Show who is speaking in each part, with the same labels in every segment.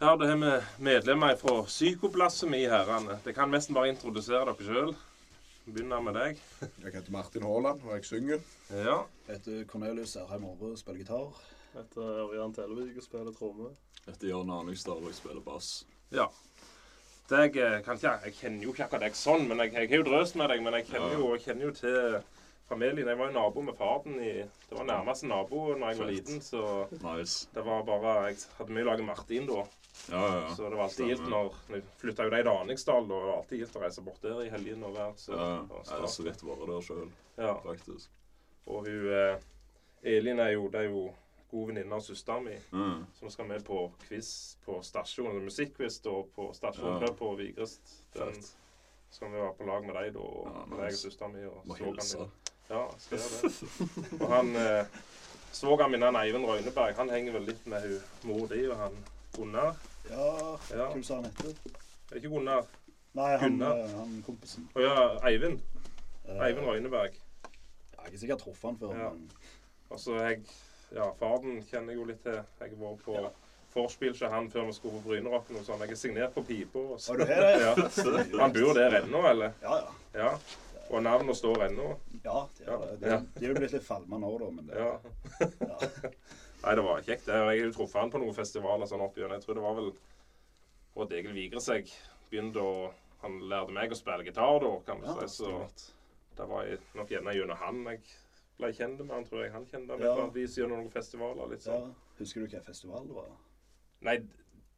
Speaker 1: Der det har vi medlemmer fra Psykoblasset i Herrene. Dere kan nesten bare introdusere dere sjøl. Begynner med deg.
Speaker 2: Jeg heter Martin Haaland, og jeg synger.
Speaker 1: Ja.
Speaker 3: Heter Cornelius Erheim Aarø, spiller gitar.
Speaker 4: Heter
Speaker 1: eh,
Speaker 4: Ørjan Televik og spiller tromme.
Speaker 5: Dette er Jørn Arnungstad, og jeg spiller bass.
Speaker 1: ja. Deg, eh, kan ikke, jeg kjenner jo ikke akkurat deg sånn, men jeg, jeg har jo drøst med deg. Men jeg kjenner jo, jeg kjenner jo til familien. Jeg var jo nabo med far din i Det var nærmeste nabo da jeg var
Speaker 5: Fett.
Speaker 1: liten, så
Speaker 5: Nice.
Speaker 1: det var bare Jeg hadde mye lag med Martin da.
Speaker 5: Ja, ja, ja.
Speaker 1: Så det var alltid gildt
Speaker 5: Stemmer.
Speaker 1: når når jeg flytta jo de til Aningsdal, og det var alltid gildt å reise bort der i helgene og være så,
Speaker 5: Ja, ja.
Speaker 1: og
Speaker 5: Jeg har
Speaker 1: stas.
Speaker 5: så vidt vært der sjøl,
Speaker 1: ja.
Speaker 5: faktisk.
Speaker 1: Og hun eh, Elin er jo, det er jo god venninne av søsteren min,
Speaker 5: Mm.
Speaker 1: så nå skal vi på quiz på stasjonen, musikkquiz da, på stasjonen
Speaker 5: Ja.
Speaker 1: pub på Vigrest. Den
Speaker 5: Fett.
Speaker 1: skal vi være på lag med deg da, og
Speaker 5: Ja,
Speaker 1: med deg og
Speaker 5: nice.
Speaker 1: søsteren min. Og
Speaker 5: Må
Speaker 1: svogeren
Speaker 5: hilse.
Speaker 1: min. Ja, skal gjøre det. Og han eh, svogeren min, han Eivind Røyneberg, han henger vel litt med hun mor di og han Gunnar.
Speaker 3: Ja,
Speaker 1: Ja.
Speaker 3: hvem sa han heter?
Speaker 1: Er det ikke Gunnar?
Speaker 3: Nei, han,
Speaker 1: Gunnar.
Speaker 3: eh, han kompisen.
Speaker 1: Å ja, Eivind.
Speaker 3: Eh,
Speaker 1: Eivind Røyneberg.
Speaker 3: Jeg har ikke sikkert truffet han før,
Speaker 1: Ja.
Speaker 3: men
Speaker 1: Altså, jeg Ja, faren kjenner jeg jo litt til. Jeg var på vorspiel hos han før vi skulle på Brynerocken og sånn. Jeg er signert på pipa. og
Speaker 3: Å,
Speaker 1: så-
Speaker 3: du har det?
Speaker 1: Ja. Han bor der ennå, eller?
Speaker 3: Ja, ja.
Speaker 1: Ja. Og navnet står ennå.
Speaker 3: Ja, de har det. De,
Speaker 1: Ja.
Speaker 3: de er jo blitt litt falma nå, da, men det
Speaker 1: Ja.
Speaker 3: ja.
Speaker 1: Nei, det var kjekt. det. Og Jeg har jo truffet han på noen festivaler sånn opp igjennom. Jeg tror det var vel Odd Egil Vigres jeg begynte å Han lærte meg å spille gitar da, kan du
Speaker 3: Ja,
Speaker 1: si. Så det var i- nok gjerne gjennom han jeg ble kjent med han, tror jeg. Han kjente meg
Speaker 3: Ja.
Speaker 1: på et vis gjennom noen festivaler. litt
Speaker 3: ja.
Speaker 1: sånn.
Speaker 3: Husker du hvilken festival det var?
Speaker 1: Nei,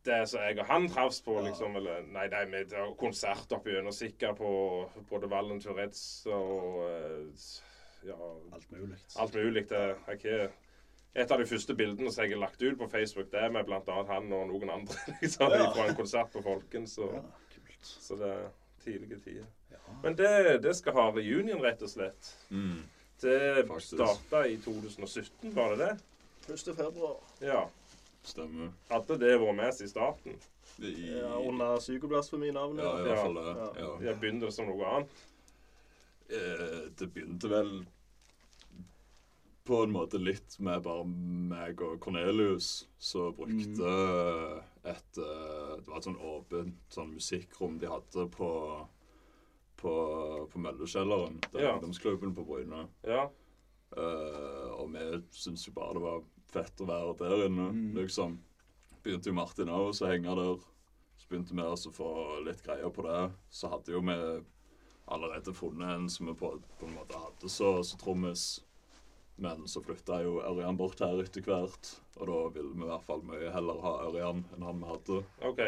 Speaker 1: det som jeg og han traffes på,
Speaker 3: Ja.
Speaker 1: liksom eller, Nei, nei, vi det var konsert oppe gjennom sikkert på både Valen Tourettes og eh, Ja,
Speaker 3: Alt mulig.
Speaker 1: alt mulig. Det jeg har et av de første bildene som jeg har lagt ut på Facebook, det er med bl.a. han og noen andre liksom,
Speaker 3: Ja.
Speaker 1: fra en konsert på Folken. Så,
Speaker 3: Ja, kult.
Speaker 1: så det er tidlige tider.
Speaker 3: Ja.
Speaker 1: Men det, det skal ha reunion, rett og slett.
Speaker 5: Mm.
Speaker 1: Det
Speaker 5: Faktisk.
Speaker 1: starta i 2017, var det det?
Speaker 3: 1. februar.
Speaker 1: Ja.
Speaker 5: Stemmer.
Speaker 1: Hadde det vært med siden starten?
Speaker 5: I,
Speaker 4: Ja, under psykoblasfemi-navnet.
Speaker 5: ja, i hvert fall det. Ja.
Speaker 1: Jeg begynte det som noe annet.
Speaker 5: Eh, Det begynte vel på en måte litt med bare meg og Cornelius, som brukte et eh, Det var et sånn åpent sånn musikkrom de hadde på på, på Møllekjelleren, den
Speaker 1: Ja.
Speaker 5: ungdomsklubben på Bryne.
Speaker 1: Ja.
Speaker 5: Eh, og vi syntes jo bare det var fett å være der inne,
Speaker 1: Mm.
Speaker 5: liksom. Begynte jo Martin òg å henge der. Så begynte vi også å få litt greier på det. Så hadde jo vi allerede funnet en som vi på, på en måte hadde så, så trommis. Men så flytta jo Ørjan bort her etter hvert, og da ville vi i hvert fall mye heller ha Ørjan enn han vi hadde.
Speaker 1: OK.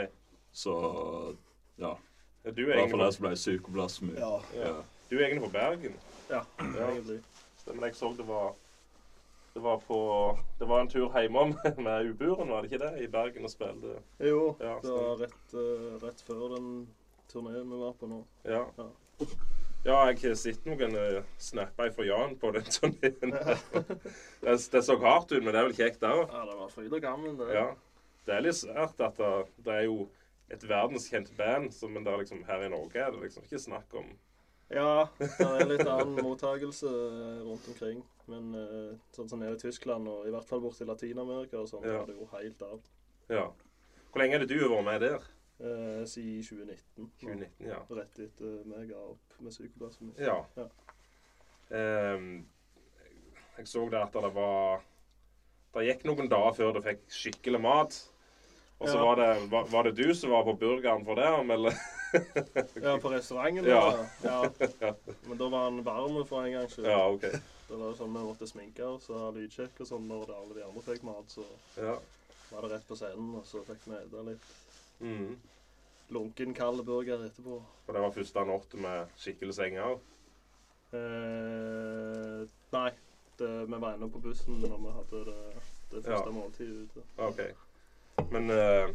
Speaker 5: Så ja.
Speaker 1: Ja, Du
Speaker 5: I
Speaker 1: er
Speaker 5: hvert fall det
Speaker 1: egentlig,
Speaker 5: som ble psykoblasmi.
Speaker 3: Ja.
Speaker 1: ja. du er egentlig på Bergen.
Speaker 4: Ja, egentlig.
Speaker 1: Stemmer det. Jeg så det var det var, på, det var en tur hjemom med Uburen, var det ikke det? I Bergen og spilte.
Speaker 4: Jo,
Speaker 1: Ja,
Speaker 4: det var rett, eh, rett før den turneen vi var på nå.
Speaker 1: Ja.
Speaker 4: Ja.
Speaker 1: ja, jeg har sett noen eh, snapper fra Jan på den turneen. Det, det så hardt ut, men det er vel kjekt òg.
Speaker 4: Ja, det var fryd og gammen, det.
Speaker 1: Ja. Det er litt sært at det, det er jo et verdenskjent band, så, men det er liksom, her i Norge er det liksom ikke snakk om
Speaker 4: Ja, det er litt annen mottagelse eh, rundt omkring. Men eh, sånn som nede i Tyskland, og i hvert fall borte i Latin-Amerika og sånn,
Speaker 1: Ja.
Speaker 4: ja. det jo helt av.
Speaker 1: Ja. Hvor lenge er det du har vært med der?
Speaker 4: Eh, Siden 2019. nå.
Speaker 1: 2019, ja.
Speaker 4: Rett etter meg ga opp med psykoblasfemi.
Speaker 1: Ja.
Speaker 4: Ja.
Speaker 1: Ehm, jeg så det at det var Det gikk noen dager før det fikk skikkelig mat. Og så
Speaker 4: Ja.
Speaker 1: var, det, var, var det du som var på burgeren for det, eller?
Speaker 4: Ja, på restauranten.
Speaker 1: Ja.
Speaker 4: Ja. ja. Men da var han varm for en gangs skyld.
Speaker 1: Ja, OK.
Speaker 4: Det var jo sånn vi måtte sminke oss og ha lydsjekk og sånn når det alle de andre fikk mat. Så
Speaker 1: Ja.
Speaker 4: var det rett på scenen, og så fikk vi spise litt
Speaker 1: Mm.
Speaker 4: lunken, kald burger etterpå.
Speaker 1: Og det var første natt med skikkelig senger.
Speaker 4: Eh, nei, det, vi var ennå på bussen når vi hadde det, det første
Speaker 1: Ja.
Speaker 4: måltidet ute.
Speaker 1: OK. Men eh,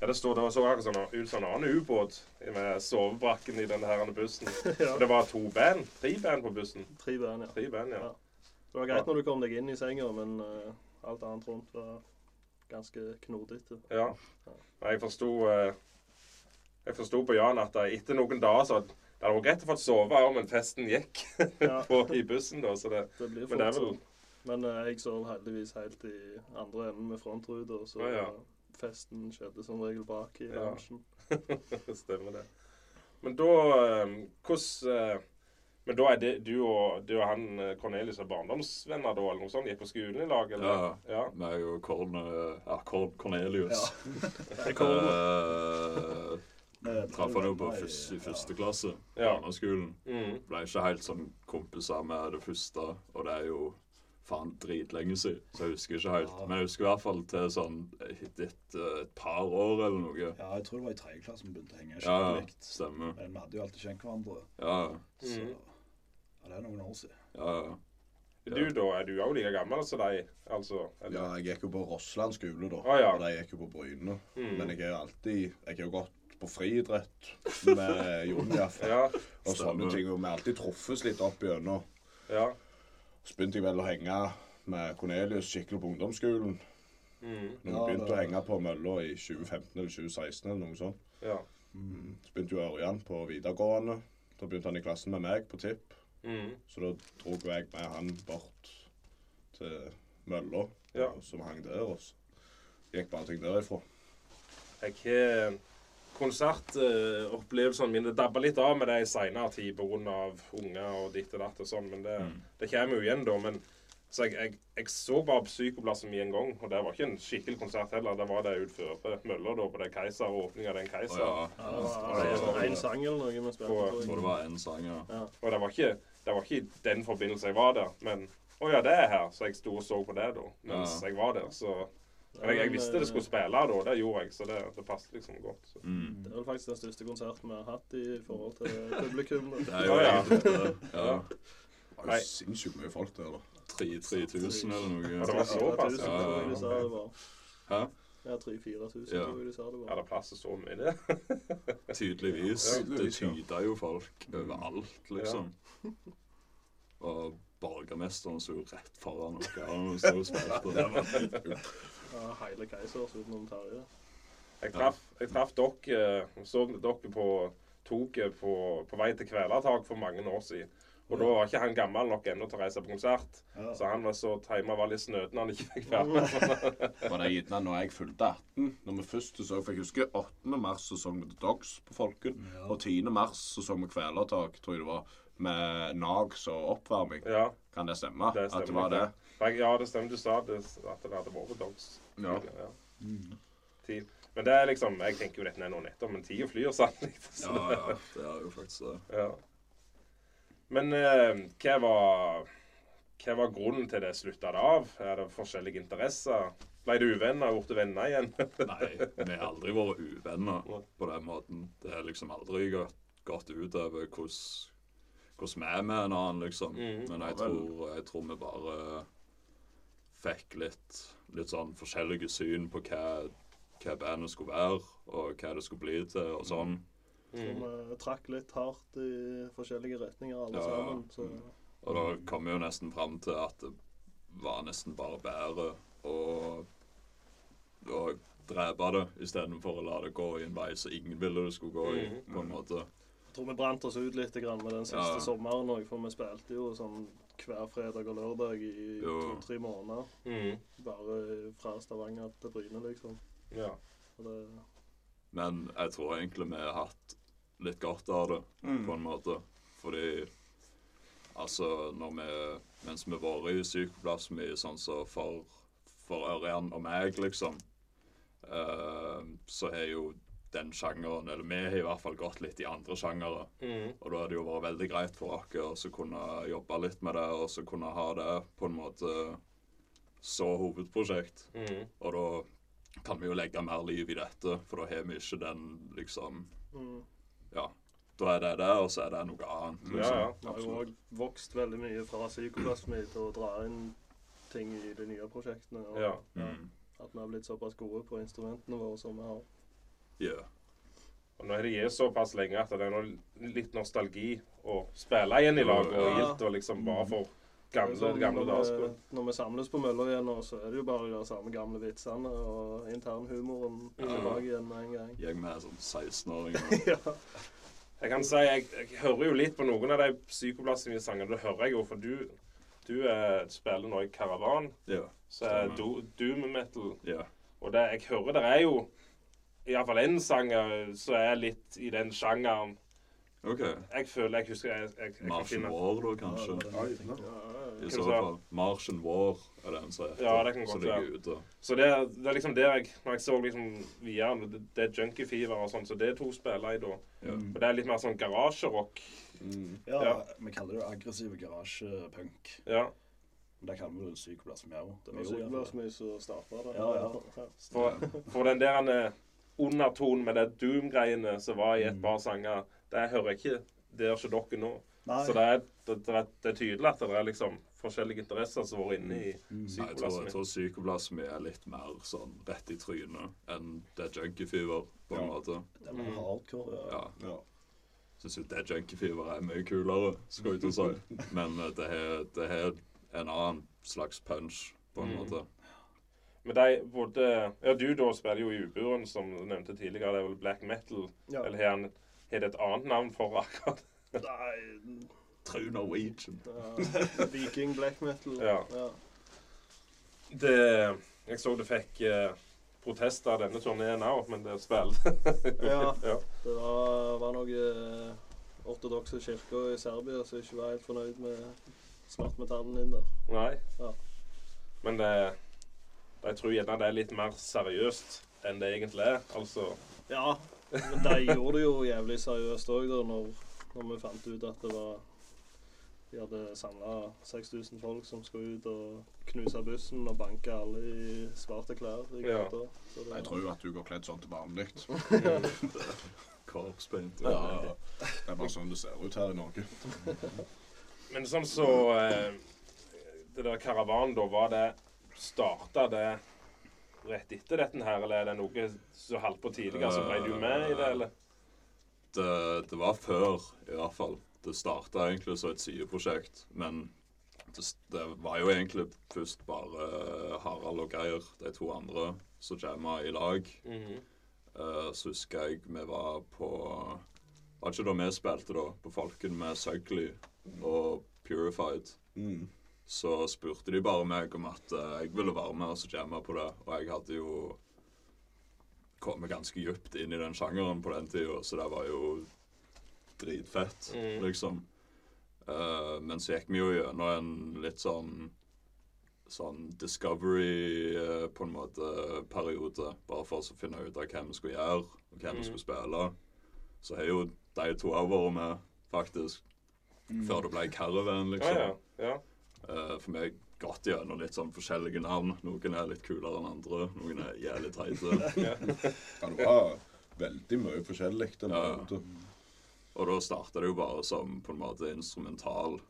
Speaker 1: ja, det, stod, det så akkurat sånn, ut som en annen ubåt med sovebrakken i denne her bussen.
Speaker 4: ja.
Speaker 1: Og det var to band. Tre band på bussen.
Speaker 4: Tre band, ja.
Speaker 1: Tre band, ja.
Speaker 4: Ja. Det var greit når du kom deg inn i senga, men eh, alt annet rundt var ganske knodete.
Speaker 1: Ja. Nei, Jeg forsto eh, Jeg forsto på Jan at eh, etter noen dager så hadde- det hadde vært greit å få sove om men festen gikk
Speaker 4: Ja.
Speaker 1: på, i bussen. da, så det,
Speaker 4: Det blir
Speaker 1: Men det er
Speaker 4: fort
Speaker 1: vel-
Speaker 4: sånn. Men eh, jeg sov heldigvis helt i andre enden med frontruta, så
Speaker 1: Å, ja.
Speaker 4: eh, festen skjedde som regel bak i
Speaker 1: Ja.
Speaker 4: loungen.
Speaker 1: Stemmer det. Men da eh, Hvordan eh, Men da er det du og, du og han eh, Cornelius er barndomsvenner, da? Eller noe sånt? Gikk på skolen i lag, eller?
Speaker 5: Ja. Meg og Korn, eh, ja, Korn Cornelius.
Speaker 4: Jeg kommer.
Speaker 5: Eh, Traff han jo på første, i første klasse på
Speaker 1: Ja.
Speaker 5: barneskolen.
Speaker 1: Mm.
Speaker 5: Ble ikke helt sånn kompiser med det første, og det er jo faen dritlenge siden. Så jeg husker ikke helt.
Speaker 3: Ja.
Speaker 5: Men jeg husker i hvert fall til sånn et, et, et par år eller noe.
Speaker 3: Ja, jeg tror det var i tredje klasse vi begynte å henge
Speaker 5: Ja, ja,
Speaker 3: skikkelig.
Speaker 5: stemmer.
Speaker 3: Men vi hadde jo alltid kjent hverandre.
Speaker 5: Ja,
Speaker 3: Så
Speaker 1: Mhm.
Speaker 3: ja, det er noen år siden.
Speaker 5: ja, ja.
Speaker 1: Du, da? Er du òg like gammel som de? Altså?
Speaker 2: Ja, jeg gikk jo på Rossland skole, da.
Speaker 1: Å, Ah, ja.
Speaker 2: Og de gikk jo på Bryne.
Speaker 1: Mm.
Speaker 2: Men jeg er jo alltid Jeg er jo godt på friidrett med Jon iallfall.
Speaker 1: Ja.
Speaker 2: Og sånne
Speaker 5: Stemmer.
Speaker 2: ting. Og vi har alltid truffes litt opp igjennom.
Speaker 1: ja.
Speaker 2: Så begynte jeg vel å henge med Cornelius skikkelig på ungdomsskolen.
Speaker 1: Mm.
Speaker 2: Når vi
Speaker 3: Ja,
Speaker 2: begynte
Speaker 3: det-
Speaker 2: å henge på mølla i 2015 eller 2016 eller noe sånt.
Speaker 1: ja.
Speaker 2: Så begynte jo Ørjan på videregående. Da begynte han i klassen med meg på tipp.
Speaker 1: Mm.
Speaker 2: Så da dro jeg med han bort til mølla,
Speaker 1: Ja.
Speaker 2: som hang der. Og så gikk bare ting derifra.
Speaker 1: Jeg har konsertopplevelsene mine dabba litt av med det i seinere tid pga. unger og ditt og datt og sånn, men det,
Speaker 5: Mm.
Speaker 1: det kommer jo igjen da. men så jeg, jeg, jeg så bare Psykoblasm en gang, og det var ikke en skikkelig konsert heller. Det var det utenfor mølla da, på det Keiser, og åpningen av den
Speaker 5: Å
Speaker 1: Keiser.
Speaker 5: ja.
Speaker 4: Ja, det var en sang eller noe vi spilte
Speaker 1: Og-
Speaker 5: Jeg
Speaker 4: på.
Speaker 5: tror det var én sang, ja.
Speaker 1: Og det var, ikke, det var ikke i den forbindelse jeg var der, men å ja, det er her. Så jeg sto og så på det da, mens
Speaker 5: Ja.
Speaker 1: jeg var der. så... Men jeg, jeg
Speaker 4: eh,
Speaker 1: visste det skulle spille da, det gjorde jeg, så det, det passet liksom godt. Så.
Speaker 5: Mm.
Speaker 4: Det er vel faktisk den største konserten vi har hatt i forhold til publikum.
Speaker 5: Det
Speaker 4: da.
Speaker 5: er jo
Speaker 1: Å, ja.
Speaker 5: egentlig det. Ja.
Speaker 2: Det var
Speaker 1: Nei.
Speaker 2: jo sinnssykt mye folk der, da.
Speaker 5: 3000 eller
Speaker 1: Og det var
Speaker 5: noe.
Speaker 1: såpass,
Speaker 4: 4000,
Speaker 1: ja.
Speaker 4: tror jeg de sa det var.
Speaker 5: Hæ?
Speaker 4: Ja, 3000-4000,
Speaker 5: Ja.
Speaker 4: tror jeg de sa det
Speaker 1: Ja,
Speaker 4: var.
Speaker 1: det passer så mye, det.
Speaker 5: Tydeligvis.
Speaker 2: Ja,
Speaker 5: Det
Speaker 2: tydeligvis, ja.
Speaker 5: tyder jo folk overalt, liksom. Og borgermesteren sto jo rett foran oss og sto og spilte.
Speaker 4: Ja, hele Keisers utenom Terje.
Speaker 1: Jeg traff, jeg traff dere, eh, så dere på toget på, på vei til Kvelertak for mange år siden. Og da var ikke han gammel nok ennå til å reise på konsert,
Speaker 3: Ja.
Speaker 1: så han var så tima var litt snøten han ikke fikk være med.
Speaker 2: Var det gjerne når jeg fylte 18? Når vi først så for jeg husker 8. mars så sang vi The Dogs på Folken.
Speaker 3: Ja.
Speaker 2: Og 10. mars så sang vi Kvelertak, tror jeg det var, med Nags og oppvarming.
Speaker 1: Ja,
Speaker 2: Kan det stemme?
Speaker 1: det
Speaker 2: At det
Speaker 1: stemmer.
Speaker 2: var det?
Speaker 1: Jeg- Ja, det stemmer. Du sa det, at det hadde vært dogs.
Speaker 2: Ja.
Speaker 1: Ti- Men det er liksom Jeg tenker jo dette er nå nettopp, men tida flyr sannelig.
Speaker 5: Ja, ja. Det er jo faktisk det.
Speaker 1: Ja. Men eh, hva var hva var grunnen til det slutta det av? Er det forskjellige interesser? Ble du uvenner? Ble du venner igjen?
Speaker 5: Nei, vi har aldri vært uvenner på den måten. Det har liksom aldri gått, gått ut over hvordan hvordan vi er med en annen, liksom.
Speaker 1: Mhm.
Speaker 5: Men jeg
Speaker 2: Mm. Ja, vel.
Speaker 5: tror, jeg tror vi bare fikk litt, litt sånn forskjellige syn på hva, hva bandet skulle være, og hva det skulle bli til, og sånn.
Speaker 1: Mm.
Speaker 4: Så Vi eh, trakk litt hardt i forskjellige retninger alle
Speaker 5: Ja. Mm.
Speaker 4: sammen. Så
Speaker 5: Og da kom vi jo nesten fram til at det var nesten bare bedre å, å drepe det istedenfor å la det gå i en vei som ingen ville det skulle gå i, på en måte.
Speaker 4: jeg tror vi brant oss ut litt grann med den
Speaker 5: Ja.
Speaker 4: siste sommeren òg, for vi spilte jo sånn hver fredag og lørdag i
Speaker 5: Jo.
Speaker 4: to-tre måneder.
Speaker 1: Mm.
Speaker 4: Bare fra Stavanger til Bryne, liksom.
Speaker 1: Ja.
Speaker 4: Og det,
Speaker 5: Men jeg tror egentlig vi har hatt litt godt av det,
Speaker 1: Mm.
Speaker 5: på en måte. Fordi altså når vi, Mens vi har vært i sykeplass mye, sånn som for, for Ørjan og meg, liksom, eh, så har jo den sjangeren Eller vi har i hvert fall gått litt i andre sjangere.
Speaker 1: Mm.
Speaker 5: Og da hadde det jo vært veldig greit for oss å kunne jobbe litt med det, og så kunne ha det på en måte så hovedprosjekt.
Speaker 1: Mm.
Speaker 5: Og da kan vi jo legge mer liv i dette, for da har vi ikke den liksom
Speaker 4: mm.
Speaker 5: Ja. Da er det det, og så er det noe annet.
Speaker 1: ja, ja.
Speaker 5: Liksom.
Speaker 4: Vi har jo
Speaker 5: Absolutt.
Speaker 4: òg vokst veldig mye fra psykoplasmi til å dra inn ting i de nye prosjektene. Og
Speaker 1: Ja.
Speaker 5: Mm.
Speaker 4: At vi har blitt såpass gode på instrumentene våre som vi har.
Speaker 5: Yeah.
Speaker 1: Og nå har de gitt såpass lenge at det er nå litt nostalgi å spille igjen i lag og
Speaker 5: Ja.
Speaker 1: gildt og liksom bare for
Speaker 4: Det er
Speaker 1: gamle,
Speaker 4: sånn
Speaker 1: gamle
Speaker 4: når,
Speaker 1: dager.
Speaker 4: vi- når vi samles på møller igjen, nå, så er det jo bare de samme gamle vitsene og internhumoren tilbake igjen med en gang.
Speaker 5: Jeg sånn med som 16-åring.
Speaker 4: Ja.
Speaker 1: Jeg kan si, jeg, jeg hører jo litt på noen av de psykoplastiske sangene. Det hører jeg jo, for du, du eh, spiller nå i Karavan,
Speaker 5: Ja.
Speaker 1: så er
Speaker 5: Stemmer.
Speaker 1: do, doom metal.
Speaker 5: Ja.
Speaker 1: Og det jeg hører, der er jo iallfall én sanger som er litt i den sjangeren.
Speaker 5: OK.
Speaker 1: Jeg føler jeg husker jeg, jeg, jeg kan
Speaker 5: Martian
Speaker 1: finne
Speaker 5: War, da, kanskje?
Speaker 3: Oi, nå.
Speaker 5: I
Speaker 1: Hva
Speaker 5: så
Speaker 1: du sa?
Speaker 5: fall. Martian War er den som heter.
Speaker 1: Ja, det kan
Speaker 5: som
Speaker 1: godt være.
Speaker 5: ligger ute.
Speaker 1: Så det, er- det er liksom der jeg Når jeg så liksom videre det, det er Junkie Fever og sånn, så det er to spiller i da.
Speaker 5: Ja.
Speaker 1: Og det er litt mer sånn garasjerock.
Speaker 3: Ja,
Speaker 1: Ja.
Speaker 3: vi kaller det jo aggressiv garasjepunk.
Speaker 1: Ja.
Speaker 3: Men det kaller vi det psykoplass med òg.
Speaker 4: Det var sikkert mye som starta det.
Speaker 3: Ja, ja.
Speaker 1: For, for den der eh, undertonen med det doom-greiene som var i et par sanger, det hører jeg ikke Det gjør ikke dere nå.
Speaker 3: Nei.
Speaker 1: Så det er, det, det, er, det er tydelig at det er liksom forskjellige interesser som har vært inne i
Speaker 5: Nei, jeg tror, jeg
Speaker 1: psykoplassen.
Speaker 5: tror psykoplasmi er litt mer sånn rett i trynet enn Dead Junkie Fever, på en måte.
Speaker 3: Det var hardcore. Ja.
Speaker 5: Ja.
Speaker 2: Ja.
Speaker 5: Syns jo Dead Junkie Fever er mye kulere, skal jeg ikke si. Men eh, det har det har en annen slags punch, på en måte.
Speaker 1: Men de både Ja, du da spiller jo i Uburen, som du nevnte tidligere. Det er vel black metal?
Speaker 4: Ja.
Speaker 1: Eller har han har det et annet navn for akkurat
Speaker 4: Nei
Speaker 5: True Norwegian.
Speaker 4: ja, Viking black metal.
Speaker 1: Ja. det, Jeg så det fikk eh, protester denne turneen òg, men det er spill.
Speaker 4: Ja.
Speaker 1: ja.
Speaker 4: Det var, var noen ortodokse kirker i Serbia som ikke var helt fornøyd med svartmetallen inn der.
Speaker 1: Nei.
Speaker 4: Ja.
Speaker 1: Men det, jeg tror gjerne det er litt mer seriøst enn det egentlig er. Altså
Speaker 4: Ja, men de gjorde det jo jævlig seriøst òg, da, når, når vi fant ut at det var De hadde samla 6000 folk som skulle ut og knuse bussen og banke alle i svarte klær. i
Speaker 1: Ja.
Speaker 4: gata. Så det-
Speaker 2: Jeg tror jo at du går kledd sånn til vanlig. Det
Speaker 5: Korpsbeint.
Speaker 2: Ja. er bare sånn det ser ut her i Norge.
Speaker 1: Men sånn så eh, Det der karavanen, da, var det Starta det rett etter dette her, eller er det noe som holdt på tidligere, så ble du med i det, eller?
Speaker 5: eh, det, det var før, i hvert fall. Det starta egentlig som et sideprosjekt, men det, s- det var jo egentlig først bare eh, Harald og Geir, de to andre, som jamma i lag. Eh, så husker jeg vi var på Var ikke da vi spilte, da? På Folken med Søgli og Purified. Så spurte de bare meg om at eh, jeg ville være med og så jamme på det, og jeg hadde jo kommet ganske djupt inn i den sjangeren på den tida, så det var jo dritfett,
Speaker 1: Mm.
Speaker 5: liksom. Eh, men så gikk vi jo gjennom en litt sånn sånn discovery eh, på en måte periode, bare for å finne ut av hvem vi skulle gjøre, og hvem vi
Speaker 1: Mm.
Speaker 5: skulle spille. Så har jo de to òg vært med, faktisk, før det ble Caravan,
Speaker 1: Ja,
Speaker 5: liksom.
Speaker 1: ja. ja.
Speaker 5: Eh, for meg gått gjennom litt sånn forskjellige navn. Noen er litt kulere enn andre, noen er jævlig teite.
Speaker 2: Ja, det var veldig mye forskjellig. den
Speaker 5: Ja.
Speaker 2: perioden.
Speaker 5: Og da starta det jo bare som på en måte instrumental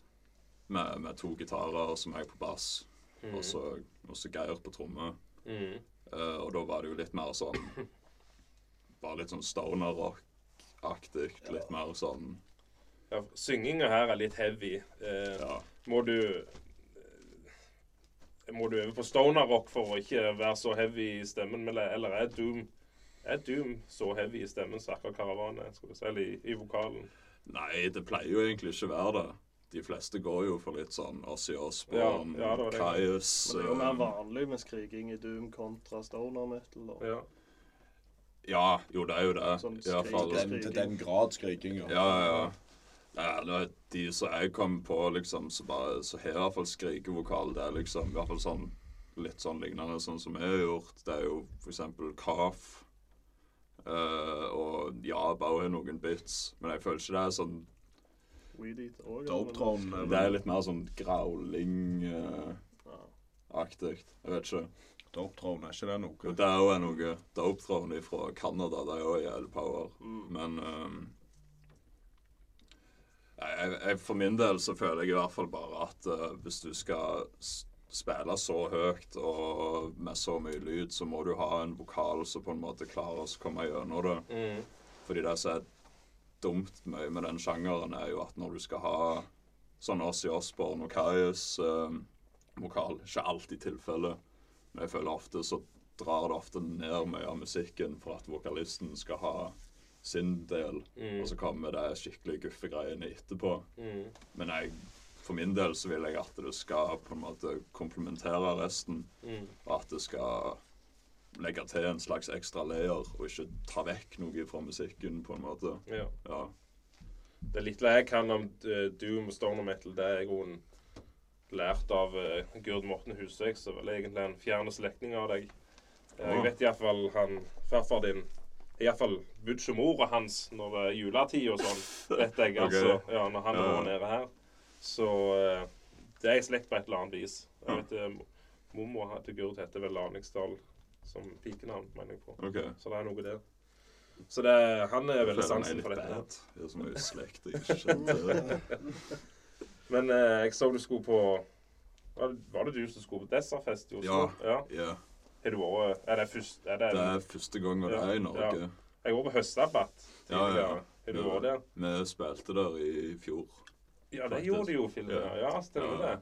Speaker 5: med, med to gitarer, som jeg på bass,
Speaker 4: Mm.
Speaker 5: og så og så Geir på tromme.
Speaker 1: Mhm.
Speaker 5: Eh, og da var det jo litt mer sånn Bare litt sånn stoner-rock-aktig. Litt mer sånn
Speaker 1: ja Synginga her er litt heavy. Eh,
Speaker 5: Ja.
Speaker 1: Må du eh, Må du øve på stoner rock for å ikke være så heavy i stemmen, eller, eller er Doom er Doom så heavy i stemmen som akkurat Karavan er? skal du si, Eller i, i vokalen?
Speaker 5: Nei, det pleier jo egentlig ikke være det. De fleste går jo for litt sånn Ossie Osborne,
Speaker 1: Ja, ja, det var det.
Speaker 5: Kaius
Speaker 4: Men det er jo mer
Speaker 5: eh,
Speaker 4: vanlig med skriking i doom kontra stoner metal. Da.
Speaker 1: Ja.
Speaker 5: Ja, jo, det er jo det.
Speaker 4: Sånn
Speaker 5: I hvert fall.
Speaker 4: skriking.
Speaker 2: Den, til den grad skriking.
Speaker 5: Ja, ja, ja. Ja, det er de som jeg kom på, liksom, så bare Så har jeg i hvert fall skrikevokal. Det er liksom i hvert fall sånn litt sånn lignende sånn som jeg har gjort. Det er jo for eksempel Kaf. eh, og ja, bare noen bits. Men jeg føler ikke det er sånn
Speaker 4: Weed Eat òg.
Speaker 2: Dopetron
Speaker 5: Det er litt mer sånn growling-aktig.
Speaker 4: Ja.
Speaker 5: jeg vet ikke.
Speaker 2: Dopetron, er ikke det
Speaker 5: Jo,
Speaker 2: noe?
Speaker 5: Det er jo noe dope throne fra Canada. Det er jo jævlig power. Men ehm, jeg, jeg, For min del så føler jeg i hvert fall bare at eh, hvis du skal s- spille så høyt og med så mye lyd, så må du ha en vokal som på en måte klarer å komme gjennom det.
Speaker 1: Mhm.
Speaker 5: Fordi det som er dumt mye med den sjangeren, er jo at når du skal ha sånn Ossi Osborn og Kaius eh, vokal, ikke alltid tilfelle, men jeg føler ofte så drar det ofte ned mye av musikken for at vokalisten skal ha sin del,
Speaker 1: Mm.
Speaker 5: og så kommer det skikkelig guffe greiene etterpå.
Speaker 1: Mhm.
Speaker 5: Men jeg, for min del så vil jeg at det skal på en måte komplementere resten,
Speaker 1: Mm.
Speaker 5: og at det skal legge til en slags ekstra layer, og ikke ta vekk noe fra musikken, på en måte.
Speaker 1: Ja.
Speaker 5: Ja.
Speaker 1: Det lille jeg kan om eh, Doom og Stoner Metal, det er jeg jo en- lært av eh, Gurd Morten Husvik, som vel egentlig er en fjerne slektning av deg. Eh, jeg
Speaker 5: Ah.
Speaker 1: vet iallfall han farfar din Iallfall budsjemora hans når det er juletid og sånn, vet jeg.
Speaker 5: Ok.
Speaker 1: altså, ja, Når han
Speaker 5: Ja, ja.
Speaker 1: går nede her. Så eh, det er i slekt på et eller annet vis. Jeg vet, eh, Mormor til Gurd heter vel Laningsdal som pikenavn, mener jeg på.
Speaker 5: OK.
Speaker 1: Så det er noe der. Så det, han er veldig sansen for dette. her.
Speaker 5: bad. Det er så mye slekt jeg ikke kjenner til.
Speaker 1: Men eh, jeg så du skulle på Var det- var det du som skulle på Dessertfest i Oslo? ja.
Speaker 5: Ja.
Speaker 1: Har du vært Er det først er det,
Speaker 5: Det er første gang det er i Norge.
Speaker 1: Jeg var på høstsabbat
Speaker 5: Ja, ja,
Speaker 1: tidligere.
Speaker 5: ja.
Speaker 1: Har du vært der?
Speaker 5: Vi spilte der i fjor.
Speaker 1: Ja, det
Speaker 5: Faktisk.
Speaker 1: gjorde de jo, Filde. Ja. ja, stemmer
Speaker 5: Ja.
Speaker 1: det.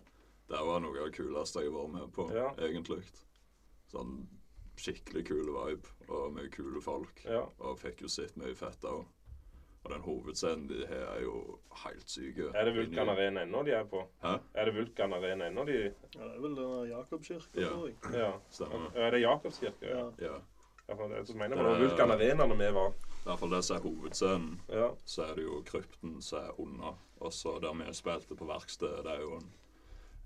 Speaker 5: Det var noe av det kuleste jeg har vært med på,
Speaker 1: Ja.
Speaker 5: egentlig. Sånn skikkelig kule vibe, og mye kule folk.
Speaker 1: Ja.
Speaker 5: Og fikk jo sett mye fett òg. Og den hovedscenen de har, er jo helt syk.
Speaker 1: Er det Vulkan Arena ennå de er på?
Speaker 5: Hæ?
Speaker 1: Er det Vulkan Arena ennå de
Speaker 4: Ja, det er vel denne Jakobkirka,
Speaker 5: Ja.
Speaker 4: tror jeg.
Speaker 1: Ja.
Speaker 5: Stemmer.
Speaker 1: Er det Jakobskirka? Ja.
Speaker 4: Ja.
Speaker 5: Ja.
Speaker 1: Ja, for Jeg mener det var Vulkan Arena når vi var
Speaker 5: I hvert fall det som er hovedscenen,
Speaker 1: Ja.
Speaker 5: så er det jo krypten som er under. Og så der vi spilte på verkstedet, det er jo en,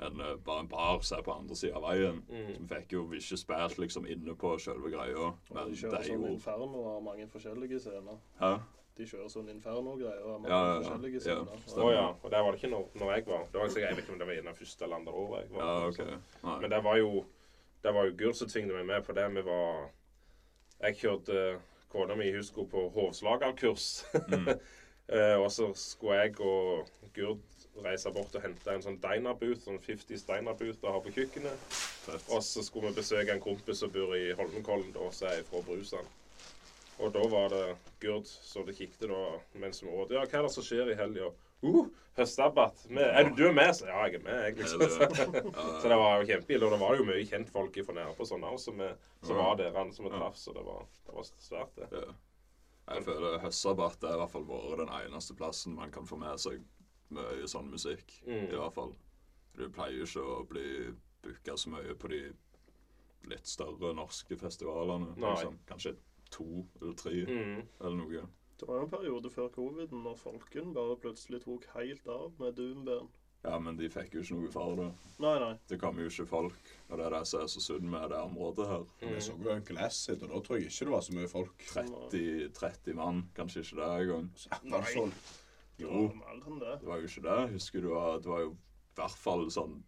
Speaker 5: en, eh, bare en bar som er på andre sida av veien.
Speaker 1: Mm.
Speaker 5: Så vi fikk jo ikke spilt liksom inne på selve greia,
Speaker 4: Men
Speaker 5: men
Speaker 4: de
Speaker 5: det
Speaker 4: kjører
Speaker 5: er
Speaker 4: sånn
Speaker 5: jo
Speaker 4: inferno og har mange forskjellige scener.
Speaker 5: Hæ?
Speaker 4: De kjører sånn inferno-greier og har mange
Speaker 5: Ja, ja, ja.
Speaker 4: forskjellige
Speaker 5: Ja,
Speaker 4: scener.
Speaker 1: Å ja. Og der var det ikke når, når jeg var. Det var sikkert, jeg vet ikke om det var i det første eller andre året jeg var.
Speaker 5: Ja, OK. Nei.
Speaker 1: Men det var jo Det var jo Gurt som tvingte meg med på det. Vi var Jeg kjørte eh, kona mi hun skulle på hovslagerkurs. Eh, og så skulle jeg og Gurt reise bort og hente en sånn Diner-booth, sånn 50 Steiner-booth å ha på kjøkkenet.
Speaker 5: Fett.
Speaker 1: Og så skulle vi besøke en kompis som bor i Holmenkollen, da, som er fra Brusand. Og da var det Gurd som det kikket da mens vi åt. Ja, hva er det som skjer i helga? Uh, høstsabbat. Vi- Er du, du er med? Så, ja, jeg er med, jeg,
Speaker 5: Er
Speaker 1: liksom.
Speaker 5: det-
Speaker 1: Så det var jo kjempeille, og det var jo mye kjentfolk fra nærme og sånn også, som, er- som
Speaker 5: Ja.
Speaker 1: var der han som vi traff, så det var, det var svært, det.
Speaker 5: Ja. Jeg føler høstsabbat er i hvert fall vært den eneste plassen man kan få med seg mye sånn musikk.
Speaker 1: Mm.
Speaker 5: I hvert fall. Du pleier jo ikke å bli booka så mye på de litt større norske festivalene.
Speaker 1: Nei.
Speaker 5: Liksom. Kanskje to eller tre
Speaker 1: Mm.
Speaker 5: eller noe.
Speaker 4: Det var jo en periode før coviden når folken bare plutselig tok helt av med Doomband.
Speaker 5: Ja, men de fikk jo ikke noe for det.
Speaker 4: Nei, nei.
Speaker 5: Det kom jo ikke folk. Og det er det som er så synd med det området her.
Speaker 2: Jeg så jo Glasset, og da tror jeg ikke det var så mye folk.
Speaker 5: 30, 30 mann, kanskje ikke det engang.
Speaker 2: Nei.
Speaker 4: Det
Speaker 5: Jo.
Speaker 4: var mer enn det.
Speaker 5: Det var jo ikke det. Husker du at det var jo i hvert fall sånn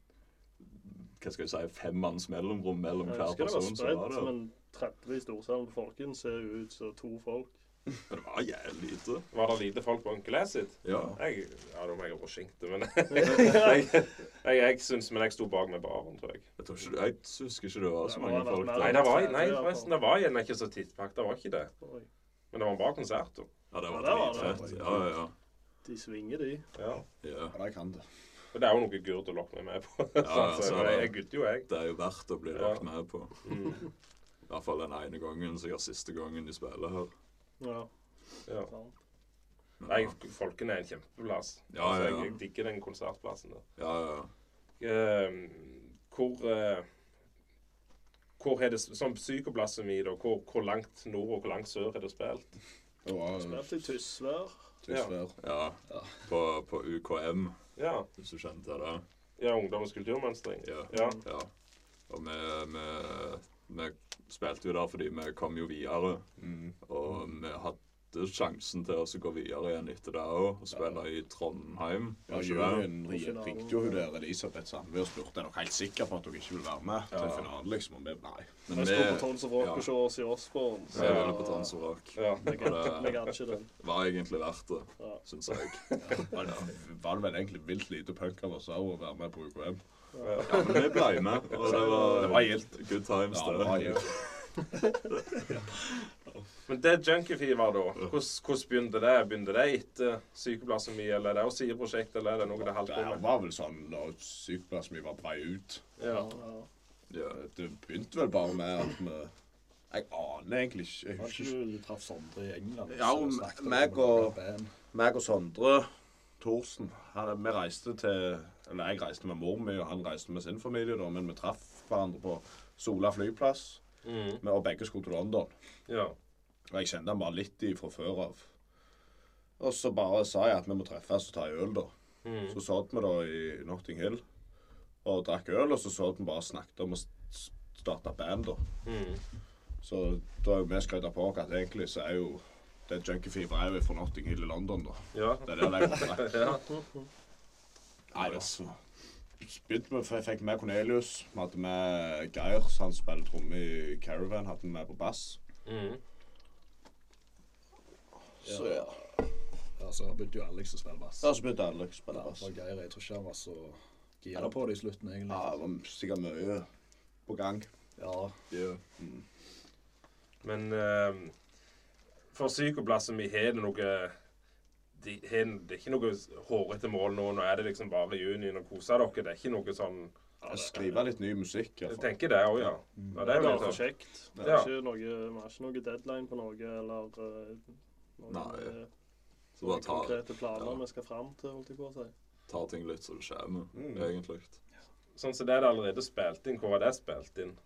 Speaker 5: Hva skal jeg si Femmanns mellomrom mellom
Speaker 4: Jeg
Speaker 5: hver
Speaker 4: husker det var
Speaker 5: person. så var
Speaker 4: spredt,
Speaker 5: det.
Speaker 4: men 30 i storsalen på Folken ser jo ut som to folk.
Speaker 5: Men det var jævlig lite.
Speaker 1: Var det lite folk på Onkel S sitt?
Speaker 5: Ja.
Speaker 1: Jeg, ja, da må jeg overskinkte, men jeg, jeg, jeg synes, men jeg sto bak med baren, tror jeg.
Speaker 5: Jeg, tror ikke, jeg husker ikke det var så
Speaker 4: Det må
Speaker 5: mange
Speaker 4: ha vært
Speaker 5: folk
Speaker 4: mer
Speaker 5: der.
Speaker 1: Nei, det var, nei, forresten, det var igjen ikke så tidspakt, det var ikke det.
Speaker 4: Oi.
Speaker 1: Men det var en bra konsert, da.
Speaker 5: Ja, det var
Speaker 4: Ja, det var det.
Speaker 5: dritfett. Ja, ja,
Speaker 4: De svinger, de.
Speaker 1: Ja.
Speaker 5: ja.
Speaker 3: Ja, de kan det.
Speaker 1: Og det er jo noe Gurd å lokke meg med på.
Speaker 5: ja,
Speaker 1: så
Speaker 5: så er
Speaker 1: jeg,
Speaker 5: det.
Speaker 1: jeg gudde jo, jeg.
Speaker 5: Det er jo verdt å bli
Speaker 1: Ja.
Speaker 5: lagt med på.
Speaker 4: Mm.
Speaker 5: I hvert fall den ene gangen, sikkert siste gangen de spiller her.
Speaker 4: Ja.
Speaker 1: Ja.
Speaker 4: sant.
Speaker 5: Men
Speaker 1: Nei,
Speaker 5: ja.
Speaker 1: Folken er en kjempeplass.
Speaker 5: Ja,
Speaker 1: Altså,
Speaker 5: ja,
Speaker 1: jeg,
Speaker 5: ja.
Speaker 1: jeg digger den konsertplassen der.
Speaker 5: Ja, ja.
Speaker 1: Eh, hvor eh, hvor er det sånn psykoblasemi, da? Hvor, hvor langt nord og hvor langt sør er det spilt?
Speaker 2: Det var eh,
Speaker 4: Spilt i Tysvær.
Speaker 1: Ja.
Speaker 2: tyskvær.
Speaker 5: ja. På, på UKM,
Speaker 1: Ja,
Speaker 5: hvis du kjente det.
Speaker 1: ja Ungdommens kulturmønstring.
Speaker 5: Ja.
Speaker 1: Ja.
Speaker 5: Ja. Og vi, vi, vi spilte jo der fordi vi kom jo videre.
Speaker 2: Mm.
Speaker 5: Og vi hadde sjansen til å gå videre igjen etter det òg, og spille i Trondheim.
Speaker 2: Ja,
Speaker 5: ikke det?
Speaker 2: Juryen ri- ringte jo hun der Elisabeth Sandve og spurte er dere helt sikker på at dere ikke vil være med til finalen. liksom, og vi nei.
Speaker 5: Men
Speaker 4: Jeg
Speaker 5: vi
Speaker 4: sto på Tons of Rock
Speaker 5: ja.
Speaker 4: og så oss i Osborn.
Speaker 5: vi var på Trans og Rock.
Speaker 1: Ja.
Speaker 5: Og
Speaker 4: Jeg
Speaker 5: det
Speaker 4: gadd ikke den.
Speaker 5: var egentlig verdt det,
Speaker 4: Ja.
Speaker 5: syns jeg.
Speaker 2: Var det, var det vel egentlig vilt lite punk av oss også å være med på UKM?
Speaker 5: Ja, men vi ble med, og det var,
Speaker 2: Det var gildt.
Speaker 5: good times.
Speaker 2: Ja, det var
Speaker 5: det.
Speaker 2: gildt.
Speaker 1: Men det junkiefever, da, hvordan, hvordan begynte det? Begynte det etter psykoblasemi, eller er det også sideprosjekt, eller er det noe det holdt
Speaker 2: Det
Speaker 1: på med?
Speaker 2: var vel sånn da sykepleier som vi var på vei ut.
Speaker 1: Ja.
Speaker 4: Ja.
Speaker 5: Ja.
Speaker 2: Det begynte vel bare med at vi Jeg aner egentlig ikke. Jeg
Speaker 3: Var
Speaker 2: husker
Speaker 3: det
Speaker 2: ikke.
Speaker 3: ikke du du traff Sondre i England?
Speaker 2: Ja,
Speaker 3: så
Speaker 2: og
Speaker 3: snakket dere
Speaker 2: meg
Speaker 3: om noe
Speaker 2: og-
Speaker 3: band?
Speaker 2: Meg og Sondre Thorsen han- Vi reiste til Eller jeg reiste med mor mi, og han reiste med sin familie, da, men vi traff hverandre på Sola flyplass.
Speaker 1: Mm.
Speaker 2: Men, og begge skulle til London.
Speaker 1: Ja.
Speaker 2: Og jeg kjente han bare litt i fra før av. Og så bare sa jeg at vi må treffes og ta en øl, da.
Speaker 1: Mm.
Speaker 2: Så satt vi da i Notting Hill og drakk øl, og så satt vi bare og snakket om å s- s- starte band, da.
Speaker 1: Mm.
Speaker 2: Så da er jo vi skryta på oss at egentlig så er jo det junkiefever er jo fra Notting Hill i London, da.
Speaker 1: Ja.
Speaker 2: Det er der det kommer fra.
Speaker 1: Ja.
Speaker 2: Nei, altså. Begynte med, jeg fikk med Cornelius. Vi hadde med Geir, så han spiller tromme i Caravan. Hadde vi med på bass.
Speaker 1: Mm.
Speaker 2: Så ja.
Speaker 3: Ja, så begynte jo Alex å spille bass.
Speaker 2: Da så begynte alle å spille
Speaker 3: Ja,
Speaker 2: bass.
Speaker 3: for Geir, jeg tror ikke han var så gira på det i slutten,
Speaker 2: Ja, det
Speaker 3: egentlig.
Speaker 2: var sikkert mye på gang.
Speaker 3: Ja,
Speaker 5: Yeah.
Speaker 1: Men eh, for psykoblasm i har det noe de, har, Det er ikke noe hårete mål nå. Nå er det liksom bare junien og kose dere. Det er ikke noe sånn
Speaker 2: Jeg skriver litt ny musikk,
Speaker 1: Jeg
Speaker 2: iallfall.
Speaker 1: tenker det òg, ja. ja. Det
Speaker 4: Det
Speaker 1: er
Speaker 4: er
Speaker 1: jo
Speaker 4: bare
Speaker 1: litt sånn.
Speaker 4: kjekt. Det
Speaker 1: Ja.
Speaker 4: er ikke noe, vi har ikke noe deadline på noe eller eh, noen
Speaker 5: Nei.
Speaker 4: eh,
Speaker 5: Så bare ta,
Speaker 4: konkrete planer
Speaker 5: Ja.
Speaker 4: vi skal fram til, holdt jeg på å si.
Speaker 5: ta ting litt så det kommer,
Speaker 2: Mm.
Speaker 5: egentlig.
Speaker 1: Sånn som det er det allerede spilt inn. Hvor var det spilt inn?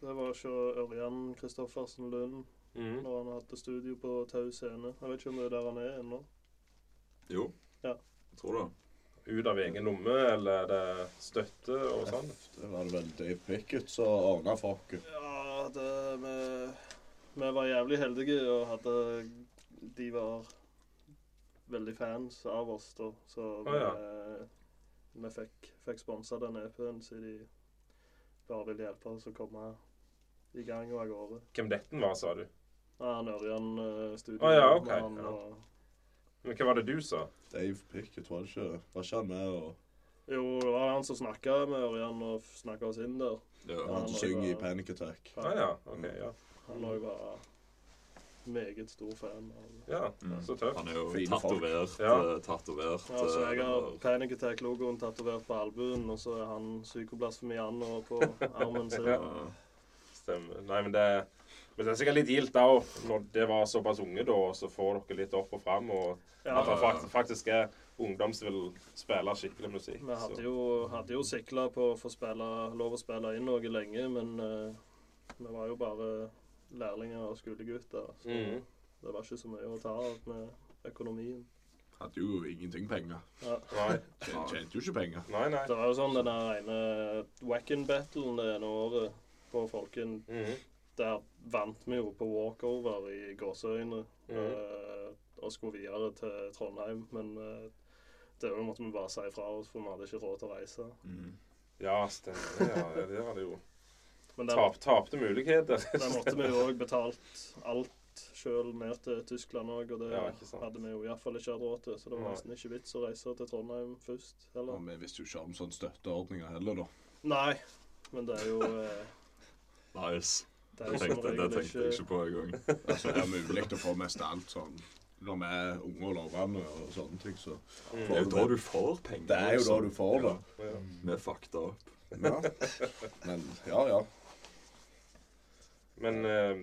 Speaker 4: Det var ikke Ørjan Kristoffersen Lund
Speaker 1: Mm.
Speaker 4: når han hadde studio på Tau scene. Jeg vet ikke om det er der han er ennå.
Speaker 5: Jo,
Speaker 4: Ja.
Speaker 5: jeg tror det.
Speaker 1: Ut av egen lomme, eller er det støtte og sånn?
Speaker 2: Det var det vel Dave Pickett som ordna for oss.
Speaker 4: Ja, det vi, vi var jævlig heldige og hadde De var veldig fans av oss, da. Så vi, vi fikk, fikk sponsa den EP-en, så de bare ville hjelpe oss å komme i gang og av gårde.
Speaker 1: Hvem dette var, sa du?
Speaker 4: Ja, han Ørjan eh, studio.
Speaker 1: Å ja, ok,
Speaker 4: han,
Speaker 1: ja.
Speaker 4: og-
Speaker 1: Men hva var det du sa?
Speaker 2: Dave Pickett, var det ikke? Var ikke han med og
Speaker 4: Jo, det var han som snakka med Ørjan og snakka oss inn der.
Speaker 5: Ja.
Speaker 2: Han som synger i Panic Attack?
Speaker 1: Å Ah, ja. OK. Ja.
Speaker 4: Han var jo bare meget stor fan av
Speaker 1: ja.
Speaker 5: Mm.
Speaker 1: Så tøft.
Speaker 5: Han er jo
Speaker 2: Fine folk.
Speaker 5: tatovert.
Speaker 1: Ja.
Speaker 5: eh, Tatovert.
Speaker 4: Ja, så
Speaker 5: eh,
Speaker 4: jeg har
Speaker 5: den der.
Speaker 4: Panic Attack-logoen tatovert på albuen, og så er han psykoblasfemian og på armen sin.
Speaker 5: Eh,
Speaker 1: Stemmer. Nei, men det, men det er sikkert litt gildt da, når det var såpass unge da, og så får dere litt opp og fram, og
Speaker 4: Ja,
Speaker 1: at det faktisk, faktisk er ungdom som vil spille skikkelig musikk.
Speaker 4: vi hadde
Speaker 1: så-
Speaker 4: jo, hadde jo sikla på å få spille, lov å spille inn noe lenge, men eh, vi var jo bare lærlinger og skolegutter, så
Speaker 1: Mhm.
Speaker 4: det var ikke så mye å ta av med økonomien.
Speaker 2: Hadde jo ingenting penger.
Speaker 4: Ja.
Speaker 1: Nei,
Speaker 2: Tjente, tjente jo ikke penger.
Speaker 1: nei. nei.
Speaker 4: Det var jo sånn den der ene Wacken-battlen det ene året på Folken.
Speaker 1: Mhm.
Speaker 4: Der vant vi jo på walkover i gåseøyne eh, og skulle videre til Trondheim. Men eh, det måtte vi bare si fra oss, for vi hadde ikke råd til å reise.
Speaker 5: mm.
Speaker 1: Ja, stemmer. Ja, det var det jo.
Speaker 4: Men der,
Speaker 1: Tap, tapte muligheter.
Speaker 4: der måtte vi jo òg betalt alt sjøl ned til Tyskland òg, og det
Speaker 1: Ja, ikke sant.
Speaker 4: hadde vi jo iallfall ikke hatt råd til. Så det var
Speaker 1: Nei.
Speaker 4: nesten ikke vits å reise til Trondheim først heller.
Speaker 2: Og vi visste jo ikke om sånne støtteordninger heller, da.
Speaker 4: Nei, men det er jo eh,
Speaker 5: Nice.
Speaker 4: det er
Speaker 5: Det
Speaker 4: jo som
Speaker 5: tenkte,
Speaker 4: regel
Speaker 5: det tenkte jeg
Speaker 4: ikke
Speaker 5: ikke på engang.
Speaker 2: Så Altså, det er mulig å få mest alt sånn når vi er unge og lovende og sånne ting, så
Speaker 5: Mm. Det er jo da du får penger.
Speaker 2: Det er jo da
Speaker 5: liksom.
Speaker 2: du får det.
Speaker 1: Ja.
Speaker 5: Vi er fucked up.
Speaker 2: Ja. Men ja, ja.
Speaker 1: Men eh,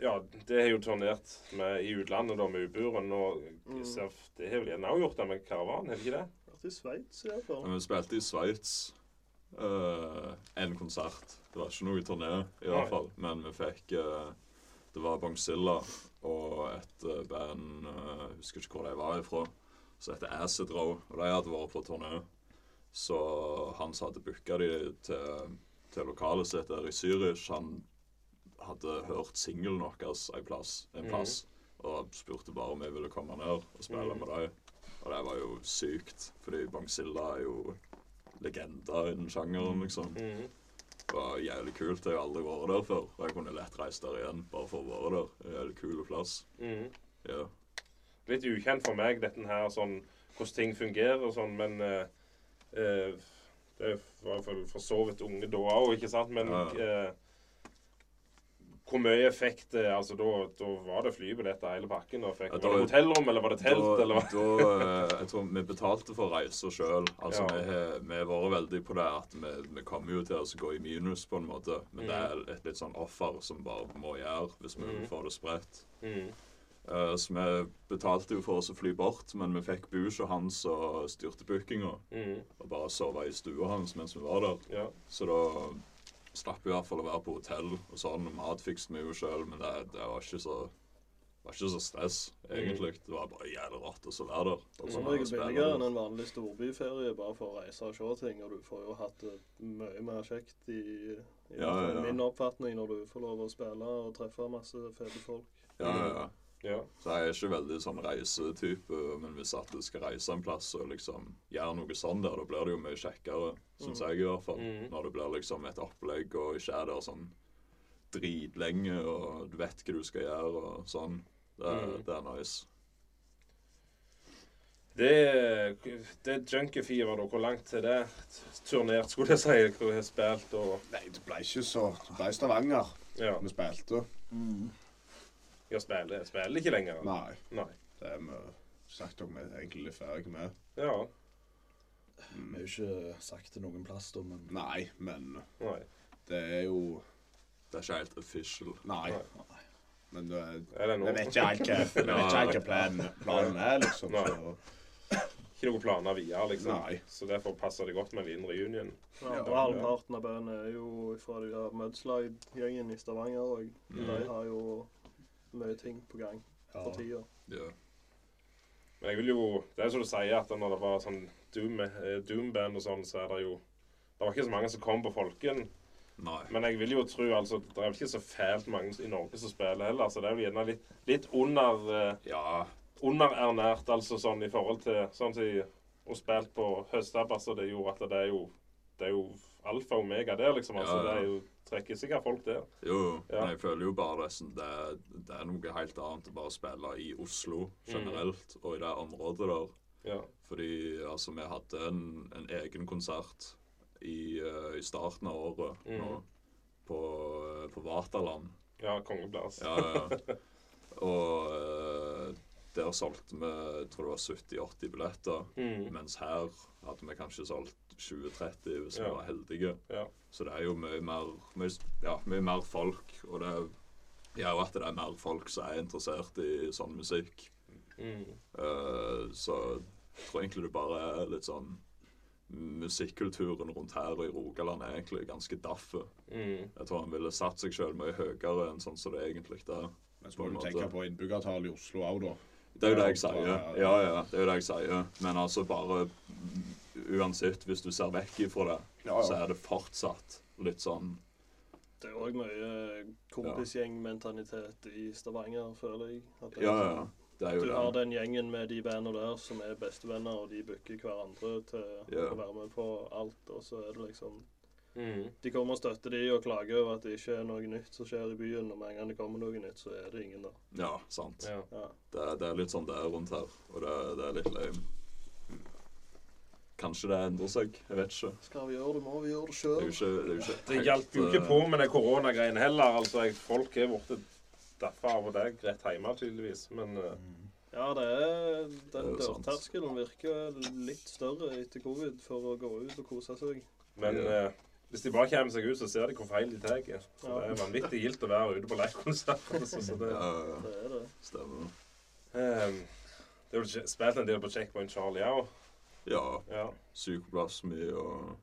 Speaker 1: ja, det har jo turnert med, i utlandet da med Uburen, og
Speaker 4: Mm.
Speaker 1: Sef, det har vel gjerne også gjort det med Karavan, har det ikke det?
Speaker 4: Vært i Sveits, iallfall.
Speaker 5: Men vi spilte i Sveits eh, en konsert. Det var ikke noe turné, i
Speaker 1: Nei.
Speaker 5: hvert fall. Men vi fikk eh, Det var Bongzilla og et eh, band eh, Jeg husker ikke hvor de var ifra. Som heter Acid Row. Og de hadde vært på turné. Så han som hadde booka de til, til lokalet sitt der i Zürich, han hadde hørt singelen vår en plass. En
Speaker 1: Mhm.
Speaker 5: plass og spurte bare om jeg ville komme ned og spille
Speaker 1: Mhm.
Speaker 5: med dem. Og det var jo sykt, fordi Bongzilla er jo legender innen sjangeren, liksom.
Speaker 1: Mhm.
Speaker 5: Det var jævlig kult. Jeg har aldri vært der før. Og jeg kunne lett reist der igjen bare for å være der. En jævlig kul plass.
Speaker 1: Mhm.
Speaker 5: Ja.
Speaker 1: litt ukjent for meg, dette her, sånn, hvordan ting fungerer og sånn, men eh, eh, Det var jo for, for så vidt unge da òg, ikke sant? Men
Speaker 5: Ja.
Speaker 1: eh, hvor mye fikk det? Altså, da, da var det flybilletter hele pakken? Og fikk,
Speaker 5: Ja, da-
Speaker 1: var det hotellrom, eller var det telt,
Speaker 5: da,
Speaker 1: eller hva?
Speaker 5: da, eh, jeg tror vi betalte for reiser sjøl. Altså,
Speaker 1: Ja.
Speaker 5: vi har- vi har vært veldig på det at vi, vi kommer jo til å gå i minus, på en måte. Men det
Speaker 1: Mhm.
Speaker 5: er et litt sånn offer som bare må gjøre hvis vi
Speaker 1: Mhm.
Speaker 5: får det spredt.
Speaker 1: Mm.
Speaker 5: Eh, Så vi betalte jo for oss å fly bort, men vi fikk Bush og han som styrte bookinga,
Speaker 1: Mm.
Speaker 5: og bare sove i stua hans mens vi var der.
Speaker 1: Ja.
Speaker 5: Så da slapp i hvert fall å være på hotell og sånn. Mat fikset vi jo sjøl, men det, det var ikke så var ikke så stress, egentlig.
Speaker 4: Mm.
Speaker 5: Det var bare jævlig rått å så være der. Sånn Og så
Speaker 4: Som
Speaker 5: bare
Speaker 4: regel
Speaker 5: spille
Speaker 4: billigere
Speaker 5: der.
Speaker 4: enn en vanlig storbyferie, bare for å reise og se ting. Og du får jo hatt det mye mer kjekt i, i
Speaker 5: Ja, ja, ja.
Speaker 4: min oppfatning når du får lov å spille og treffe masse fete folk.
Speaker 5: Ja, ja, ja.
Speaker 1: Ja.
Speaker 5: Så jeg er ikke veldig sånn reisetype, men hvis at du skal reise en plass og liksom gjøre noe sånn der, da blir det jo mye
Speaker 4: Mm.
Speaker 5: kjekkere, syns jeg i hvert fall.
Speaker 1: Mhm.
Speaker 5: Når det blir liksom et opplegg og ikke er der sånn dritlenge, og du vet hva du skal gjøre og sånn. Det er,
Speaker 4: Mm.
Speaker 1: Mhm.
Speaker 5: det er nice.
Speaker 1: Det, det junkie-fire, da. Hvor langt er det? Turnert, skulle jeg si. Hvor jeg har spilt og
Speaker 2: Nei, det ble ikke så Det ble Stavanger
Speaker 1: Ja.
Speaker 2: vi spilte.
Speaker 1: Jeg spiller, jeg spiller ikke lenger.
Speaker 2: Nei,
Speaker 1: Nei.
Speaker 2: det er vi sagt dere vi er egentlig litt ferdig med.
Speaker 1: Ja.
Speaker 3: Vi er jo ikke sagt til noen plass, da, men
Speaker 2: Nei, men
Speaker 1: Nei.
Speaker 2: det er jo
Speaker 5: Det er ikke helt official.
Speaker 2: Nei.
Speaker 1: Nei.
Speaker 2: Men det er
Speaker 1: Er det nå?
Speaker 2: vi vet ikke helt hva vi vet ikke helt hva planen, planen er, liksom. Så.
Speaker 1: Ikke noen planer videre, liksom.
Speaker 2: Nei.
Speaker 1: Så derfor passer det godt med en liten reunion.
Speaker 4: Ja,
Speaker 2: Ja,
Speaker 4: og halvparten av bandet er jo fra de der Mudslide-gjengen i Stavanger òg. De har jo mye ting på gang
Speaker 3: ja,
Speaker 4: for tida.
Speaker 5: Mm. Ja.
Speaker 1: Men jeg vil jo Det er som du sier, at når det var sånn doom, eh, Doom-band og sånn, så er det jo Det var ikke så mange som kom på Folken.
Speaker 5: Nei.
Speaker 1: Men jeg vil jo tro altså, det er vel ikke så fælt mange i Norge som spiller heller. Så det er vel gjerne litt, litt under eh,
Speaker 5: Ja,
Speaker 1: underernært, altså sånn i forhold til Sånn som jeg har spilt på høstabber, så det gjorde at det er jo Det er jo alfa og omega der, liksom. Altså,
Speaker 5: Ja, ja.
Speaker 1: Det er jo, trekker sikkert folk der.
Speaker 5: Jo, jo.
Speaker 1: Ja.
Speaker 5: men jeg føler jo bare det, er sånn- det, er- det er noe helt annet å bare spille i Oslo generelt, og i det området der.
Speaker 1: Ja.
Speaker 5: Fordi altså, vi hadde en, en egen konsert i, eh, i starten av året
Speaker 1: Mhm.
Speaker 5: nå, på, eh, på Vaterland.
Speaker 1: ja kongeplass.
Speaker 5: Ja, ja. Og eh, der solgte vi jeg tror det var 70-80 billetter,
Speaker 1: Mm.
Speaker 5: mens her hadde vi kanskje solgt 20-30 hvis
Speaker 1: Ja.
Speaker 5: vi var heldige.
Speaker 1: Ja.
Speaker 5: Så det er jo mye mer, mye, ja, mye mer folk, og det gjør jo at det er mer folk som er interessert i sånn musikk.
Speaker 1: Mm.
Speaker 5: Eh, så jeg tror egentlig det bare er litt sånn Musikkulturen rundt her og i Rogaland er egentlig ganske daff. Jeg
Speaker 1: Mm.
Speaker 5: tror han ville satt seg sjøl mye høyere enn sånn som det egentlig er.
Speaker 2: Men så må du tenke på innbyggertallet i Oslo òg, da.
Speaker 5: Det er jo det jeg sier. Ja, ja, det er jo det jeg sier. Men altså bare Uansett, hvis du ser vekk ifra det,
Speaker 2: Ja, ja.
Speaker 5: så er det fortsatt litt sånn
Speaker 4: Det er òg mye eh, kompisgjengmentalitet i Stavanger, føler jeg. At det er
Speaker 5: Ja,
Speaker 4: sånn-
Speaker 5: ja. Det er jo
Speaker 4: Du
Speaker 5: det.
Speaker 4: har den gjengen med de bandene der som er bestevenner, og de booker hverandre til
Speaker 5: Ja.
Speaker 4: å være med på alt. Og så er det liksom
Speaker 1: Mm.
Speaker 4: De kommer og støtter de og klager over at det ikke er noe nytt som skjer i byen. Og med en gang det kommer noe nytt, så er det ingen der.
Speaker 5: Ja, sant.
Speaker 1: Ja.
Speaker 4: Ja.
Speaker 5: Det, det er litt sånn det er rundt her, og det, det er litt lame. Kanskje det endrer seg. Jeg vet ikke.
Speaker 4: Skal vi gjøre det, må vi gjøre det
Speaker 5: Det er
Speaker 4: sjøl.
Speaker 5: jo ikke, det er jo ikke
Speaker 1: Det
Speaker 5: helt,
Speaker 1: hjalp jo ikke
Speaker 5: eh,
Speaker 1: på med det koronagreiene heller. altså jeg, Folk er borte derfor av og til rett hjemme, tydeligvis. Men eh,
Speaker 5: Mm.
Speaker 4: Ja, det er, den
Speaker 5: Det er sant.
Speaker 4: dørterskelen virker litt større etter covid for å gå ut og kose seg.
Speaker 1: Men
Speaker 5: Ja.
Speaker 1: eh, hvis de bare kommer seg ut, så ser de hvor feil de tar. Så
Speaker 4: Ja.
Speaker 1: Det er vanvittig gildt å være ute på livekonsert. Altså, så det,
Speaker 5: Ja, ja, eh, ja.
Speaker 4: Det er det.
Speaker 5: stemmer.
Speaker 1: um, det er jo ikke- spilt en del på Checkpoint Charlie òg.
Speaker 5: Ja.
Speaker 1: Ja.
Speaker 5: Psykoplasmi og,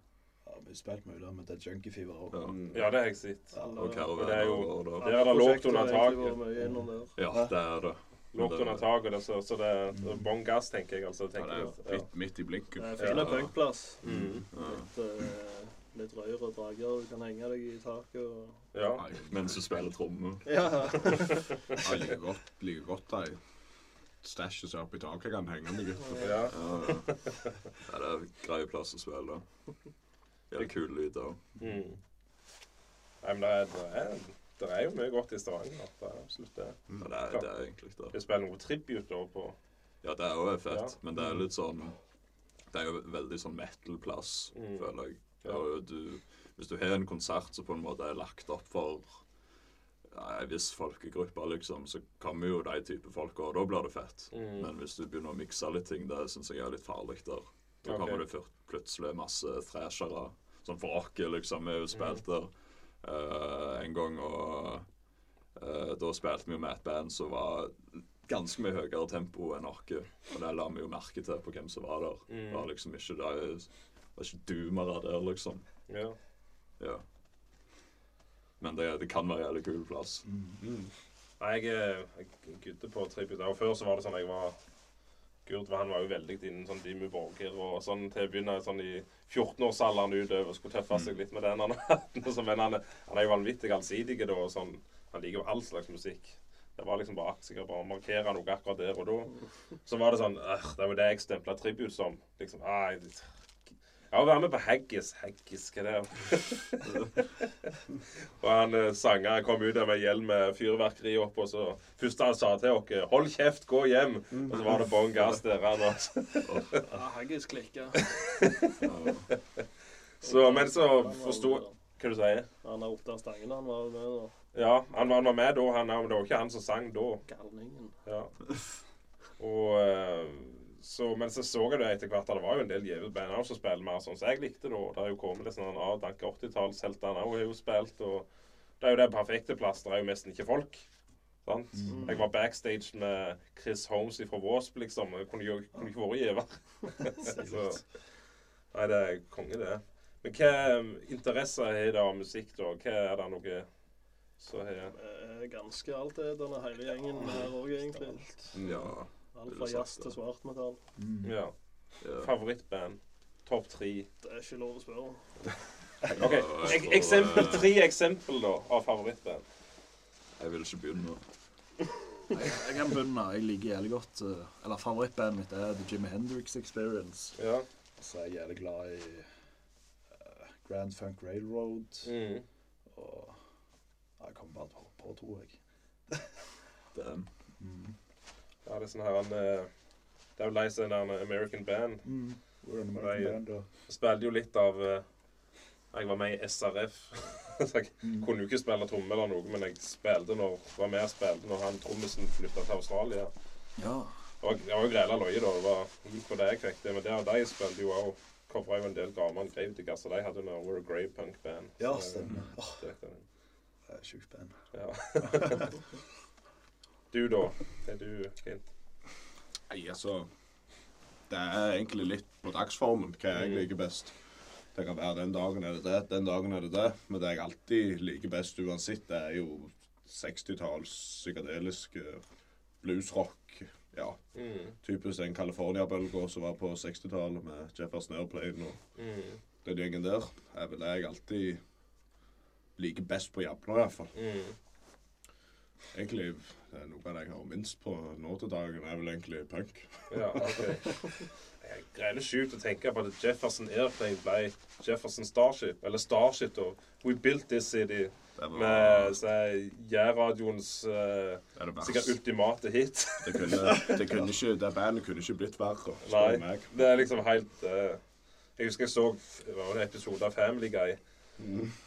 Speaker 3: ja, vi har spilt mye der med det junkie fever òg.
Speaker 5: ja,
Speaker 2: Mm.
Speaker 1: ja, det har jeg sett.
Speaker 4: Alle-
Speaker 5: og
Speaker 1: Og det er
Speaker 5: caravan
Speaker 1: jo-
Speaker 5: og og
Speaker 1: det
Speaker 5: der.
Speaker 1: er da lågt
Speaker 4: prosjekter har
Speaker 1: under
Speaker 4: egentlig
Speaker 1: taket.
Speaker 4: vært mye innom der.
Speaker 5: Ja, det er det. Men
Speaker 1: Lågt
Speaker 5: det-
Speaker 1: under taket, det, så, så det er bånn gass, tenker jeg. altså
Speaker 2: Mm. Ja,
Speaker 1: tenker
Speaker 2: det er
Speaker 1: jeg.
Speaker 2: midt, midt i
Speaker 4: Det
Speaker 2: blinken.
Speaker 4: er fin
Speaker 5: Ja.
Speaker 4: punkplass.
Speaker 1: Mm.
Speaker 5: Ja.
Speaker 4: Litt, eh, litt røyr og drager. Du kan henge deg i taket og
Speaker 1: Ja.
Speaker 2: Nei,
Speaker 5: Mens du spiller tromme.
Speaker 4: Ja.
Speaker 2: Jeg liker godt, liker godt de stæsjet som er oppi taket. Jeg kan henge meg ut.
Speaker 1: ja.
Speaker 5: Ja, ja. Ja, det er grei plass å spille. Ja, kul lyd òg.
Speaker 1: Mm. Nei, men det er, det, er, det er jo mye godt i Stavanger. Det er absolutt det.
Speaker 5: Ja, det, er- det er egentlig det.
Speaker 1: Vi spiller noe tribute da på
Speaker 5: Ja, det er jo fett,
Speaker 1: Ja.
Speaker 5: men det er litt sånn Det er jo veldig sånn metal-plass,
Speaker 1: Mm.
Speaker 5: føler jeg.
Speaker 1: Ja.
Speaker 5: Og du, hvis du har en konsert som på en måte er lagt opp for ja, en viss folkegruppe, liksom, så kommer jo de type folk, og da blir det fett.
Speaker 1: Mm.
Speaker 5: Men hvis du begynner å mikse litt ting, det syns jeg er litt farlig der. Da
Speaker 1: Ok.
Speaker 5: kommer det fyr- plutselig masse thrashere. Sånn for oss, liksom, er jo spilt
Speaker 1: Mm.
Speaker 5: der eh, en gang, og eh, da spilte vi jo med et band som var ganske mye høyere tempo enn oss. Og det la vi jo merke til på hvem som var der.
Speaker 1: Mm.
Speaker 5: Det var liksom ikke de det var ikke doomere der, liksom.
Speaker 1: Ja.
Speaker 5: Ja. Men det, det kan være en jævlig kul plass.
Speaker 1: Nei, jeg, er- jeg gudde på tribut. Og før så var det sånn jeg var Gurt han var jo veldig innen sånn Dimmu Borger og sånn til å begynne sånn i 14-årsalderen utover. Skulle tøffe seg litt med den han har hatt. og så, Men han, er- han er jo vanvittig allsidig da. og sånn, Han liker jo all slags musikk. Det var liksom bare sikkert bare å markere noe akkurat der og da. Så var det sånn «Ugh, Det var det jeg stempla tribut som. Liksom, ah, jeg, ja, å være med på Haggis. Haggis, hva er det? Og han eh, sanger kom ut av en hjelm med fyrverkeri oppå, så første han sa til oss 'Hold kjeft, gå hjem', og så var det bånn gass der. han, altså.
Speaker 4: Ah, Haggis klikker.
Speaker 1: Så, men så forsto Hva du sier
Speaker 4: eh, Han er opptatt av stangen, han var jo med da.
Speaker 1: Ja, han var, han var med da, han, men det var ikke han som sang da.
Speaker 4: Galningen.
Speaker 1: Ja. Og eh, så, Men så så jeg det etter hvert, at det var jo en del gjeve band også som spiller mer sånn som jeg likte. da, Det er jo kommet litt sånn avdanka 80-tallsheltene òg har jo spilt. og Det er jo den perfekte plass. Det er jo nesten ikke folk. Sant? Jeg var backstage med Chris Holmes fra Wasp, liksom. Jeg kunne, jo- kunne ikke vært gjever. så Nei, det er konge, det. Men hva eh, interesse har det av musikk, da? Hva er det noe som har
Speaker 4: Eh, Ganske alt det, den hele gjengen her òg, egentlig.
Speaker 5: Ja.
Speaker 4: Alt fra jazz til svartmetall.
Speaker 1: ja,
Speaker 5: ja.
Speaker 1: favorittband? Topp tre?
Speaker 4: Det er ikke lov å spørre.
Speaker 1: Ok, ek eksempel, Tre eksempel da av favorittband.
Speaker 5: Jeg vil ikke begynne.
Speaker 3: Jeg, jeg kan begynne. Jeg liker jævlig godt eh, Eller favorittbandet mitt er The Jimmy Hendrix Experience.
Speaker 1: Ja.
Speaker 3: Så jeg er jævlig glad i eh, Grand Funk Railroad
Speaker 1: Mm.
Speaker 3: og ja, Jeg kommer bare på, på to, jeg.
Speaker 5: Damn.
Speaker 1: ja det er sånn her han eh, Det er jo leis en der American Band.
Speaker 3: We're an
Speaker 1: Nei, ja.
Speaker 3: American band, og
Speaker 1: Jeg spilte jo litt av eh, Jeg var med i SRF. så jeg
Speaker 3: Mm.
Speaker 1: kunne jo ikke spille tromme eller noe, men jeg spilte når, var med og spilte når han trommisen flytta til Australia.
Speaker 3: Ja.
Speaker 1: Det var- det var jo grela løye, da. Det var ut på det jeg fikk det. Men der de spilte jo òg Covra jo en del gamle Greividikker, så de hadde noe We're a Grey Punk Band.
Speaker 3: ja,
Speaker 1: Så, eh,
Speaker 3: stemmer. Åh,
Speaker 1: det vet jeg ikke.
Speaker 3: det er sjukt band.
Speaker 1: Ja. du, da? Er du Kent?
Speaker 2: Nei, altså Det er egentlig litt på dagsformen hva
Speaker 1: Mm.
Speaker 2: jeg liker best. Det kan være den dagen er det det, den dagen er det det. Men det jeg alltid liker best uansett, det er jo 60-talls psykadelisk eh, bluesrock. Ja,
Speaker 1: Mm.
Speaker 2: typisk den California-bølga som var på 60-tallet med Jefferson Airplane og
Speaker 1: Mm.
Speaker 2: den gjengen der. er vel det jeg alltid liker best på Jabna, i hvert fall.
Speaker 1: Mm.
Speaker 2: Egentlig det er noe av det jeg hører minst på nå til dagen, er vel egentlig punk.
Speaker 1: Ja, OK. Jeg greier det sjukt å tenke på at Jefferson Airplane ble Jefferson Starship, eller Starship, da. We built this city.
Speaker 2: Det var
Speaker 1: Med så er Jærradioens eh,
Speaker 2: det er det
Speaker 1: sikkert ultimate hit.
Speaker 2: Det, kunne, det, kunne ikke, det bandet kunne ikke blitt verre. spør
Speaker 1: Nei.
Speaker 2: du meg.
Speaker 1: Det er liksom helt eh, Jeg husker jeg så det var en episode av Family Guy.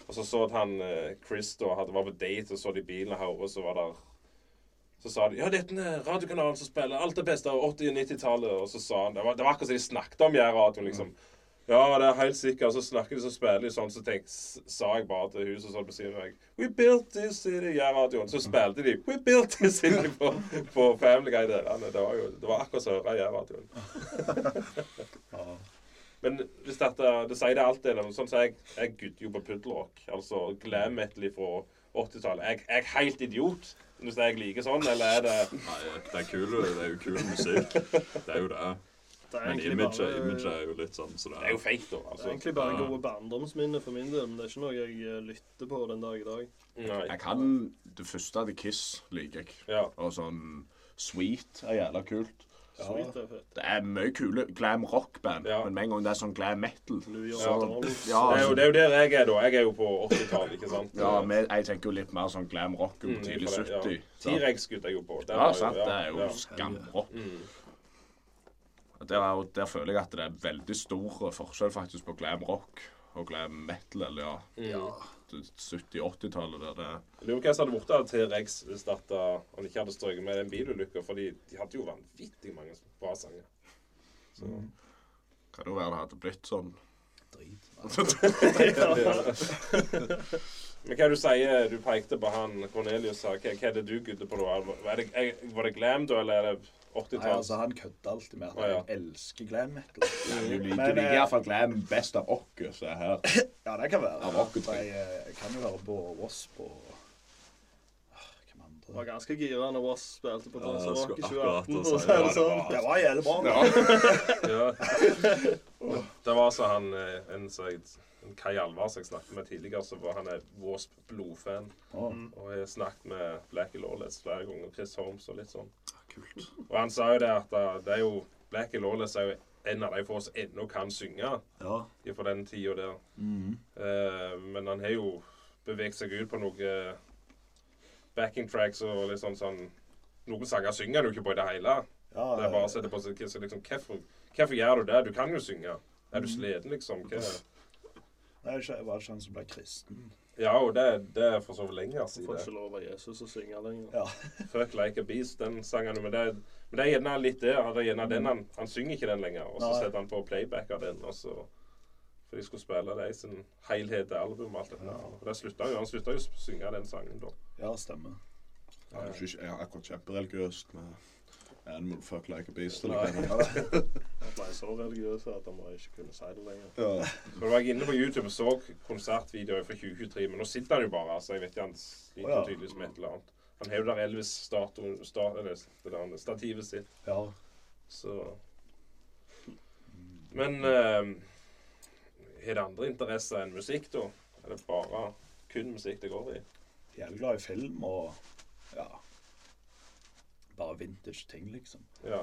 Speaker 1: Og så så at han eh, Chris da hadde var på date, og så de bilen her, og så var der Så sa de ja, dette er eh, radiokanalen som spiller alt det beste av 80- og 90-tallet. Og så sa han Det var, det var akkurat som de snakket om Jærradioen, liksom. Ja, det er helt sikkert. Og så snakker de så spiller de sånn, så tenk, s- sa jeg bare til huset og sånn på siden av meg We built this city, Jærradioen. Så spilte de We built this city på, på Family Guy der. Ja, men Det var jo det var akkurat som å høre Jærradioen.
Speaker 3: Ja.
Speaker 1: Men hvis dette, det sier det alltid, eller noe sånt, så jeg, jeg gudder jo på puddelrock. Altså glam metal fra 80-tallet. Jeg, jeg er helt idiot hvis jeg liker sånn, eller er det
Speaker 5: Nei, det er kul, det er jo kul musikk. Det er jo det.
Speaker 4: Det er
Speaker 5: Men
Speaker 4: egentlig
Speaker 5: imaget
Speaker 4: bare-
Speaker 5: image er jo litt sånn, så det
Speaker 1: Det er jo fake, da.
Speaker 4: Det er
Speaker 1: altså.
Speaker 4: egentlig bare
Speaker 5: Ja.
Speaker 4: gode barndomsminner for min del, men det er ikke noe jeg eh, lytter på den dag i dag.
Speaker 1: Nei.
Speaker 2: Jeg kan Det første til Kiss liker jeg.
Speaker 1: Ja.
Speaker 2: Og sånn Sweet er jævla kult.
Speaker 4: Sweet er fett.
Speaker 2: Det er mye kule glam rock-band,
Speaker 1: Ja.
Speaker 2: men med en gang det er sånn glam metal
Speaker 4: New York
Speaker 2: så,
Speaker 4: Dolls.
Speaker 1: Det er,
Speaker 2: ja,
Speaker 1: jo,
Speaker 2: altså,
Speaker 1: det er jo der jeg er, da. Jeg er jo på 80-tallet, ikke sant?
Speaker 2: ja, men jeg tenker jo litt mer sånn glam rock på
Speaker 1: Mm,
Speaker 2: tidlig
Speaker 1: for det, ja.
Speaker 2: 70. så-
Speaker 1: T-rex gutter jeg jo på. Der
Speaker 2: Ja,
Speaker 1: var jo-
Speaker 2: sant. Det er jo
Speaker 1: ja.
Speaker 2: skamrock. Og Der, er jo- der føler jeg at det er veldig stor forskjell faktisk på glam rock og glam metal. Eller ja, ja 70-80-tallet der det
Speaker 1: Jeg Lurer på hva som hadde blitt av T-rex hvis dette, han ikke hadde strøket med den bilulykka, fordi de hadde jo vanvittig mange bra sanger.
Speaker 2: kan jo være det hadde blitt sånn.
Speaker 3: Drit.
Speaker 1: Men hva er det du sier, du pekte på han Cornelius her, hva, hva er det du gudder på da? Er det, er det, var det glam da, eller er det
Speaker 3: Nei,
Speaker 1: 80-talls.
Speaker 3: altså, han kødder alltid med at
Speaker 1: Å, ja.
Speaker 3: jeg elsker glam metal.
Speaker 2: Du liker,
Speaker 3: Men,
Speaker 2: du liker
Speaker 3: eh,
Speaker 2: iallfall Glam best av oss som er her.
Speaker 3: Ja, det kan være.
Speaker 2: Av rock og
Speaker 3: For
Speaker 2: trip.
Speaker 3: jeg, eh, jeg kan jo høre på Wasp og Ah, Hvem
Speaker 4: Jeg var
Speaker 3: andre?
Speaker 4: ganske gira når Voss spilte på
Speaker 5: Ja, jeg
Speaker 4: Dansa Rock i
Speaker 5: skulle akkurat
Speaker 4: 2018.
Speaker 5: til å
Speaker 4: for å
Speaker 5: si
Speaker 4: si det
Speaker 5: det.
Speaker 4: sånn.
Speaker 3: Det var jævlig bra.
Speaker 2: Ja.
Speaker 1: Ja. Det var altså han eh, en, som jeg- en Kai Alvar som jeg snakket med tidligere, så var han er Wasp blodfan.
Speaker 3: Å,
Speaker 1: Og jeg har snakket med Blackie Lawless flere ganger, Chris Holmes og litt sånn.
Speaker 3: kult.
Speaker 1: Og han sa jo det at eh, det er jo Blackie Lawless er jo en av de få som ennå kan synge
Speaker 3: Ja.
Speaker 1: fra den tida der.
Speaker 3: Mhm.
Speaker 1: Eh, men han har jo beveget seg ut på noe eh, backing tracks og litt sånn sånn Noen sanger synger han jo ikke på i det hele.
Speaker 3: ja
Speaker 1: Det er bare å
Speaker 3: eh,
Speaker 1: sette på seg så liksom, hvorfor, hvorfor gjør du det? Du kan jo synge. Er du
Speaker 3: Mhm.
Speaker 1: sliten, liksom? Hva?
Speaker 3: nei, ikke- jeg var ikke han som ble kristen.
Speaker 1: Ja, og det, det er for så vidt lenger
Speaker 4: Du får ikke
Speaker 1: siden.
Speaker 4: lov av Jesus å synge lenger.
Speaker 3: Ja.
Speaker 1: Fuck like a beast, den sangen. Men det, men det er gjerne litt der. Det er gjerne den han, han synger ikke den lenger. Og så
Speaker 3: Nei.
Speaker 1: setter han på playback av den. og så... For de skulle spille det i sin helhet til album. og alt dette. her. Og det slutta jo, Han slutta jo å synge den sangen da.
Speaker 3: Ja, stemmer.
Speaker 2: Han er jo ikke- er akkurat kjempereligiøst med Animal Fuck Like a Beast.
Speaker 1: Nei.
Speaker 2: Eller hva det er.
Speaker 4: Han ble så religiøs at han bare ikke kunne si det lenger.
Speaker 2: Ja.
Speaker 1: Så var jeg inne på YouTube og så konsertvideoer fra 2023, men nå sitter han jo bare. altså Jeg vet ikke, han sliter
Speaker 3: Å, ja.
Speaker 1: tydeligvis med et eller annet. Han har jo der Elvis-statuen sta, eller det der stativet sitt,
Speaker 3: Ja.
Speaker 1: så Men eh, har det andre interesser enn musikk, da? Er det bare kun musikk det går i?
Speaker 3: Jævlig glad i film og ja. Bare vintage ting, liksom.
Speaker 1: Ja.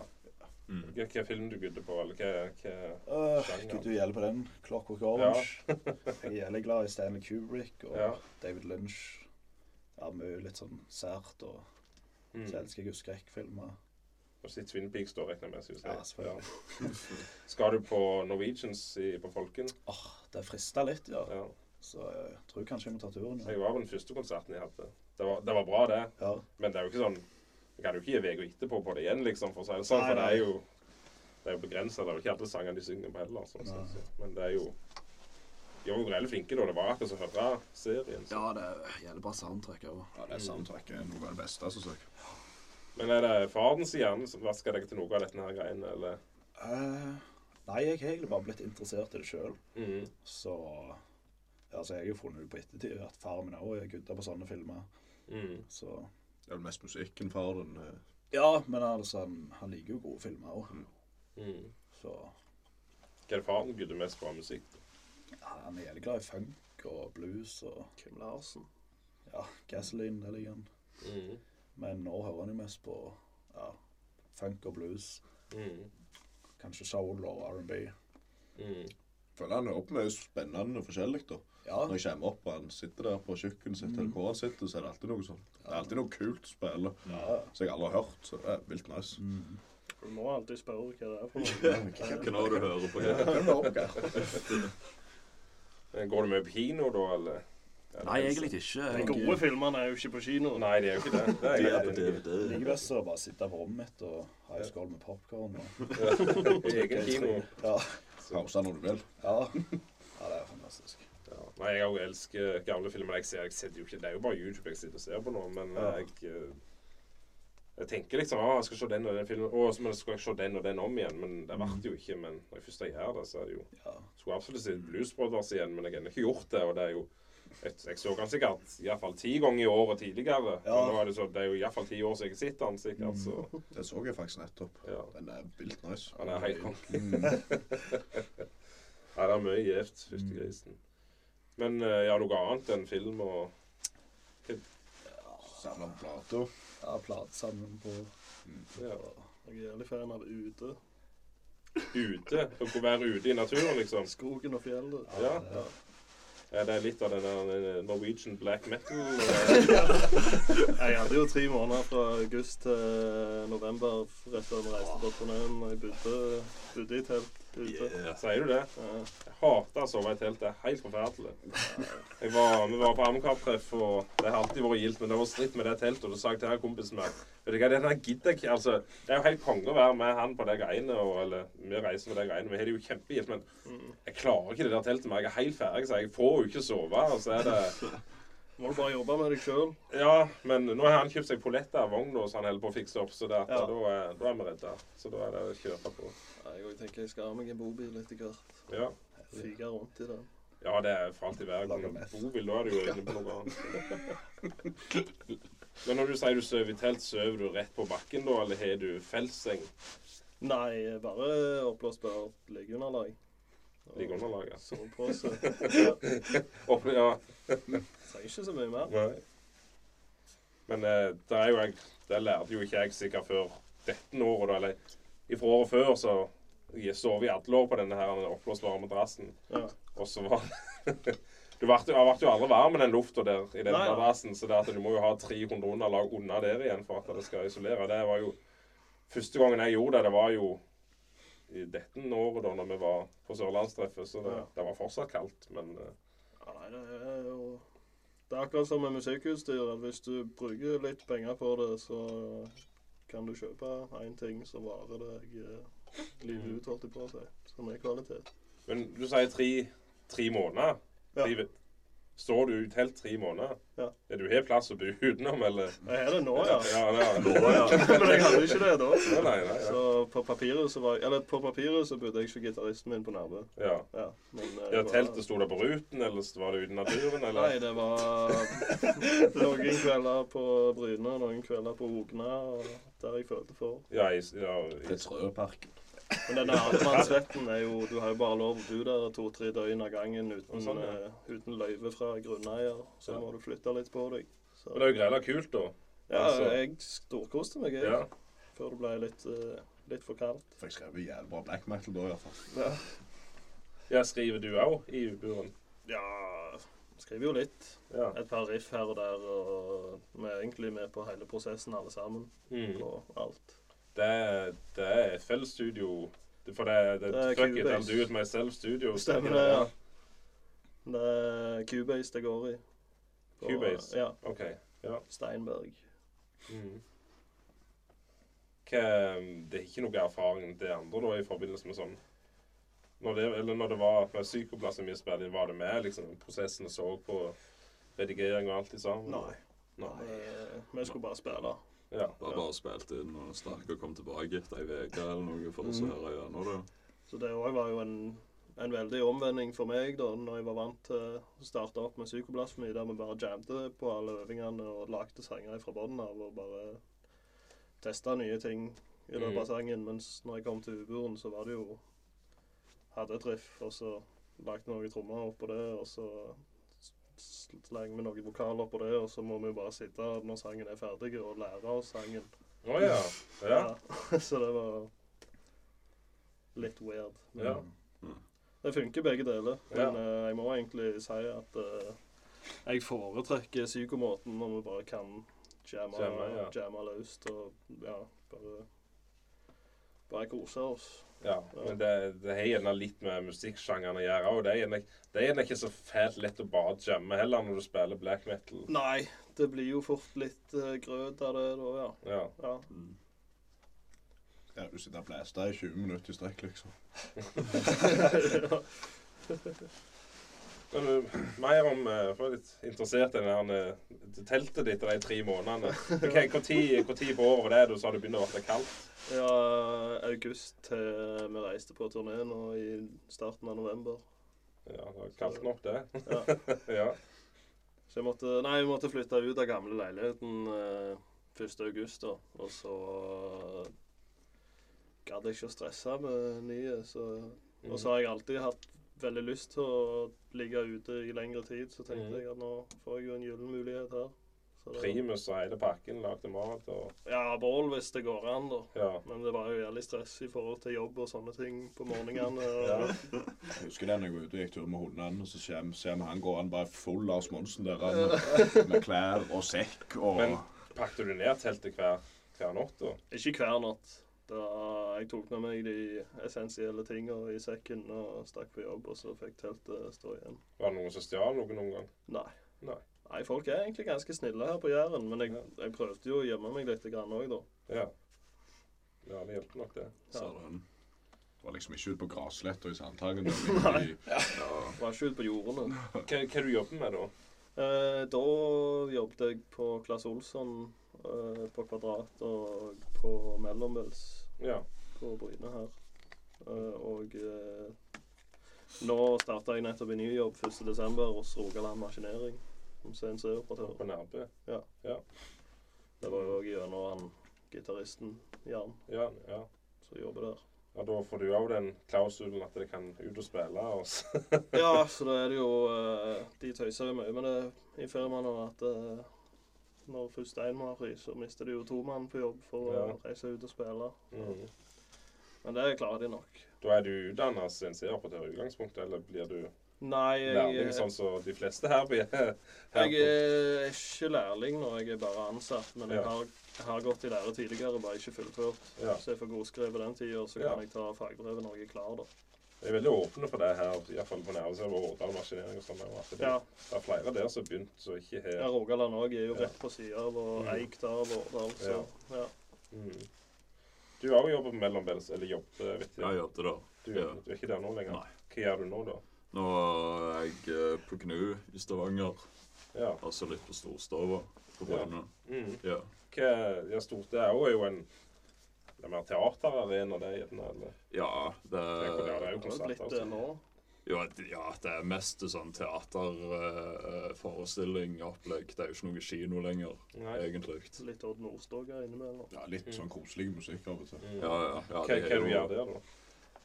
Speaker 5: Mm.
Speaker 1: Hva, hva film du gudder på, eller hva, hva
Speaker 3: Øh,
Speaker 1: Sjanger.
Speaker 3: Gud, du gjelder på den. Clockwork Orange. jeg er jævlig glad i Stanley Kubrick og
Speaker 1: Ja.
Speaker 3: David Lynch. Ja, mye litt sånn sært, og så
Speaker 1: mm.
Speaker 3: elsker jeg jo skrekkfilmer.
Speaker 1: Og sitt Twin Peaks, da, regner jeg med. synes jeg.
Speaker 3: Ja, selvfølgelig.
Speaker 1: Skal du på Norwegians i, på Folken?
Speaker 3: Åh, det frister litt, ja.
Speaker 1: Ja.
Speaker 3: Så jeg tror kanskje jeg må ta turen. Ja.
Speaker 1: Jeg var på den første konserten jeg hadde. Det var, det var bra, det.
Speaker 3: Ja.
Speaker 1: Men det er jo ikke sånn Jeg kan jo ikke gi uka etterpå på det igjen, liksom, for å si det sånn.
Speaker 3: Nei,
Speaker 1: For det
Speaker 3: nei.
Speaker 1: er jo Det er jo begrensa. Det er jo ikke alle sangene de synger på heller. Sånn,
Speaker 3: Nei.
Speaker 1: sett, så. Men det er jo De var jo reelt flinke da. Det var akkurat som å høre serien. Så.
Speaker 3: ja, det er jævlig bra soundtrack òg.
Speaker 2: ja, det soundtracket er noe av det beste. Altså,
Speaker 1: Men er det faren sin hjerne som vasker deg til noe av dette her greiene, eller?
Speaker 3: Øh, nei, jeg har egentlig bare blitt interessert i det sjøl.
Speaker 1: Mm.
Speaker 3: Så ja, så jeg har jo funnet ut på ettertid at faren min òg er gutta på sånne filmer.
Speaker 1: Mm.
Speaker 3: Så
Speaker 2: Det er vel mest musikken for den. eh.
Speaker 3: Ja, men altså, han, han liker jo gode filmer òg.
Speaker 1: Mm.
Speaker 3: Så
Speaker 1: Hva er det faren gudder mest på av musikk?
Speaker 3: ja, han er jævlig glad i funk og blues og
Speaker 4: Kim Larsen.
Speaker 3: ja, gasoline. Det ligger han.
Speaker 1: Mm.
Speaker 3: Men nå hører han jo mest på ja, funk og blues.
Speaker 1: Mm.
Speaker 3: Kanskje soul og R&B.
Speaker 1: Mm.
Speaker 2: Føler han er opp med spennende og forskjellig, da.
Speaker 3: Ja,
Speaker 2: Når jeg kommer opp og han sitter der på kjøkkenet sitt,
Speaker 1: Mm.
Speaker 2: eller hvor han sitter, så er det alltid noe sånn. Det er alltid noe kult å spille
Speaker 3: ja.
Speaker 2: som jeg aldri har hørt. Så det er vilt nice.
Speaker 1: Mm.
Speaker 4: Du må alltid spørre hva det er for noe.
Speaker 2: Hvem
Speaker 5: Hva når du hører på her?
Speaker 2: er det opp, Geir?
Speaker 1: Går du med på kino da, eller? Er det helst-
Speaker 3: ikke.
Speaker 4: De gode filmene er jo ikke på kino.
Speaker 1: Nei, det er jo ikke det. Det er
Speaker 5: De
Speaker 1: jeg
Speaker 5: er
Speaker 1: helt
Speaker 5: på
Speaker 1: enig i.
Speaker 3: Jeg
Speaker 5: DVD.
Speaker 3: liker best å bare sitte på rommet mitt og ha en skål med popkorn. og-
Speaker 1: Egen kino.
Speaker 3: Ja.
Speaker 2: Pause når du vil.
Speaker 3: ja. Ja, det er fantastisk.
Speaker 1: Ja. Nei, jeg også elsker gamle filmer. Jeg ser, jeg ser jo ikke, Det er jo bare YouTube jeg sitter og ser på nå, men eh,
Speaker 3: Ja.
Speaker 1: jeg eh, Jeg tenker liksom ah, jeg skal se den og den filmen, og så skal jeg se den og den om igjen. Men det ble det jo ikke. Men når jeg først gjør det, så er det jo
Speaker 3: Ja.
Speaker 1: Skulle absolutt sett Blues Brothers igjen, men jeg har ennå ikke gjort det. Og det er jo Jeg, jeg så den sikkert iallfall ti ganger i året tidligere.
Speaker 3: Ja. Mm.
Speaker 1: Men nå er det, så, det er jo iallfall ti år siden jeg sitter den, sikkert. Så
Speaker 2: Det så jeg faktisk nettopp.
Speaker 1: ja.
Speaker 2: Den er vilt nice.
Speaker 1: Han er helt konge.
Speaker 3: Mm.
Speaker 1: Nei, det er mye gjevt, fytti grisen.
Speaker 3: Mm.
Speaker 1: Men eh, ja, noe annet enn film og
Speaker 2: Samler på plater.
Speaker 3: Ja, platesamling på
Speaker 1: ja.
Speaker 4: Jeg er jævlig fan av ute.
Speaker 1: ute. Dere å være ute i naturen, liksom.
Speaker 4: Skogen og fjellet.
Speaker 1: Ja. Ja, Det er litt av den der eh, Norwegian black metal. eh,
Speaker 4: Jeg hadde jo tre måneder fra august til november rett før vi reiste til Trondheim. og Jeg bodde, bodde i telt ute.
Speaker 5: Yeah.
Speaker 1: Sier du det?
Speaker 4: Ja.
Speaker 1: Jeg hater å sove i telt. Det er helt forferdelig. Jeg var, vi var på Amcar-treff, og det har alltid vært gildt, men det var stritt med det teltet. Og da sa jeg til her kompisen min Vet du hva, den her gidder jeg ikke. Altså, det er jo helt konge å være med han på de greiene, og eller vi reiser med de greiene. Vi har det jo kjempegildt, men jeg klarer ikke det der teltet mer. Jeg er helt ferdig, så jeg får jo ikke sove. Og så er det
Speaker 4: Må du bare jobbe med deg sjøl.
Speaker 1: Ja, men nå har han kjøpt seg poletta av vogna som han holder på å fikse opp, så det at,
Speaker 4: Ja.
Speaker 1: da, er, da er vi redda. Så da er det å kjøre på.
Speaker 4: Jeg tenker jeg skal ha meg en bobil etter hvert.
Speaker 1: Ja,
Speaker 4: Fyke rundt i den.
Speaker 1: ja det er for alltid verden.
Speaker 2: Lager
Speaker 1: Men
Speaker 2: meth.
Speaker 1: Bobil, da er du jo inne på noe annet. Men når du sier du sover i telt, sover du rett på bakken da, eller har du feltseng?
Speaker 4: Nei, bare oppblåsbart liggeunderlag.
Speaker 1: Ligger under laget.
Speaker 4: Sovepose.
Speaker 1: Opp, ja.
Speaker 4: Trenger ikke så mye mer.
Speaker 1: Nei. Men eh, det er jo jeg Det lærte jo ikke jeg sikkert før dette året, da. Eller ifra året før, så jeg sov i alle år på denne her oppblåsbare madrassen.
Speaker 4: Ja.
Speaker 1: Og så var Du vart jo- har vært jo aldri varm i den lufta der, i den
Speaker 4: Nei, nei.
Speaker 1: madrassen, så det at du må jo ha 300 underlag unna der igjen for at det skal isolere. Det var jo Første gangen jeg gjorde det, det var jo i dette året, da når vi var på sørlandstreffet, så det,
Speaker 4: Ja.
Speaker 1: det var fortsatt kaldt, men eh,
Speaker 4: Ja, nei, det er jo Det er akkurat som med musikkutstyr. at Hvis du bruker litt penger på det, så kan du kjøpe én ting som varer deg eh, livet ut, holdt jeg på å si. Som er kvalitet.
Speaker 1: Men du sier tre, tre måneder.
Speaker 4: Ja.
Speaker 1: Tre, står du i telt tre måneder?
Speaker 4: Ja.
Speaker 1: Er du har plass å bo utenom, eller?
Speaker 4: Jeg har det nå, Mm. ja.
Speaker 1: Ja, ja.
Speaker 5: Nå, ja.
Speaker 4: Men jeg hadde ikke det da.
Speaker 1: Nei, nei, nei, ja.
Speaker 4: Så på papiret så var jeg, Eller på papiret så bodde jeg ikke gitaristen min på Nærbø.
Speaker 1: ja.
Speaker 4: Ja, men eh,
Speaker 1: ja
Speaker 4: det var-
Speaker 1: teltet sto der på ruten, eller var det ute i naturen, eller?
Speaker 4: Nei, det var noen kvelder på Bryne, noen kvelder på Ogna, og der jeg følte for.
Speaker 1: Ja, i, ja, i,
Speaker 2: Til Trøparken.
Speaker 4: Men denne allemannsretten er jo Du har jo bare lov å bo der to-tre døgn av gangen uten,
Speaker 1: Og sånn, ja.
Speaker 4: eh, uten løyve fra grunneier. Så
Speaker 1: Ja.
Speaker 4: må du flytte litt på deg. Så,
Speaker 1: Men det er jo greit kult, da.
Speaker 4: ja,
Speaker 1: altså-
Speaker 4: jeg storkoste meg, jeg.
Speaker 1: Ja.
Speaker 4: Før det ble litt, eh, litt for kaldt.
Speaker 2: For jeg skrev jo jævlig bra black metal da, iallfall.
Speaker 4: Ja.
Speaker 1: ja skriver du òg i buren?
Speaker 4: ja Skriver jo litt.
Speaker 1: Ja.
Speaker 4: Et par riff her og der. Og vi er egentlig med på hele prosessen, alle sammen.
Speaker 1: Mm.
Speaker 4: På alt.
Speaker 1: Det, det er fellesstudio. For det, det,
Speaker 4: Det er
Speaker 1: fuck it,
Speaker 4: Cubase.
Speaker 1: I'll do it myself-studio.
Speaker 4: Stemmer det, ja. Det er Cubase det går i. På-
Speaker 1: Cubase?
Speaker 4: Ja.
Speaker 1: OK.
Speaker 4: Steinberg.
Speaker 1: Mm. Hva, um, det er ikke noe erfaring det andre da i forbindelse med sånn når det, eller når det var med psykoplasemispillet, var det med liksom, prosessen og så på redigering og alt i sammen? Nei.
Speaker 4: Eh, Vi skulle bare spille.
Speaker 1: Ja.
Speaker 5: Bare, bare spilt inn og snakket og kom tilbake etter ei uke eller noe for å
Speaker 1: Mm.
Speaker 5: så høre gjennom det.
Speaker 4: Så det òg var jo en, en veldig omvending for meg, da, når jeg var vant til å starte opp med psykoblasmi, der vi bare jamte på alle øvingene og lagde sanger fra bunnen av og bare testa nye ting i løpet av sangen. Mens når jeg kom til Uburen, så var det jo Hadde et riff, og så lagde vi noen trommer oppå det, og så sl- slenger vi noen vokaler på det, og så må vi bare sitte når sangen er ferdig, og lære oss sangen.
Speaker 1: Å ja. ja.
Speaker 4: Ja. Så det var litt weird. Men
Speaker 1: Ja.
Speaker 4: Det funker begge deler. Men
Speaker 1: Ja.
Speaker 4: eh, jeg må egentlig si at eh, jeg foretrekker psykomåten når vi bare kan jamme,
Speaker 1: Jamme, ja.
Speaker 4: jamme løst og ja, bare bare kose oss.
Speaker 1: ja. Men det, det har gjerne litt med musikksjangeren å gjøre òg. Det er gjerne- det er gjerne ikke så fælt lett å bare jamme heller når du spiller black metal.
Speaker 4: Nei, det blir jo fort litt eh, grøt av det da, ja.
Speaker 1: Ja.
Speaker 4: ja.
Speaker 2: Ja, du sitter og blaster i 20 minutter i strekk, liksom.
Speaker 1: Men uh, mer om uh, For jeg er litt interessert i den der, eh, teltet ditt og de tre månedene. Okay, hvor, tid, hvor tid på året var det du sa det begynte å bli kaldt?
Speaker 4: ja. August til vi reiste på turné nå i starten av november.
Speaker 1: Ja, det var kaldt nok, det.
Speaker 4: Ja.
Speaker 1: ja.
Speaker 4: Så jeg måtte, nei, jeg måtte flytte ut av gamle leiligheten eh, 1. august, da. Og så eh, gadd jeg ikke å stresse med nye. Så, og så har jeg alltid hatt veldig lyst til å ligge ute i lengre tid, så tenkte
Speaker 1: Mhm.
Speaker 4: jeg at nå får jeg jo en gyllen mulighet her. Så det-
Speaker 1: Mm. Primus og hele pakken lagde mat og
Speaker 4: Ja, bål hvis det går an, da.
Speaker 1: Ja.
Speaker 4: Men det var jo jævlig stress i forhold til jobb og sånne ting på morgenene. Og,
Speaker 1: Ja.
Speaker 2: Jeg husker da jeg var ute og gikk tur med hundene, og så kommer- ser vi han går han bare full Lars Monsen der han, med, med klær og sekk og
Speaker 1: Men pakte du ned teltet hver, hver natt, da?
Speaker 4: Ikke hver natt. Da jeg tok med meg de essensielle tingene i sekken og stakk på jobb, og så fikk teltet stå igjen.
Speaker 1: Var det noen som stjal noe noen gang?
Speaker 4: Nei.
Speaker 1: Nei.
Speaker 4: Nei, folk er egentlig ganske snille her på Jæren, men jeg, jeg prøvde jo å gjemme meg litt òg, da.
Speaker 1: Ja. Ja, det hjalp nok, det.
Speaker 5: Sa den.
Speaker 2: Det var liksom ikke ute på grasletta i Sandhagen. Det var midt i-
Speaker 4: Var ikke ute på jordene.
Speaker 1: Hva, hva du jobber med, da?
Speaker 4: Eh, da jobbet jeg på Claes Olsson eh, på Kvadrat og på Mellombels
Speaker 1: Ja.
Speaker 4: på Bryne her. Eh, og eh, nå starta jeg nettopp en ny jobb 1.12. hos Rogaland Maskinering som CNC-operatør.
Speaker 1: På Nærbø.
Speaker 4: Det var jo òg gjennom han gitaristen Jan
Speaker 1: Ja, ja.
Speaker 4: som jobber der.
Speaker 1: Og da får du òg den klausulen at det kan ut og spille. Og s-
Speaker 4: Ja, så da er det jo eh, De tøyser jo mye med det i firmaet nå at eh, når først én må ha fri, så mister de jo to mann på jobb for å reise ut og spille.
Speaker 1: mm.
Speaker 4: Men det klarer de nok.
Speaker 1: Da er du utdanna CNC-operatør i utgangspunktet, eller blir du
Speaker 4: Nei, eh, jeg,
Speaker 1: lærling sånn som de fleste her? blir? her
Speaker 4: Jeg
Speaker 1: på-
Speaker 4: er ikke lærling nå, jeg er bare ansatt. Men jeg
Speaker 1: Ja.
Speaker 4: har, jeg har gått i lære tidligere, bare ikke fullført.
Speaker 1: ja.
Speaker 4: Så jeg får godskrevet den tida, så
Speaker 1: Ja.
Speaker 4: kan jeg ta fagbrevet når jeg er klar, da.
Speaker 1: Jeg er veldig åpne for det her, iallfall på Nærbø. Og Årdal Maskinering og sånn. og at Det,
Speaker 4: Ja,
Speaker 1: det er flere der som har begynt, som ikke
Speaker 4: ja
Speaker 1: har
Speaker 4: Rogaland òg er jo
Speaker 1: Ja.
Speaker 4: rett på sida av og
Speaker 1: Mm.
Speaker 4: eikt av Årdal, så ja.
Speaker 1: mm. Du har jo jobbet på Mellombels, eller jobbet, vet jeg.
Speaker 5: Jeg jobbet der.
Speaker 1: Du,
Speaker 5: Ja.
Speaker 1: du er ikke der nå lenger.
Speaker 5: Nei.
Speaker 1: Hva gjør du nå, da?
Speaker 5: Nå er jeg eh, på GNU i Stavanger,
Speaker 1: Ja.
Speaker 5: altså litt på Storstova på Bryne.
Speaker 1: Mm.
Speaker 5: Ja.
Speaker 1: Hva, eh, ja, stort, det er jo- er jo en det er mer teaterarena, det, gjerne. eller?
Speaker 5: ja, det
Speaker 1: Det er- det er jo
Speaker 4: Eh,
Speaker 5: er
Speaker 4: Det har
Speaker 1: konsert.
Speaker 4: blitt det
Speaker 1: Altså.
Speaker 4: nå.
Speaker 5: Ja, d- ja, det er mest sånn teaterforestilling-opplegg. Det er jo ikke noe kino lenger,
Speaker 1: Nei.
Speaker 5: egentlig.
Speaker 4: Litt Odd Nordstoga innimellom.
Speaker 2: Ja, litt sånn koselig musikk av og til.
Speaker 1: Mm.
Speaker 5: Ja, ja,
Speaker 1: Hva,
Speaker 5: ja, de
Speaker 1: hva
Speaker 5: er
Speaker 1: du
Speaker 5: jo-
Speaker 1: gjør der, da?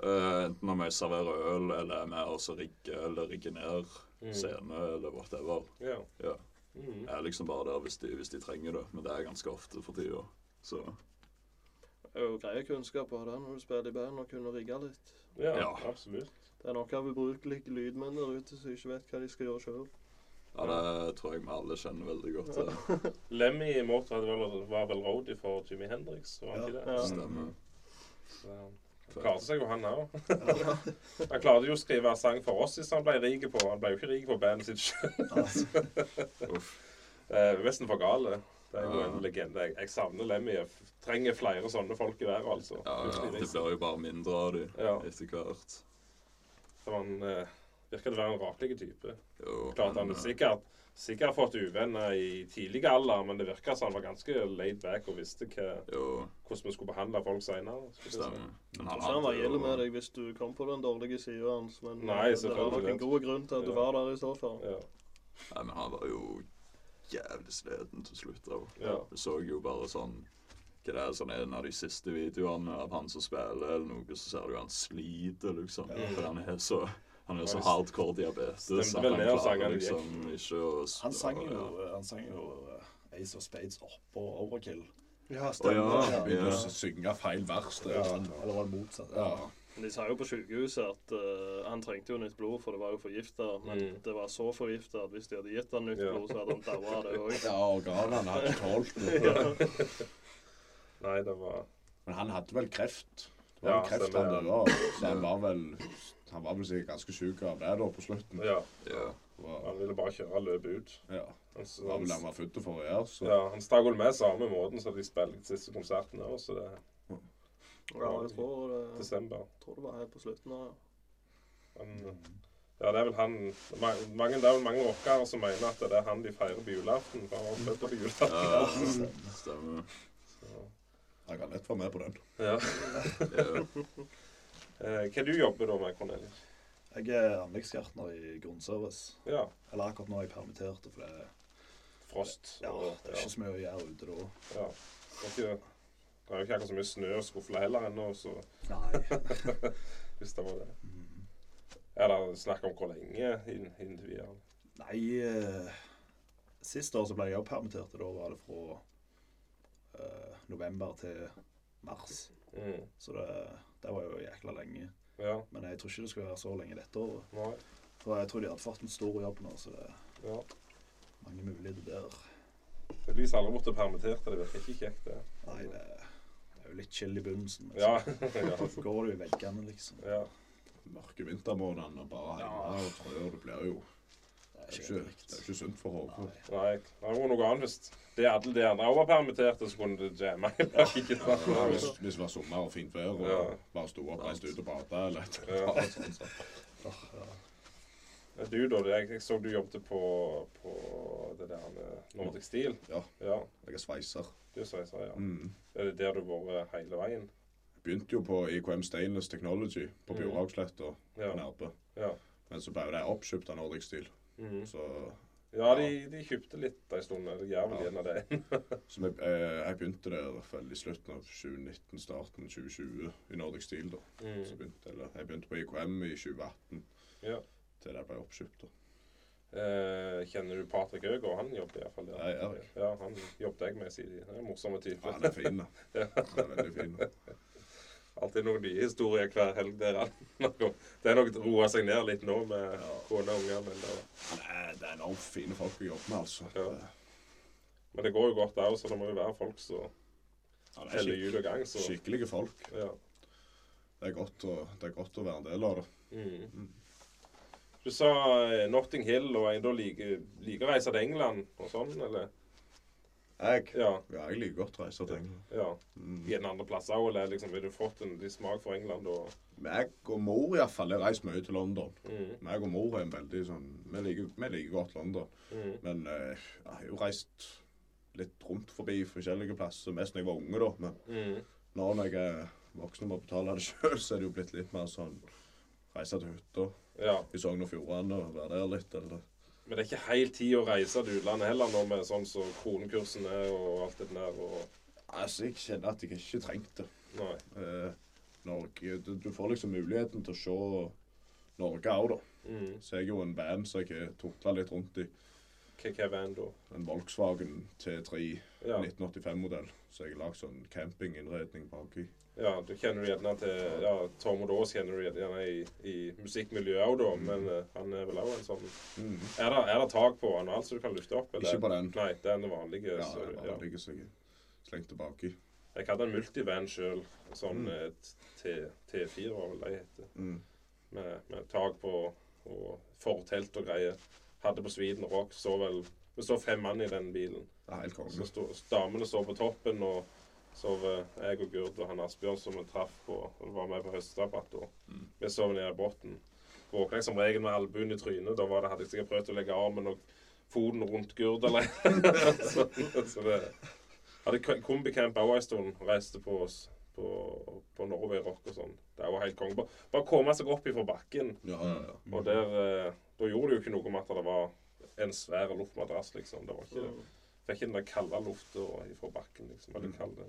Speaker 5: Eh, enten om jeg serverer øl, eller er med og så rigger eller rigger ned
Speaker 1: Mm.
Speaker 5: scene, eller whatever.
Speaker 1: Ja.
Speaker 5: Ja.
Speaker 1: Mm.
Speaker 5: Jeg er liksom bare der hvis de, hvis de trenger det, men det er ganske ofte for tida. Så
Speaker 4: Det er jo greie kunnskaper av det når du spiller i band og kunne rigge litt.
Speaker 1: ja,
Speaker 5: Ja.
Speaker 1: absolutt.
Speaker 4: Det er nok av ubrukelige lydmenn der ute som ikke vet hva de skal gjøre sjøl.
Speaker 5: ja, det tror jeg vi alle kjenner veldig godt til.
Speaker 1: Lemmy Mortad var, var vel roadie for Jimmy Hendrix, var han
Speaker 2: Ja.
Speaker 1: ikke det?
Speaker 4: Ja.
Speaker 5: Stemmer.
Speaker 1: Så han klarte seg jo, han òg.
Speaker 2: Ja.
Speaker 1: Han klarte jo å skrive sang for oss hvis han ble rik på. Han ble jo ikke rik på bandet sitt sjøl.
Speaker 5: Uff.
Speaker 1: Nesten for gale. Det er jo
Speaker 5: Ja.
Speaker 1: en legende. Jeg, jeg savner Lemmy. Jeg f- trenger flere sånne folk i været, altså.
Speaker 5: Ja, ja, det blir jo bare mindre av de
Speaker 1: Ja.
Speaker 5: etter hvert.
Speaker 1: Så han eh, virker det å være en rakelig type.
Speaker 5: Jo,
Speaker 1: Klart
Speaker 5: men,
Speaker 1: han
Speaker 5: eh,
Speaker 1: er sikkert Sikkert fått uvenner i tidlig alder, men det virker som han var ganske laid back og visste hva,
Speaker 5: Jo,
Speaker 1: hvordan vi skulle behandle folk seinere.
Speaker 5: stemmer. Men
Speaker 4: Så han var gjeldig med deg hvis du kom på den dårlige sida hans, men eh,
Speaker 1: Nei,
Speaker 4: det var nok
Speaker 1: selvfølgelig.
Speaker 4: en god grunn til at du
Speaker 1: Ja.
Speaker 4: var der i så fall.
Speaker 1: Ja.
Speaker 5: Nei, men han var jo jævlig sliten til slutt. da.
Speaker 1: Ja.
Speaker 5: Vi så jo bare sånn Hva det er sånn en av de siste videoene av han som spiller, eller noe, så ser du han sliter, liksom.
Speaker 1: Ja.
Speaker 5: For han er så han er så
Speaker 1: Ja, det
Speaker 5: hardcore diabetes
Speaker 1: stemte
Speaker 5: at
Speaker 1: vel
Speaker 5: han
Speaker 1: ned og sang
Speaker 5: klarer
Speaker 1: han gikk.
Speaker 5: liksom ikke å s-
Speaker 3: Han sang
Speaker 5: å,
Speaker 3: jo,
Speaker 5: ja.
Speaker 3: han sang jo eh, Ace of Spades oppå Overkill.
Speaker 4: Ja,
Speaker 5: stemmer.
Speaker 2: Han begynte
Speaker 5: Ja.
Speaker 2: å synge feil vers. Det er sånn.
Speaker 3: Eller var det motsatt?
Speaker 2: Ja.
Speaker 4: De sa jo på sykehuset at eh, han trengte jo nytt blod, for det var jo forgifta. Men
Speaker 1: Mm.
Speaker 4: det var så forgifta at hvis de hadde gitt han nytt
Speaker 1: Ja.
Speaker 4: blod, så hadde han daua av det òg.
Speaker 2: ja, organene hadde tålt noe.
Speaker 1: Nei, det var
Speaker 2: Men han hadde vel kreft. Det
Speaker 1: Ja,
Speaker 2: var vel kreft han
Speaker 1: stemmer,
Speaker 2: døde av. Så han var vel han var vel sikkert ganske syk av det da på slutten.
Speaker 1: Ja.
Speaker 5: Ja.
Speaker 2: Og,
Speaker 1: Han ville bare kjøre løpet ut.
Speaker 2: ja.
Speaker 1: Han,
Speaker 2: Det var vel det han
Speaker 1: han,
Speaker 2: var født for å gjøre. Så
Speaker 1: ja, han stakk vel med samme måten som de spilte de siste konsertene òg, så det er
Speaker 4: Ja, jeg tror det,
Speaker 1: desember.
Speaker 4: jeg tror det var helt på slutten av
Speaker 1: Han,
Speaker 3: Mm.
Speaker 1: ja, det er vel han ma- mange, Det er vel mange rockere som mener at det er han de feirer på julaften, for han var født på julaften.
Speaker 5: Ja, stemmer.
Speaker 2: jeg kan lett være med på den.
Speaker 1: Ja.
Speaker 5: Ja.
Speaker 1: Eh, hva du jobber da med, Cornelius?
Speaker 3: Jeg er anleggsgartner i grunnservice.
Speaker 1: Ja,
Speaker 3: Eller akkurat nå er jeg permittert, for det,
Speaker 1: frost.
Speaker 3: ja,
Speaker 1: og-
Speaker 3: det er ikke så mye å gjøre ute da.
Speaker 1: ja. Det er ikke- det er jo ikke akkurat så mye snø å skufle heller ennå, så
Speaker 3: Nei.
Speaker 1: hvis det var det. Er det snakk om hvor lenge inn, inntil videre?
Speaker 3: Nei eh, Sist år så ble jeg også permittert, og da var det fra eh, november til mars.
Speaker 1: Mm.
Speaker 3: Så det, det var jo jækla lenge.
Speaker 1: Ja.
Speaker 3: Men jeg tror ikke det skal være så lenge dette året.
Speaker 1: Nei.
Speaker 3: For jeg tror de hadde fått en stor jobb nå, så det er
Speaker 1: Ja.
Speaker 3: mange muligheter der.
Speaker 1: Det lyser aldri bort og permittert, det virker ikke kjekt, det.
Speaker 3: Nei, det er det er jo litt chill i begynnelsen. Men
Speaker 1: Ja.
Speaker 3: så går det jo i veggene, liksom.
Speaker 1: ja.
Speaker 2: Mørke vintermånedene og bare hjemme og trør. Det blir jo
Speaker 3: Det
Speaker 2: Det
Speaker 3: er
Speaker 2: er
Speaker 3: ikke
Speaker 2: ikke, det er ikke sunt for hodet.
Speaker 3: Nei.
Speaker 1: Nei, det var noe annet hvis det alle de andre også var permitterte, så kunne det jamme. eller ikke sant?
Speaker 2: Ja, hvis, hvis det var sommer og fint vær og
Speaker 1: Ja.
Speaker 2: bare sto opp, reiste ut og bada eller et
Speaker 1: Ja.
Speaker 2: eller annet sånt. så.
Speaker 3: Åh, ja.
Speaker 1: Du, da. det- Jeg, jeg så du jobbet på, på det der med Nordic Steel.
Speaker 2: Ja.
Speaker 1: ja.
Speaker 2: Jeg er sveiser.
Speaker 1: Du er sveiser, ja.
Speaker 2: Mm.
Speaker 1: Er det der du har vært hele veien?
Speaker 2: Begynte jo på IKM Stainless Technology på
Speaker 1: Mm.
Speaker 2: Bjorhagsletta
Speaker 1: Ja.
Speaker 2: på Nærbø.
Speaker 1: Ja,
Speaker 2: Men så ble jo det oppkjøpt av Nordic Steel.
Speaker 1: Mhm.
Speaker 2: Så,
Speaker 1: ja de, de kjøpte litt en stund. Det gjør vel
Speaker 2: Ja.
Speaker 1: en av det.
Speaker 2: så jeg, eh, jeg begynte der i hvert fall i slutten av 2019, starten av 2020 i Nordic Steel. da. Så
Speaker 1: Mhm.
Speaker 2: begynte, eller, jeg begynte på IKM i 2018
Speaker 1: Ja.
Speaker 2: til det ble oppkjøpt. da.
Speaker 1: Eh, kjenner du Patrick Øgaard? Han jobber iallfall der.
Speaker 2: Ja, Erik.
Speaker 1: Ja, han jobbet jeg med siden. Han er en morsom type.
Speaker 2: Han er fin, da. Han er veldig fin. da.
Speaker 1: Alltid noen nye historier hver helg der. han- Det er nok roa seg ned litt nå med
Speaker 2: Ja.
Speaker 1: kone og unger, men det,
Speaker 2: Han er, det er enormt fine folk å jobbe med, altså.
Speaker 1: Ja. men det går jo godt der òg, så det må jo være folk som
Speaker 2: Han er
Speaker 1: teller
Speaker 2: skik
Speaker 1: hjul og gang. Så,
Speaker 2: skikkelige folk.
Speaker 1: ja.
Speaker 2: Det er, godt å, det er godt å være en del av det.
Speaker 1: mm. Du sa eh, Notting Hill, og en da liker liker å reise til England og sånn, eller?
Speaker 2: Jeg,
Speaker 1: Ja.
Speaker 2: ja, jeg liker godt å reise til England.
Speaker 1: ja.
Speaker 2: Mm.
Speaker 1: I en andre plass òg, eller liksom, har du fått en litt smak for England og
Speaker 2: Jeg og mor iallfall har reist mye til London.
Speaker 1: mm.
Speaker 2: Jeg og mor er en veldig sånn Vi liker, vi liker godt London.
Speaker 1: Mm.
Speaker 2: Men eh, jeg har jo reist litt rundt forbi forskjellige plasser, mest da jeg var unge, da. Men
Speaker 1: Mm.
Speaker 2: nå når jeg er voksen og må betale det sjøl, så er det jo blitt litt mer sånn Reise til hytta
Speaker 1: ja.
Speaker 2: i Sogn og Fjordane og være der litt, eller
Speaker 1: Men det er ikke helt tid å reise til utlandet heller nå med sånn som kronekursen er og alt det der og
Speaker 2: Altså, jeg kjenner at jeg ikke trengte det.
Speaker 1: Nei.
Speaker 2: Eh, Norge du, du får liksom muligheten til å se Norge òg, da.
Speaker 1: Mm.
Speaker 2: Så jeg er jo en band som jeg har tukla litt rundt i.
Speaker 1: Hva hva er veien da?
Speaker 2: En Volkswagen T3
Speaker 1: Ja.
Speaker 2: 1985-modell. Så jeg har lagd sånn campinginnredning baki.
Speaker 1: ja, du kjenner du gjerne til ja, Tom Odås kjenner du gjerne i, i musikkmiljøet òg, da, men
Speaker 2: Mm.
Speaker 1: eh, han er vel òg en sånn Er det, er det tak på han og alt så du kan lufte opp?
Speaker 2: Ikke på den.
Speaker 1: Nei, det er den vanlige.
Speaker 2: Ja,
Speaker 1: så-
Speaker 2: det
Speaker 1: ja.
Speaker 2: bare ligger seg slengt baki.
Speaker 1: Jeg hadde en multivan sjøl, sånn
Speaker 2: Mm.
Speaker 1: eh, T- T4 var vel det det heter,
Speaker 2: Mm.
Speaker 1: med, med tak på og fortelt og greier. Hadde på Sweden Rock, så vel Vi så fem mann i den bilen.
Speaker 2: Det er helt
Speaker 1: Så
Speaker 2: konge.
Speaker 1: sto, damene sov på toppen, og sov eh, jeg og Gurd og han Asbjørn som vi traff på og var med på høstdrabat. da.
Speaker 5: Mm.
Speaker 1: Vi sov nede i bunnen. Våkna jeg som regel med albuen i trynet. Da var det, hadde jeg sikkert prøvd å legge armen og foten rundt Gurd eller så, så det Hadde k- kombicamp òg en stund. Reiste på oss på, på Norway Rock og sånn. Det var helt konge. Bare- Bare komme seg opp ifra bakken.
Speaker 2: Ja, ja, ja.
Speaker 1: Og der eh, Da gjorde det jo ikke noe med at det var en svær luftmadrass, liksom. Det var ikke det. Fikk ikke den der kalde lufta fra bakken, liksom. Eller
Speaker 2: Mm.
Speaker 1: kalde.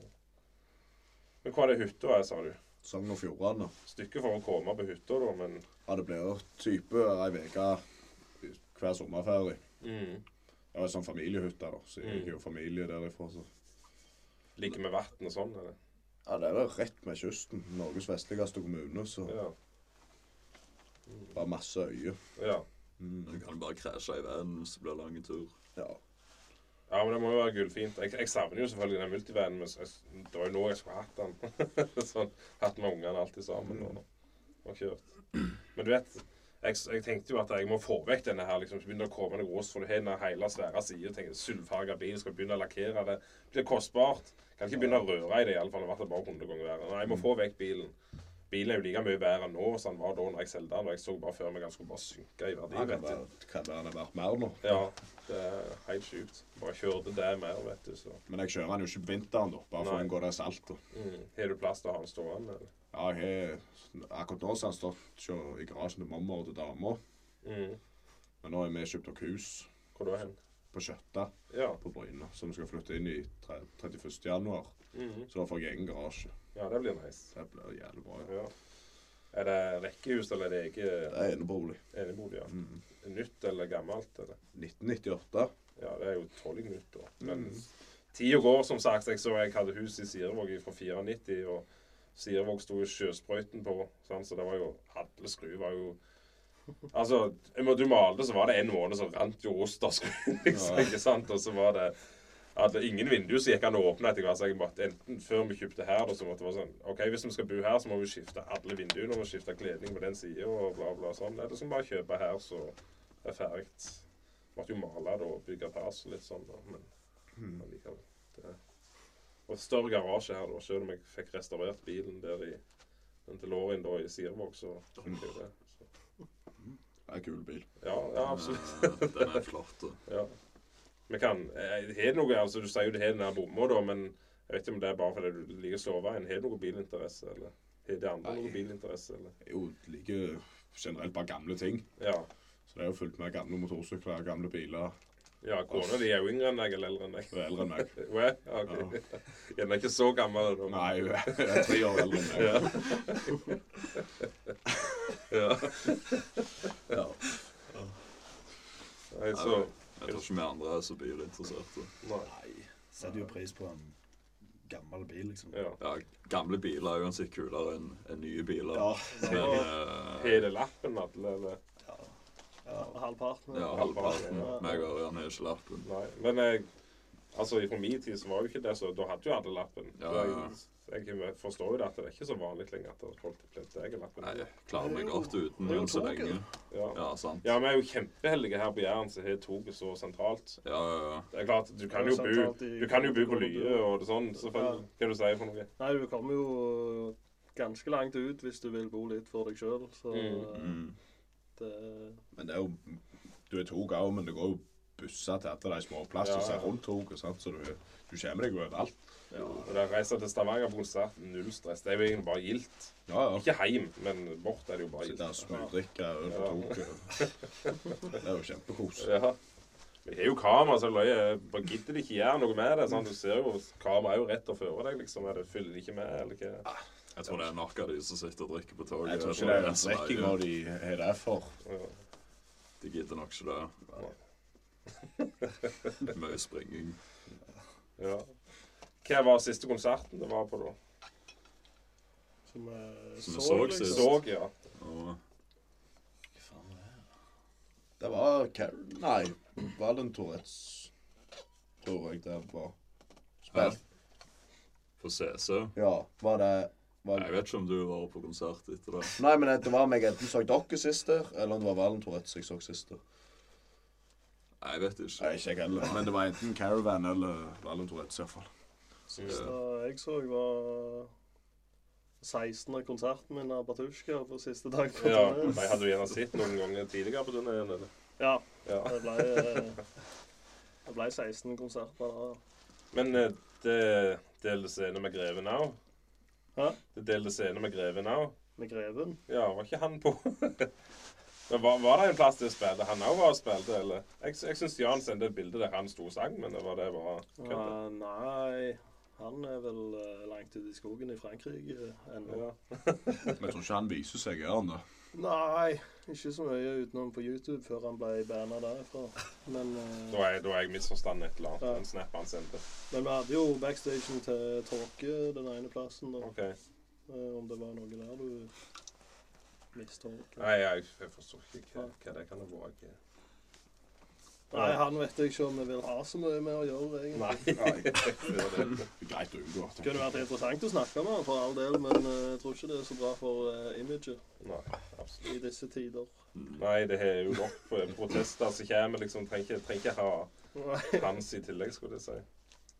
Speaker 1: Men hva er det hytta er, sa du?
Speaker 2: Sogn og Fjordane.
Speaker 1: Stykket for å komme på hytta, da, men
Speaker 2: Ja, det blir jo type ei uke hver sommerferie.
Speaker 1: mm.
Speaker 2: Det var en sånn familiehytte, da, så jeg
Speaker 1: Mm.
Speaker 2: er jo familie derifra. Så.
Speaker 1: Ligger med vann og sånn, eller?
Speaker 2: Ja, det er jo rett med kysten. Norges vestligste kommune, så
Speaker 1: Ja.
Speaker 2: bare masse øyer.
Speaker 1: ja.
Speaker 2: Mm.
Speaker 5: Du kan bare krasje i veien hvis det blir lang tur.
Speaker 2: Ja.
Speaker 1: Ja, men det må jo være gullfint. Jeg, jeg savner jo selvfølgelig den multivanen, men jeg, det var jo nå jeg skulle hatt den. sånn, Hatt med ungene alltid sammen og, og kjørt. Men du vet, jeg, jeg tenkte jo at jeg må få vekk denne her, liksom, så begynner det å komme noe ros, for du har denne hele svære sida, tenker sølvfarga bil, skal begynne å lakkere det. Det blir kostbart. Kan ikke begynne å røre i det, iallfall. Det har vært det bare 100 ganger verre. Nei, jeg må få vekk bilen. Bilen er jo like mye bedre nå som den var da når jeg solgte den, og jeg så bare før meg han skulle bare synke i verdi. vet
Speaker 2: Det kan
Speaker 1: du.
Speaker 2: være kan være det er verdt mer nå.
Speaker 1: Ja, det er helt sjukt. Bare kjørte det mer, vet du, så
Speaker 2: Men jeg kjører den jo ikke på vinteren, da, bare for å
Speaker 1: Nei.
Speaker 2: unngå det saltet.
Speaker 1: mm. Har du plass til å ha den stående? eller?
Speaker 2: Ja, jeg har akkurat nå så har han stått sjå, i garasjen til mamma og til dama.
Speaker 1: Mm.
Speaker 2: Men nå har vi kjøpt oss hus
Speaker 1: Hvor da hen?
Speaker 2: på Skjøtta
Speaker 1: Ja.
Speaker 2: på Bryne, som vi skal flytte inn i tre- 31. januar.
Speaker 1: Mhm.
Speaker 2: Så da får jeg egen garasje.
Speaker 1: ja, det blir nice.
Speaker 2: Det blir jævlig bra. ja.
Speaker 1: Ja. Er det rekkehus eller er det ikke
Speaker 2: Det er enebolig.
Speaker 1: enebolig? Ja?
Speaker 2: Mm.
Speaker 1: Nytt eller gammelt? Eller?
Speaker 2: 1998.
Speaker 1: Ja, det er jo tolv nytt, da. Men tida går, som sagt. Jeg så jeg hadde hus i Sirevåg fra 94, og Sirevåg sto jo sjøsprøyten på, sant? så det var jo Alle skruer var jo Altså, når du malte, så var det en måned som rant jo ost av skruer, liksom,
Speaker 2: Ja.
Speaker 1: ikke sant? Og så var det hadde ingen vinduer så gikk an å åpne etter hvert. Så jeg måtte enten før vi kjøpte her, da, så måtte det være sånn OK, hvis vi skal bo her, så må vi skifte alle vinduene, og vi skifte kledning på den sida, og bla, bla, sånn. Eller så må vi bare kjøpe her, så er det ferdig. Måtte jo male det og bygge pers og litt sånn, da. Men allikevel. Det. Og større garasje her, da. Selv om jeg fikk restaurert bilen der i den DeLorean da i Sirvåg, så fikk jeg jo det. Så.
Speaker 2: Det er en kul bil.
Speaker 1: Ja, ja absolutt.
Speaker 5: Eh, Den er flott. og-
Speaker 1: Ja. Men kan, eh, har du noe, altså Du sier jo du har den her bomma, da, men jeg vet ikke om det er bare fordi du liker Sloveien. Har du noe bilinteresse, eller har de andre
Speaker 2: Nei.
Speaker 1: noe bilinteresse, eller?
Speaker 2: Jeg er jo liker generelt bare gamle ting.
Speaker 1: Ja.
Speaker 2: Så det er jo fullt med gamle motorsykler, gamle biler.
Speaker 1: ja Kona di er jo yngre enn deg, eller eldre enn deg?
Speaker 2: Hun er eldre enn meg.
Speaker 1: Hun er? Ja, ok. Hun er ikke så gammel, da.
Speaker 2: Nei, hun er hun er tre år eldre enn meg.
Speaker 1: Ja. ja.
Speaker 5: Ja.
Speaker 1: Nei, så
Speaker 5: Jeg tror ikke vi andre er så bilinteresserte.
Speaker 1: Nei.
Speaker 3: Nei, setter jo pris på en gammel bil, liksom.
Speaker 1: Ja.
Speaker 5: Ja, gamle biler er uansett kulere enn enn nye biler.
Speaker 3: Ja.
Speaker 5: Men, eh,
Speaker 1: Har de lappen, alle, eller?
Speaker 3: ja. ja.
Speaker 4: Halvparten.
Speaker 5: ja, halvparten. Meg og Ørjan har ikke lappen.
Speaker 1: Nei. Men jeg, altså, fra min tid så var jo ikke det så Da hadde jo alle lappen.
Speaker 5: Ja,
Speaker 1: Så
Speaker 5: ja,
Speaker 1: Jeg, jeg forstår jo det at det er ikke så vanlig lenger at folk plenter jeg lappen.
Speaker 5: Nei, jeg klarer meg godt uten
Speaker 4: Det er jo
Speaker 5: enn så
Speaker 4: toget.
Speaker 5: lenge.
Speaker 1: Ja.
Speaker 5: Ja, sant.
Speaker 1: ja, vi er jo kjempeheldige her på Jæren som har toget så sentralt.
Speaker 5: Ja, ja, ja.
Speaker 1: Det er klart, Du kan jo
Speaker 4: Det er
Speaker 1: bo,
Speaker 4: sentralt i-
Speaker 1: du kan jo bo på Lye og det sånn, selvfølgelig.
Speaker 4: Ja.
Speaker 1: Hva du sier for noe?
Speaker 4: Nei, du kommer jo ganske langt ut hvis du vil bo litt for deg sjøl, så
Speaker 1: Mm.
Speaker 4: eh,
Speaker 5: Mm.
Speaker 4: det
Speaker 2: Men det er jo Du er tog òg, men det går jo busser til alle de små plassene
Speaker 1: Ja,
Speaker 2: som er
Speaker 1: ja.
Speaker 2: rundt toget, sant, så du, du kommer deg jo overalt.
Speaker 1: Ja. Og det Reiser til Stavanger på konsert, null stress. Det er jo egentlig bare gildt.
Speaker 2: Ja, ja.
Speaker 1: Ikke heim, men bort er det jo bare
Speaker 2: Sitte og
Speaker 1: gildt.
Speaker 2: smugdrikke over
Speaker 1: Ja.
Speaker 2: toget. Det er jo kjempekos.
Speaker 1: Ja. Vi har jo kamera, så løye. Bare gidder de ikke gjøre noe med det. Sant? Du ser jo kameraet er jo rett og føre deg, liksom. Er det fyller de ikke med, eller hva?
Speaker 5: Jeg tror det er nok av de som sitter og drikker på toget.
Speaker 2: Jeg tror
Speaker 5: og
Speaker 2: ikke det er
Speaker 5: er sånn så
Speaker 2: drikkinga
Speaker 5: nøye.
Speaker 2: de har det for.
Speaker 1: Ja.
Speaker 5: De gidder nok ikke det. Mye springing.
Speaker 1: Ja. Hva var siste konserten det var på, da?
Speaker 4: Som vi
Speaker 5: Som vi
Speaker 4: så,
Speaker 5: så
Speaker 4: liksom.
Speaker 5: sist.
Speaker 1: Såg, ja.
Speaker 5: Og
Speaker 2: Det var Karen Nei, var det en Tourettes, tror jeg det var. Spilt.
Speaker 5: på CC.
Speaker 2: Ja, var det var
Speaker 5: Jeg vet ikke om du var på konsert etter det.
Speaker 2: Nei, men det var meg enten så dere sist der, eller om det var Valen Tourettes jeg så sist der.
Speaker 5: Jeg vet
Speaker 2: Nei, ikke
Speaker 5: ikke.
Speaker 2: jeg heller. Men det var enten Caravan eller Valen Tourettes iallfall.
Speaker 4: Siste jeg så, var 16. konserten min av Batushka på siste dag på
Speaker 1: ja.
Speaker 4: turné.
Speaker 1: Nei, hadde du gjerne sett noen ganger tidligere på turnéen, eller?
Speaker 4: Ja,
Speaker 1: Ja.
Speaker 4: det ble, eh, det ble 16 konserter. da.
Speaker 1: Men eh, det delte scene med Greven òg.
Speaker 4: Hæ?
Speaker 1: Det delte scene med Greven òg.
Speaker 4: Med Greven.
Speaker 1: Ja, var ikke han på? men var, var det en plass til å spille? Han òg var og spilte, eller? Jeg, jeg syns Jan sendte et bilde der han sto og sang, men det var det bare kødde.
Speaker 4: Eh, nei, han er vel eh, langt ute i skogen i Frankrike eh, ennå.
Speaker 1: Ja.
Speaker 2: Men jeg tror ikke han viser seg, gjør han det?
Speaker 4: Nei, ikke så mye utenom på YouTube før han ble banna derifra. Men, eh,
Speaker 1: Da har jeg, da har jeg misforstått et eller annet.
Speaker 4: Ja.
Speaker 1: En snap han sendte.
Speaker 4: men vi hadde jo backstagen til Tåke den ene plassen, da.
Speaker 1: OK.
Speaker 4: Eh, om det var noe der du mistolka.
Speaker 1: Nei, jeg, jeg forstår ikke hva, hva det kan ha vært.
Speaker 4: Nei, han vet jeg ikke om vi vil ha så mye med å gjøre, egentlig.
Speaker 1: Nei. Nei.
Speaker 2: Det er Greit å unngå.
Speaker 4: Det kunne vært interessant å snakke med han for all del, men eh, jeg tror ikke det er så bra for eh, imaget
Speaker 1: Nei, absolutt.
Speaker 4: i disse tider.
Speaker 1: Nei, det er jo nok eh, protester som kommer, liksom. Trenger ikke- trenger ikke ha
Speaker 4: Nei.
Speaker 1: Hans i tillegg, skulle jeg si.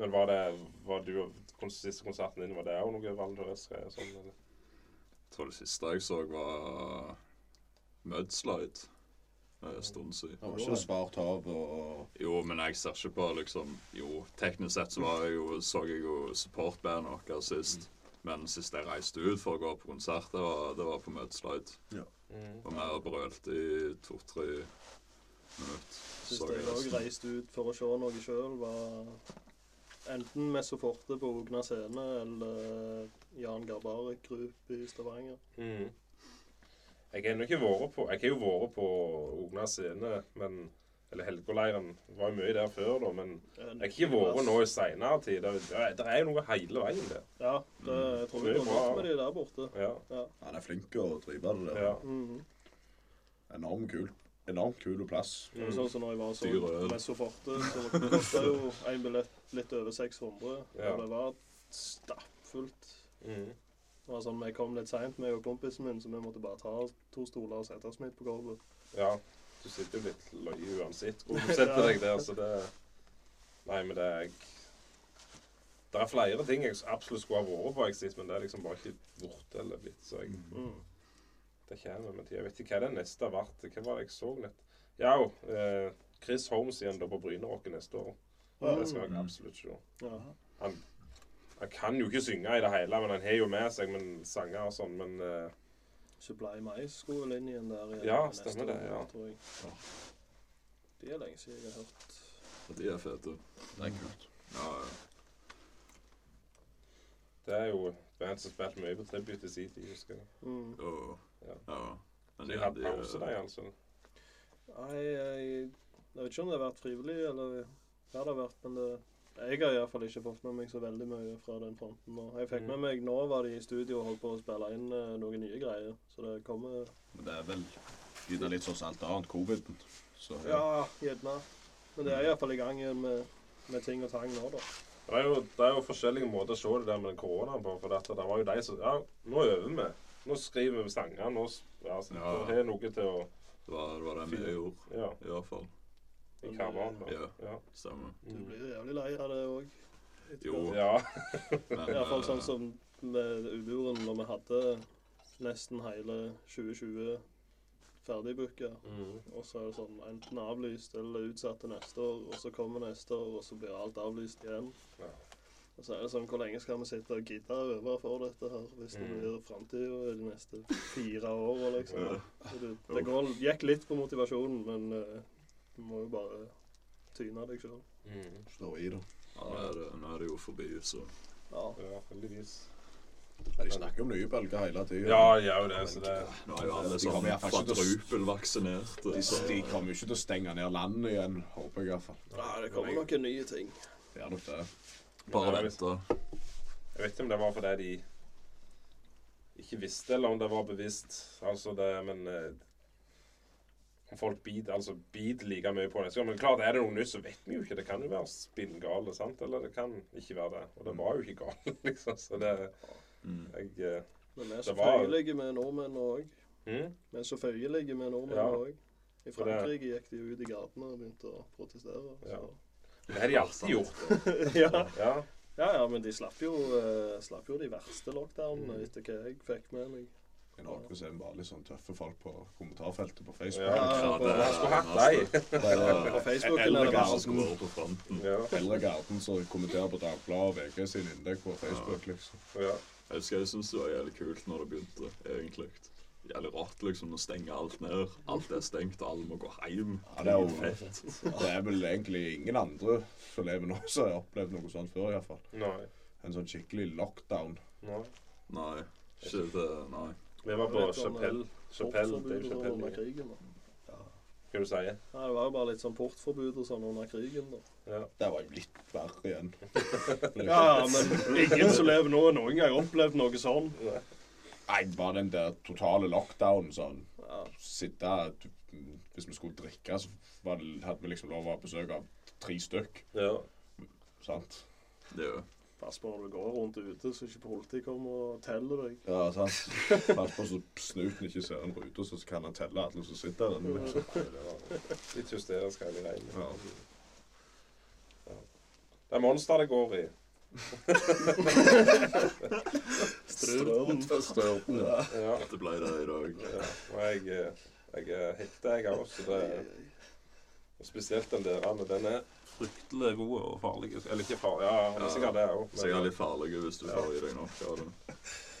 Speaker 1: Men var det var du kon- siste konserten din, var det òg noe Valdres-greier? Sånn, eller?
Speaker 5: Jeg tror det siste jeg så, var Mudslide. Det er en stund siden.
Speaker 2: Det var ikke det svart hav og
Speaker 5: Jo, men jeg ser ikke på liksom Jo, teknisk sett så var jeg jo, så jeg jo supportbandet vårt sist. Men sist jeg reiste ut for å gå på konsert, det var, det var på Mudslide.
Speaker 1: Mm.
Speaker 5: Og vi har brølt i to-tre minutter.
Speaker 4: Syns
Speaker 5: Så jeg
Speaker 4: jeg òg
Speaker 5: resten.
Speaker 4: reiste ut for å se noe sjøl, var enten med Soforte på Ogna scene eller eh, Jan Garbarek Group i Stavanger.
Speaker 1: Mhm. Jeg har ennå ikke vært på Jeg har jo vært på Ogna scene, men Eller Helgoleiren. Det Var jo mye der før, da, men jeg har ikke vært nå i seinere tid. Det, det er- det er jo noe hele veien der.
Speaker 4: Ja, det, jeg tror
Speaker 1: Mm. Det
Speaker 4: vi
Speaker 1: er
Speaker 4: går
Speaker 1: bra.
Speaker 4: godt med de der borte.
Speaker 1: Ja.
Speaker 2: Han er flink til å drive det der.
Speaker 1: ja.
Speaker 4: Mhm.
Speaker 2: Enormt kul. Enormt kul plass.
Speaker 4: Det er Sånn som når jeg var og
Speaker 5: Dyr øl.
Speaker 4: så med Soforte, så kosta jo en billett litt over 600,
Speaker 1: Ja.
Speaker 4: og det var stappfullt.
Speaker 1: Mhm.
Speaker 4: Det var sånn, Vi kom litt seint, meg og kompisen min, så vi måtte bare ta to stoler og sette oss midt på gulvet.
Speaker 1: ja. Du sitter jo litt løye uansett hvor du setter deg der, så det Nei, men det er jeg Det er flere ting jeg absolutt skulle ha vært på, jeg synes, men det er liksom bare ikke blitt eller blitt. Så jeg
Speaker 4: Mm.
Speaker 1: Det kommer med tida. Jeg vet ikke hva det neste har vært. Hva var det jeg så nett? Ja, jo, eh, Chris Holmes igjen da på Brynerocken neste år. Det skal jeg absolutt se.
Speaker 4: Ja.
Speaker 1: Han kan jo ikke synge i det hele, men han har jo med seg men sanger og sånn. Men eh,
Speaker 4: Supply Mice skulle vel inn igjen der igjen
Speaker 1: Ja,
Speaker 4: neste
Speaker 1: stemmer det,
Speaker 4: år,
Speaker 1: ja.
Speaker 4: tror jeg. Det er lenge siden jeg har hørt.
Speaker 5: Og de er fete.
Speaker 2: Det er kult.
Speaker 5: Ja, ja.
Speaker 1: det er jo et band som spilte mye på tribute i sin tid, husker jeg.
Speaker 4: Mm.
Speaker 5: Jo,
Speaker 1: Ja.
Speaker 5: jo. ja. Men
Speaker 1: Så de
Speaker 5: ja,
Speaker 1: hadde
Speaker 5: de,
Speaker 1: pause, de, altså.
Speaker 4: Nei, jeg, jeg vet ikke om det har vært frivillig, eller hva det har vært, men det, jeg har iallfall ikke fått med meg så veldig mye fra den fronten. nå. jeg fikk
Speaker 1: Mm.
Speaker 4: med meg nå var de i studio og holdt på å spille inn eh, noen nye greier, så det kommer
Speaker 2: Men det er vel gjerne litt sånn som alt annet, coviden. Så
Speaker 4: Ja, gjerne. Men det er iallfall i gang igjen med, med ting og tang nå, da.
Speaker 1: Det er, jo, det er jo forskjellige måter å se det der med den koronaen på. For dette, det var jo de som Ja, nå øver vi. Nå skriver vi sanger. Nå s- ja, så
Speaker 5: Ja.
Speaker 1: da har jeg noe til å
Speaker 5: det var det, var det vi gjorde,
Speaker 1: Ja,
Speaker 5: i hvert fall.
Speaker 1: i karavan.
Speaker 5: Ja,
Speaker 1: Ja.
Speaker 5: stemmer.
Speaker 4: Du
Speaker 1: Mm.
Speaker 4: blir jævlig lei av det òg.
Speaker 5: Jo,
Speaker 1: ja.
Speaker 5: men
Speaker 4: Iallfall
Speaker 5: eh,
Speaker 4: sånn som med Uburen, når vi hadde nesten hele 2020 ferdigbooka.
Speaker 1: Mm.
Speaker 4: Og så er det sånn enten avlyst eller utsatt til neste år, og så kommer neste år, og så blir alt avlyst igjen.
Speaker 1: Ja.
Speaker 4: Og så er det sånn, hvor lenge skal vi sitte og gidde å øve for dette her, hvis det
Speaker 1: Mm.
Speaker 4: blir framtida de neste fire åra, liksom.
Speaker 5: Ja.
Speaker 4: Så Det, det går, gikk litt på motivasjonen, men eh, du må jo bare tyne deg sjøl.
Speaker 1: Mm.
Speaker 2: står i det.
Speaker 5: ja, det er det, nå er det jo forbi, så
Speaker 4: Ja.
Speaker 1: Ja, heldigvis.
Speaker 2: Ja, de snakker om nye bølger hele tida.
Speaker 1: Ja, de er jo det, så det
Speaker 5: Nå er jo alle
Speaker 2: De
Speaker 5: sånn
Speaker 2: kommer i hvert fall ikke til å-
Speaker 5: kvadrupelvaksinerte.
Speaker 2: De,
Speaker 5: så-
Speaker 2: de kommer jo ikke til å stenge ned landet igjen, håper jeg iallfall.
Speaker 4: ja, det kommer noen nye ting.
Speaker 2: Det er nok det.
Speaker 5: Bare
Speaker 1: Nei,
Speaker 5: vente.
Speaker 1: Jeg vet ikke om det var fordi de ikke visste, eller om det var bevisst. Altså det, men eh, om folk biter altså bit like mye på neste gang. Men klart, er det noe nytt, så vet vi jo ikke. Det kan jo være spinngale, sant? Eller det kan ikke være det. Og det var jo ikke galt, liksom. Så det
Speaker 5: Mm.
Speaker 1: Jeg eh,
Speaker 4: Men vi er så
Speaker 1: Det var-
Speaker 4: føyelige med nordmenn òg.
Speaker 1: hm?
Speaker 4: Vi er så føyelige med
Speaker 1: Ja.
Speaker 4: nordmenn òg. I
Speaker 1: For det-
Speaker 4: Frankrike gikk de jo ut i gatene og begynte å protestere.
Speaker 1: Ja.
Speaker 4: Så.
Speaker 1: Det har de alltid gjort.
Speaker 4: ja.
Speaker 1: Ja.
Speaker 4: Ja, ja, men de slapp jo, eh, slapp jo de verste
Speaker 1: Mm.
Speaker 4: lockdownene etter hva jeg fikk med meg.
Speaker 2: I Norge så er vi bare litt sånn tøffe folk på kommentarfeltet på Facebook.
Speaker 1: Ja,
Speaker 5: Ja, det
Speaker 1: Jeg
Speaker 5: er
Speaker 1: skulle hatt deg.
Speaker 2: Det er
Speaker 4: På Facebooken er
Speaker 2: Eldre
Speaker 4: det bare
Speaker 5: Skulle
Speaker 2: garden,
Speaker 5: være på fronten.
Speaker 1: Ja.
Speaker 2: eldre garden som kommenterer på Dagbladet og VG sin innlegg på Facebook, liksom.
Speaker 1: ja.
Speaker 5: Jeg husker jeg syntes det var jævlig kult når det begynte, egentlig. Jævlig rått liksom å stenge alt ned. Alt er stengt, og alle må gå hjem.
Speaker 2: Ja, det er jo-
Speaker 5: fett.
Speaker 2: Det er vel egentlig ingen andre som lever nå, som har opplevd noe sånt før, iallfall.
Speaker 1: Nei.
Speaker 2: En sånn skikkelig lockdown.
Speaker 1: Nei.
Speaker 5: Nei. Ikke det, nei.
Speaker 1: Vi var på Chapelle. Chapelle,
Speaker 4: Portforbud
Speaker 1: det er
Speaker 4: og
Speaker 1: jo
Speaker 4: sånn
Speaker 1: Chapelle.
Speaker 4: under krigen. da.
Speaker 1: Hva du sier
Speaker 4: Nei, det var jo bare litt sånn portforbud og sånn under krigen, da.
Speaker 1: Ja.
Speaker 2: Det var jo litt verre igjen.
Speaker 4: Ja, men ingen som lever nå, har noen gang opplevd noe sånn.
Speaker 2: Nei, det var den der totale lockdownen sånn.
Speaker 4: Ja.
Speaker 2: Sitte du- Hvis vi skulle drikke, så var det, hadde vi liksom lov å ha besøk av tre stykk.
Speaker 1: ja.
Speaker 2: Sant?
Speaker 5: Det er jo
Speaker 4: Pass på når du går rundt ute, så ikke politiet kommer og teller deg.
Speaker 2: Ja, sant. Pass på så snuten ikke ser en rute, så kan han telle alle som sitter der. Liksom.
Speaker 1: Litt hysterisk hele veien.
Speaker 2: Ja.
Speaker 1: Det er monster det går i.
Speaker 4: Strøm.
Speaker 2: Størten, ja.
Speaker 1: Ja.
Speaker 5: Det ble det i dag.
Speaker 1: Ja, og jeg, eh, jeg eh, hekter jeg også. Det, og spesielt den der. men Den er fryktelig god og farlig. Eller ikke farlig, ja, han er
Speaker 5: Ja.
Speaker 1: sikkert det
Speaker 5: Så jeg er
Speaker 1: òg.
Speaker 5: litt farlig hvis du får i deg nok av det.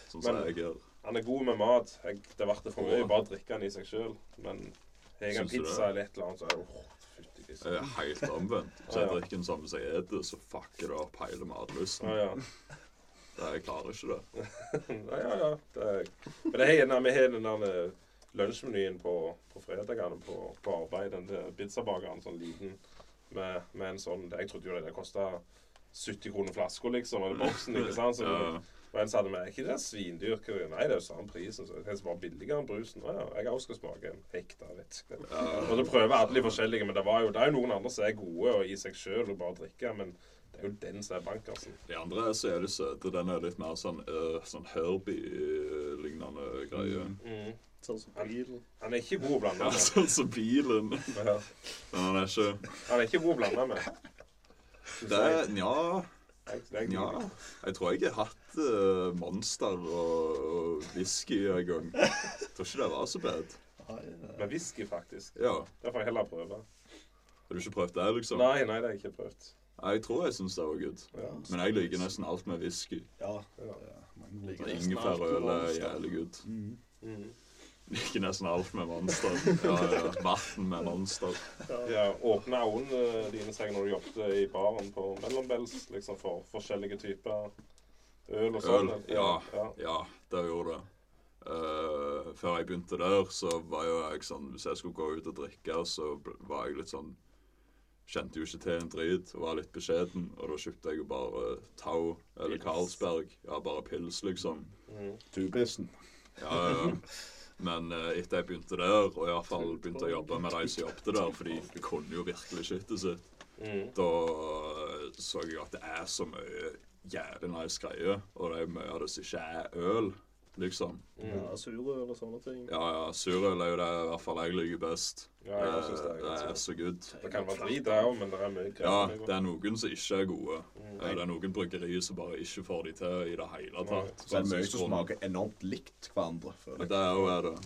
Speaker 5: Sånn som
Speaker 1: Men-
Speaker 5: jeg gjør.
Speaker 1: Han er god med mat. Jeg, det ble for mye bare å drikke den i seg sjøl. Men har jeg en
Speaker 5: Syns du
Speaker 1: pizza
Speaker 5: det?
Speaker 1: eller et eller annet, så er det åh, fytti grisen.
Speaker 5: Jeg er helt omvendt. Så
Speaker 1: Ja,
Speaker 5: jeg
Speaker 1: ja.
Speaker 5: drikker den samme som jeg spiser, så fucker det opp hele matlysten.
Speaker 1: Ja, ja.
Speaker 5: Nei, Jeg klarer ikke det.
Speaker 1: ja, ja, ja. Det er, men det er gjerne vi har den der eh, lunsjmenyen på, på fredagene på, på arbeid. Den der pizzabakeren, sånn liten med, med en sånn Jeg trodde jo det kosta 70 kroner flaska, liksom, eller boksen, ikke sant? Så,
Speaker 5: Ja.
Speaker 1: Men så hadde vi er ikke det svindyr. Hva er det? Nei, det er jo samme prisen. Så det er bare billigere enn brusen. Å ja, jeg også skal smake en hekta, vet ikke. Og så prøver alle de forskjellige, men det, var jo, det er jo noen andre som er gode og i seg sjøl og bare drikker, men det er jo den som er bankersen.
Speaker 5: De andre er så jævlig søte. Den er litt mer sånn, øh, sånn Herbie-lignende greie.
Speaker 4: Sånn som bilen.
Speaker 1: Han er ikke god å blande altså.
Speaker 5: Ja,
Speaker 1: med.
Speaker 5: sånn som bilen.
Speaker 1: Ja.
Speaker 5: Men han er ikke
Speaker 1: Han er ikke god å blande med. Synes
Speaker 5: Det
Speaker 1: jeg.
Speaker 5: er Nja.
Speaker 1: Jeg- jeg-
Speaker 5: Nja. Jeg tror jeg har hatt eh, Monster og, og noe whisky en gang. Tror ikke det var så bad.
Speaker 1: Med whisky, faktisk.
Speaker 5: Ja.
Speaker 1: Det får jeg heller prøve.
Speaker 5: Har du ikke prøvd det, liksom?
Speaker 1: Nei, nei, det har jeg ikke prøvd.
Speaker 5: Jeg tror jeg syns det var good.
Speaker 1: Ja.
Speaker 5: Men jeg liker nesten alt med whisky.
Speaker 3: Ja, det er mange
Speaker 4: Liker
Speaker 3: gode.
Speaker 4: nesten alt med
Speaker 5: Ingefærøl er
Speaker 4: Monster.
Speaker 5: jævlig good.
Speaker 3: Mm.
Speaker 1: Mm.
Speaker 5: Liker nesten alt med monster. Ja, ja. Vann med monster.
Speaker 1: Ja, Åpne øynene dine seg når du jobbet i baren på Mellombels liksom for forskjellige typer øl og sånn.
Speaker 5: Øl,
Speaker 1: eller?
Speaker 5: ja.
Speaker 1: ja.
Speaker 5: Ja, det gjorde det. Eh, før jeg begynte der, så var jo jeg sånn Hvis jeg skulle gå ut og drikke, så bl- var jeg litt sånn Kjente jo ikke til en drit og var litt beskjeden. Og da kjøpte jeg jo bare Tau eller
Speaker 3: Pils.
Speaker 5: Carlsberg. Ja, bare pils, liksom.
Speaker 1: Mm.
Speaker 2: Tubissen.
Speaker 5: Ja, ja. Men eh, etter jeg begynte der, og iallfall begynte å jobbe med de som jobbet der, for de kunne jo virkelig skittet sitt,
Speaker 1: Mm.
Speaker 5: da eh, så jeg at det er så mye jævlig nice greier. Og det er mye av det som ikke er øl, liksom.
Speaker 1: Mm.
Speaker 4: Ja, surøl og sånne ting.
Speaker 5: Ja, ja, surøl er jo det i hvert fall jeg liker best. Eh,
Speaker 1: Ja, jeg synes det er
Speaker 5: det
Speaker 1: ganske
Speaker 5: er så good.
Speaker 1: Det kan være drit der òg, men det er mye
Speaker 5: Ja,
Speaker 1: greier.
Speaker 5: det er noen som ikke er gode.
Speaker 1: Mm.
Speaker 5: Eh, Det er noen bryggerier som bare ikke får de til i det hele tatt.
Speaker 2: Så er det
Speaker 5: Sånn
Speaker 2: mye som
Speaker 5: Skrån.
Speaker 2: smaker enormt likt hverandre.
Speaker 5: Ja,
Speaker 2: føler jeg.
Speaker 5: Det er jo det.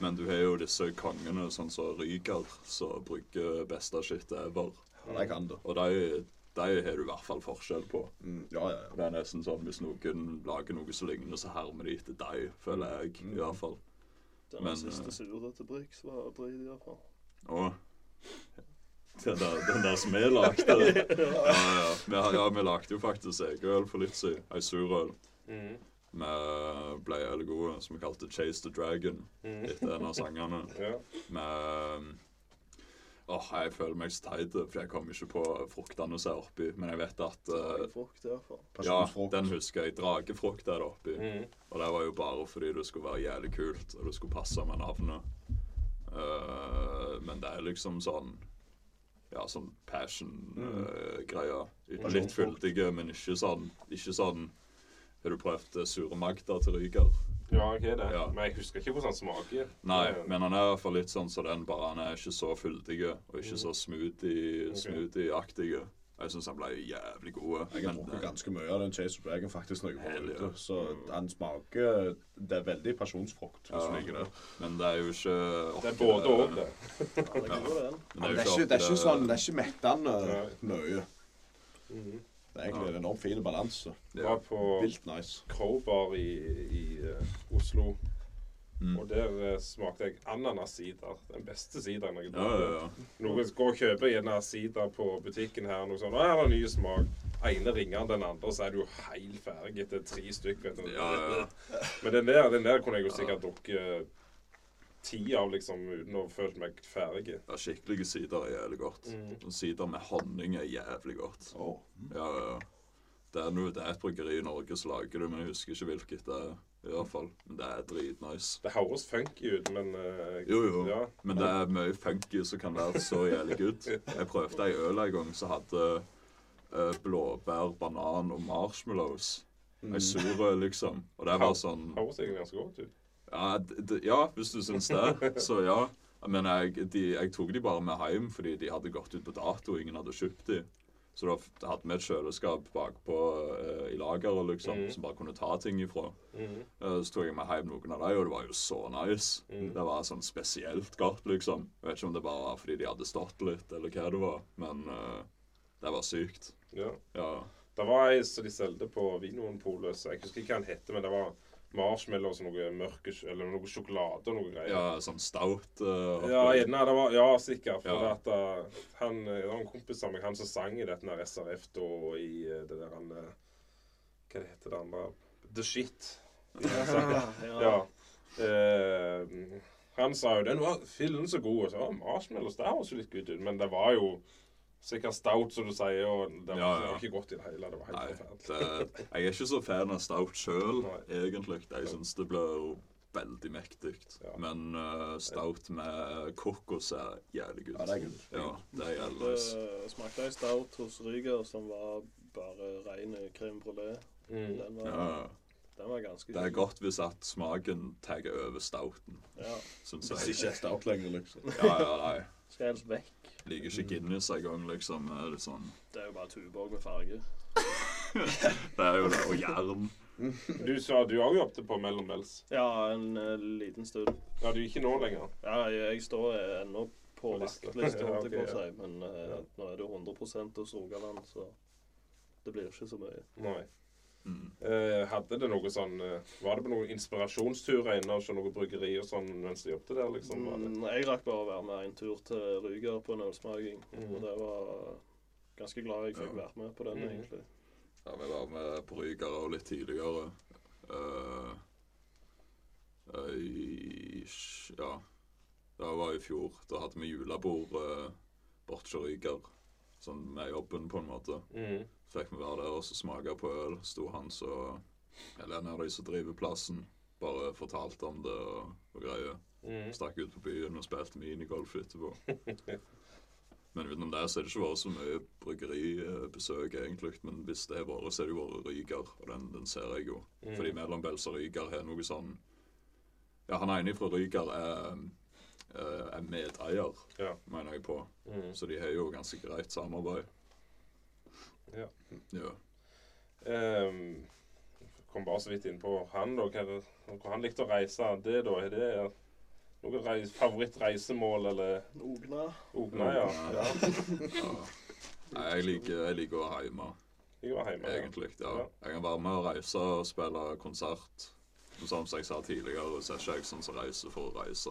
Speaker 5: Men du har jo disse kongene, sånn som Ryger, som bruker beste shit ever.
Speaker 2: Jeg kan det.
Speaker 5: Og de, de har du i hvert fall forskjell på.
Speaker 2: Mm, Ja, ja, ja.
Speaker 5: Og Det er nesten sånn hvis noen lager noe som ligner, så hermer de etter deg, føler jeg. I hvert fall.
Speaker 4: Den
Speaker 5: Men, eh,
Speaker 4: siste sure til Brix var drit, i hvert fall.
Speaker 5: Og den der, den der som vi lagde Ja, ja. Vi, har- ja, vi lagde jo faktisk egenøl for litt siden. Ei surøl.
Speaker 1: Mm.
Speaker 5: Vi ble jævlig gode, som vi kalte Chase the Dragon,
Speaker 1: Mm.
Speaker 5: etter en av sangene.
Speaker 1: Ja.
Speaker 5: med Åh, jeg føler meg så teit, for jeg kom ikke på fruktene som er oppi. Men jeg vet at eh,
Speaker 4: Frukt, i hvert fall.
Speaker 5: Ja,
Speaker 2: Pasjonsfrukt.
Speaker 5: den husker jeg. Dragefrukt er det oppi.
Speaker 1: Mm.
Speaker 5: Og det var jo bare fordi det skulle være jævlig kult, og det skulle passe med navnet. Eh, men det er liksom sånn Ja, sånn passion-greia. Litt fyldige, men ikke sånn Ikke sånn Har du prøvd eh, Sure Magda til Ryger?
Speaker 1: ja, ok, det.
Speaker 5: Ja.
Speaker 1: Men jeg husker ikke hvordan den smaker. Eh,
Speaker 5: Nei,
Speaker 1: Det-
Speaker 5: men han er i hvert fall litt sånn som den, bare han er ikke så fyldig og ikke så
Speaker 1: Mm.
Speaker 5: smoothie-
Speaker 1: Ok.
Speaker 5: smoothie-aktig. Jeg syns han ble jævlig eh, god.
Speaker 2: Jeg har drukket ganske mye av den Chase of Dragon faktisk når jeg var
Speaker 5: Hell, ja.
Speaker 2: ute. Så den smaker Det er veldig pasjonsfrukt, hvis du
Speaker 5: Ja.
Speaker 2: liker det.
Speaker 5: men det er jo ikke
Speaker 1: Det er både og, det.
Speaker 4: Ja, det er god, den.
Speaker 5: Men
Speaker 2: Men det er ikke, det er ikke sånn, det er ikke mettende
Speaker 1: Nei.
Speaker 2: nøye.
Speaker 1: Mm.
Speaker 2: Det er egentlig en enormt fin balanse.
Speaker 1: Var
Speaker 5: ja.
Speaker 1: på
Speaker 2: Vilt nice.
Speaker 1: Crowbar i, i eh, Oslo,
Speaker 5: Mm.
Speaker 1: og der eh, smakte jeg ananas-sider. Den beste sideren jeg
Speaker 5: Ja, ja, ja.
Speaker 1: Noen går og kjøper gjerne sider på butikken her, noe sånt. Nå er det ny smak. Ene ringer den andre, så er du jo helt ferdig etter tre stykk, vet du.
Speaker 5: ja, ja, ja.
Speaker 1: Men den der, den der kunne jeg jo sikkert drukket ti av, liksom, uten å følt meg ferdig.
Speaker 5: ja skikkelige sider er jævlig godt.
Speaker 1: Mm.
Speaker 5: Og Sider med honning er jævlig godt.
Speaker 2: Åh.
Speaker 5: Ja, ja, ja. Det er, noe, det er et bryggeri i Norge som lager det, men jeg husker ikke hvilket det er. I hvert fall. Men det er dritnice.
Speaker 1: Det høres funky ut, men eh,
Speaker 5: Jo, jo.
Speaker 1: Ja.
Speaker 5: Men det er mye funky som kan være så jævlig good. Jeg prøvde ei øl en gang som hadde eh, blåbær, banan og marshmallows. Ei surøl, liksom. Og det var sånn
Speaker 1: høres egentlig ganske godt ut.
Speaker 5: Ja, d- d- ja hvis du syns det, så ja. Men jeg, de, jeg tok de bare med hjem fordi de hadde gått ut på dato. Ingen hadde kjøpt de. Så da f- hadde vi et kjøleskap bakpå eh, i lageret, liksom,
Speaker 1: Mhm.
Speaker 5: som bare kunne ta ting ifra.
Speaker 1: Mhm.
Speaker 5: Eh, Så tok jeg med hjem noen av dem, og det var jo så nice.
Speaker 1: Mm.
Speaker 5: Det var sånn spesielt godt, liksom. Jeg vet ikke om det bare var fordi de hadde stått litt, eller hva det var, men eh, det var sykt.
Speaker 1: Ja.
Speaker 5: Ja.
Speaker 1: Det var ei som de solgte på Vinmonopolet, så jeg husker ikke hva den hette, men det var marshmallows og noe mørke sj- Eller noe sjokolade og noe greier.
Speaker 5: ja sånn stout. eh,
Speaker 1: Ja,
Speaker 5: opplegg.
Speaker 1: gjerne, det var, ja sikkert. For
Speaker 5: Ja.
Speaker 1: at uh, han, eh, det var en kompis av meg, han som sang i dette her SRF da, og i eh, det der han eh, Hva det heter det andre The Shit. Ja. ja. Eh, han sa jo den var fillen så god. Og så var marshmallows der også litt good ut, men det var jo sikkert stout, som du sier, og det var,
Speaker 5: Ja, ja.
Speaker 1: det var ikke godt i det hele. Det var
Speaker 5: Nei,
Speaker 1: helt
Speaker 5: det,
Speaker 1: forferdelig.
Speaker 5: jeg er ikke så fan av stout sjøl,
Speaker 1: Nei.
Speaker 5: egentlig. Jeg syns det blir veldig mektig.
Speaker 1: Ja.
Speaker 5: Men eh, stout med kokos er jævlig godt.
Speaker 2: Ja, det er good.
Speaker 5: Ja, det er jævlig nice.
Speaker 4: Det Eh, smakte en stout hos Ryger som var bare ren crème brulé.
Speaker 1: Mm.
Speaker 4: Den var,
Speaker 5: Ja,
Speaker 4: den var ganske
Speaker 5: det er
Speaker 4: god.
Speaker 5: godt hvis at smaken tar over stouten.
Speaker 4: Ja.
Speaker 5: Synes
Speaker 2: Hvis
Speaker 5: jeg.
Speaker 2: ikke er stout lenger, liksom.
Speaker 5: Ja, ja, nei.
Speaker 4: Skal helst vekk.
Speaker 5: Liker ikke Guinness engang, liksom. Er litt sånn.
Speaker 4: Det er jo bare tuborg med farge.
Speaker 5: Det er jo det. Og jern.
Speaker 1: Du sa du òg jobbet på mellombels.
Speaker 4: Ja, en eh, liten stund.
Speaker 1: Ja, du er ikke nå lenger.
Speaker 4: Ja, jeg, jeg står eh, ennå på
Speaker 1: På lista.
Speaker 4: vaktlista, holdt jeg
Speaker 1: Ja,
Speaker 4: på
Speaker 1: ok,
Speaker 4: å si. Men eh,
Speaker 1: Ja.
Speaker 4: nå er det 100 hos Rogaland, så det blir ikke så mye.
Speaker 1: Nei.
Speaker 5: Mm.
Speaker 1: Eh, hadde det noe sånn eh, Var det på noen inspirasjonsturer inne og så noe bryggeri og sånn mens du jobbet der, liksom? Var det?
Speaker 4: Mm, jeg rakk bare å være med en tur til Ryger på en ølsmaking,
Speaker 1: Mhm.
Speaker 4: og det var ganske glad jeg fikk være med på den,
Speaker 1: Mhm.
Speaker 4: egentlig.
Speaker 5: Ja, vi var med på Ryger og litt tidligere. Eh, eh, i, ja. Det var i fjor. Da hadde vi julebord uh, borte til Ryger. Sånn med jobben, på en måte.
Speaker 1: Mm.
Speaker 5: Så fikk vi være der og så smake på øl. Sto han så Eller en av de som driver plassen, bare fortalte om det og, og greier.
Speaker 1: Mm.
Speaker 5: Stakk ut på byen og spilte minigolf etterpå. Men utenom det så er det ikke vært så mye bryggeribesøk, egentlig. Men hvis det har vært, så er det jo vært Ryger, og den, den ser jeg jo.
Speaker 1: Mm.
Speaker 5: Fordi Mellombels og Ryger har noe sånn Ja, han ene fra Ryger er, er medeier,
Speaker 1: Ja.
Speaker 5: mener jeg på.
Speaker 1: Mm.
Speaker 5: Så de har jo ganske greit samarbeid.
Speaker 1: Ja.
Speaker 5: ja.
Speaker 1: Ehm, kom bare så vidt inn på han, da. Hva, er det- hvor han likte å reise. Det, da? Er det noe reis, favorittreisemål eller
Speaker 4: Ogna.
Speaker 1: Ogna, ja?
Speaker 5: ja. Nei, jeg liker, jeg liker å være hjemme,
Speaker 1: Jeg var hjemme. Ja.
Speaker 5: egentlig. Ja.
Speaker 1: Ja.
Speaker 5: Jeg kan være med og reise og spille konsert. Men Som jeg sa tidligere, så er ikke jeg sånn som reiser for å reise.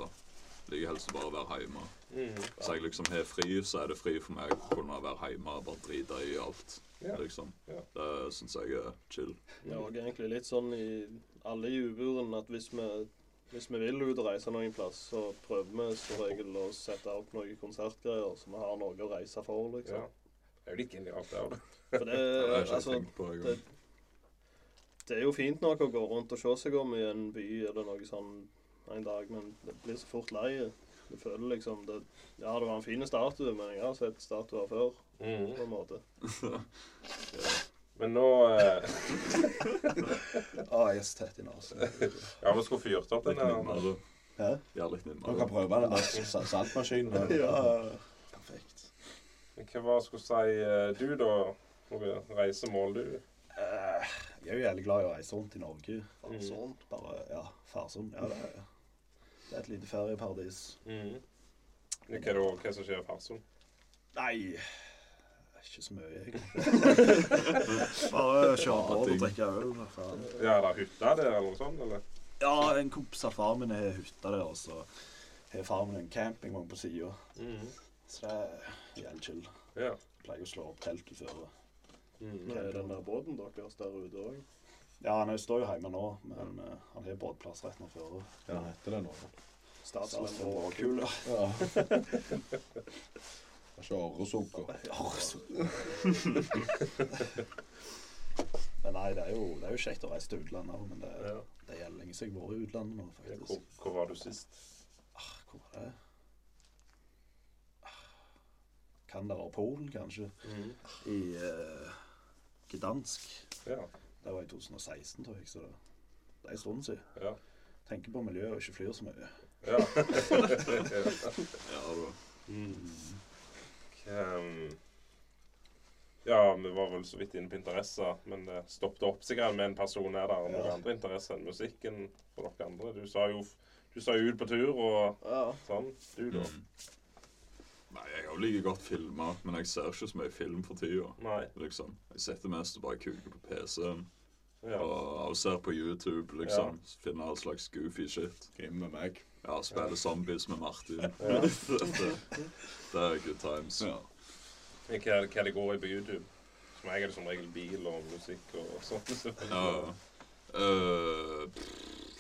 Speaker 5: Jeg liker helst å bare være hjemme.
Speaker 1: Mhm.
Speaker 5: Hvis jeg liksom har fri, så er det fri for meg å kunne være hjemme og bare drite i alt.
Speaker 1: Ja.
Speaker 5: Liksom.
Speaker 1: Ja. Eh,
Speaker 5: Det syns jeg er chill.
Speaker 4: Det var egentlig litt sånn i alle i uburen at hvis vi, hvis vi vil ut og reise noen plass, så prøver vi som regel å sette opp noen konsertgreier, så vi har noe å reise for,
Speaker 1: ja.
Speaker 4: liksom.
Speaker 1: Det er jo litt genialt, det òg, da.
Speaker 4: For det,
Speaker 5: Det har jeg ikke
Speaker 4: altså,
Speaker 5: tenkt på jeg.
Speaker 4: det, det er jo fint nok å gå rundt og se seg om i en by eller noe sånn en dag, men det blir så fort lei. Du føler liksom det, Ja, det var en fin statue, men jeg har sett statuer før.
Speaker 1: Mhm.
Speaker 4: på en måte.
Speaker 1: Men nå eh,
Speaker 3: Ah, jeg er så tett i nesen.
Speaker 1: Ja, vi skulle fyrt opp den
Speaker 5: Litt
Speaker 1: der.
Speaker 5: nimmere.
Speaker 3: Hæ?
Speaker 5: Ja, litt
Speaker 2: Man kan
Speaker 5: nimmere.
Speaker 2: prøve den der sa- saltmaskinen. der.
Speaker 3: Ja. Perfekt.
Speaker 1: Men Hva var det jeg skulle si eh, du, da? Noe reisemål, du?
Speaker 3: Eh, jeg er jo jævlig glad i å reise rundt i Norge.
Speaker 4: Farsund.
Speaker 3: Bare, ja, Farsund. Ja, det er, det er et lite ferieparadis.
Speaker 1: Mhm. Hva, er det, hva som skjer i Farsund?
Speaker 3: Nei, ikke så mye, jeg. Bare kjøre på og drikke øl. hva faen.
Speaker 1: Ja, er det hytta der, eller noe sånt? Eller?
Speaker 3: Ja, en kompis av faren min har hytta der, og så har faren min en campingvogn på sida. Så det er jævlig chill.
Speaker 1: Ja.
Speaker 3: Pleier å slå opp teltet før.
Speaker 1: Mhm.
Speaker 4: Men er den der båten deres der ute òg?
Speaker 3: Ja, han står jo hjemme nå, men eh, han har båtplass rett nå før.
Speaker 2: Hva heter det nå?
Speaker 4: Statslemmer og
Speaker 3: kul.
Speaker 2: Ja. Ikke åresukker.
Speaker 3: Men nei, det er, jo, det er jo kjekt å reise til utlandet òg, men det,
Speaker 1: Ja.
Speaker 3: det er lenge siden jeg har vært i utlandet nå,
Speaker 1: Hvor,
Speaker 3: faktisk.
Speaker 1: hvor var du sist?
Speaker 3: Ah, Hvor var det? Ah, Kan det være Polen, kanskje?
Speaker 1: Mhm.
Speaker 3: I eh, Gdansk.
Speaker 1: Ja.
Speaker 3: Det var i 2016, tror jeg, så det, det er en stund siden.
Speaker 1: Ja.
Speaker 3: Tenker på miljøet og ikke flyr så mye.
Speaker 1: Ja.
Speaker 5: Ja, da.
Speaker 1: Mm. Ehm, ja, vi var vel så vidt inne på interesser, men det stoppet opp sikkert med en person her der, og noen
Speaker 3: Ja.
Speaker 1: andre interesser enn musikken for dere andre. Du sa jo, du sa jo ut på tur og
Speaker 4: Ja.
Speaker 1: sånn, du da.
Speaker 5: Mm. Nei, jeg har jo like godt filma, men jeg ser ikke så mye film for tida.
Speaker 1: Nei,
Speaker 5: Liksom. Jeg sitter mest og bare kuker på PC-en
Speaker 1: ja.
Speaker 5: og, og ser på YouTube, liksom. Finner all slags goofy shit.
Speaker 2: Grim med meg.
Speaker 5: Ja, spiller zombies med Martin. det, det er good times.
Speaker 2: Ja.
Speaker 1: Men Hva, hva er det går i på YouTube? For meg er det som regel bil og musikk og sånt.
Speaker 5: Ja, ja. Øh, pff,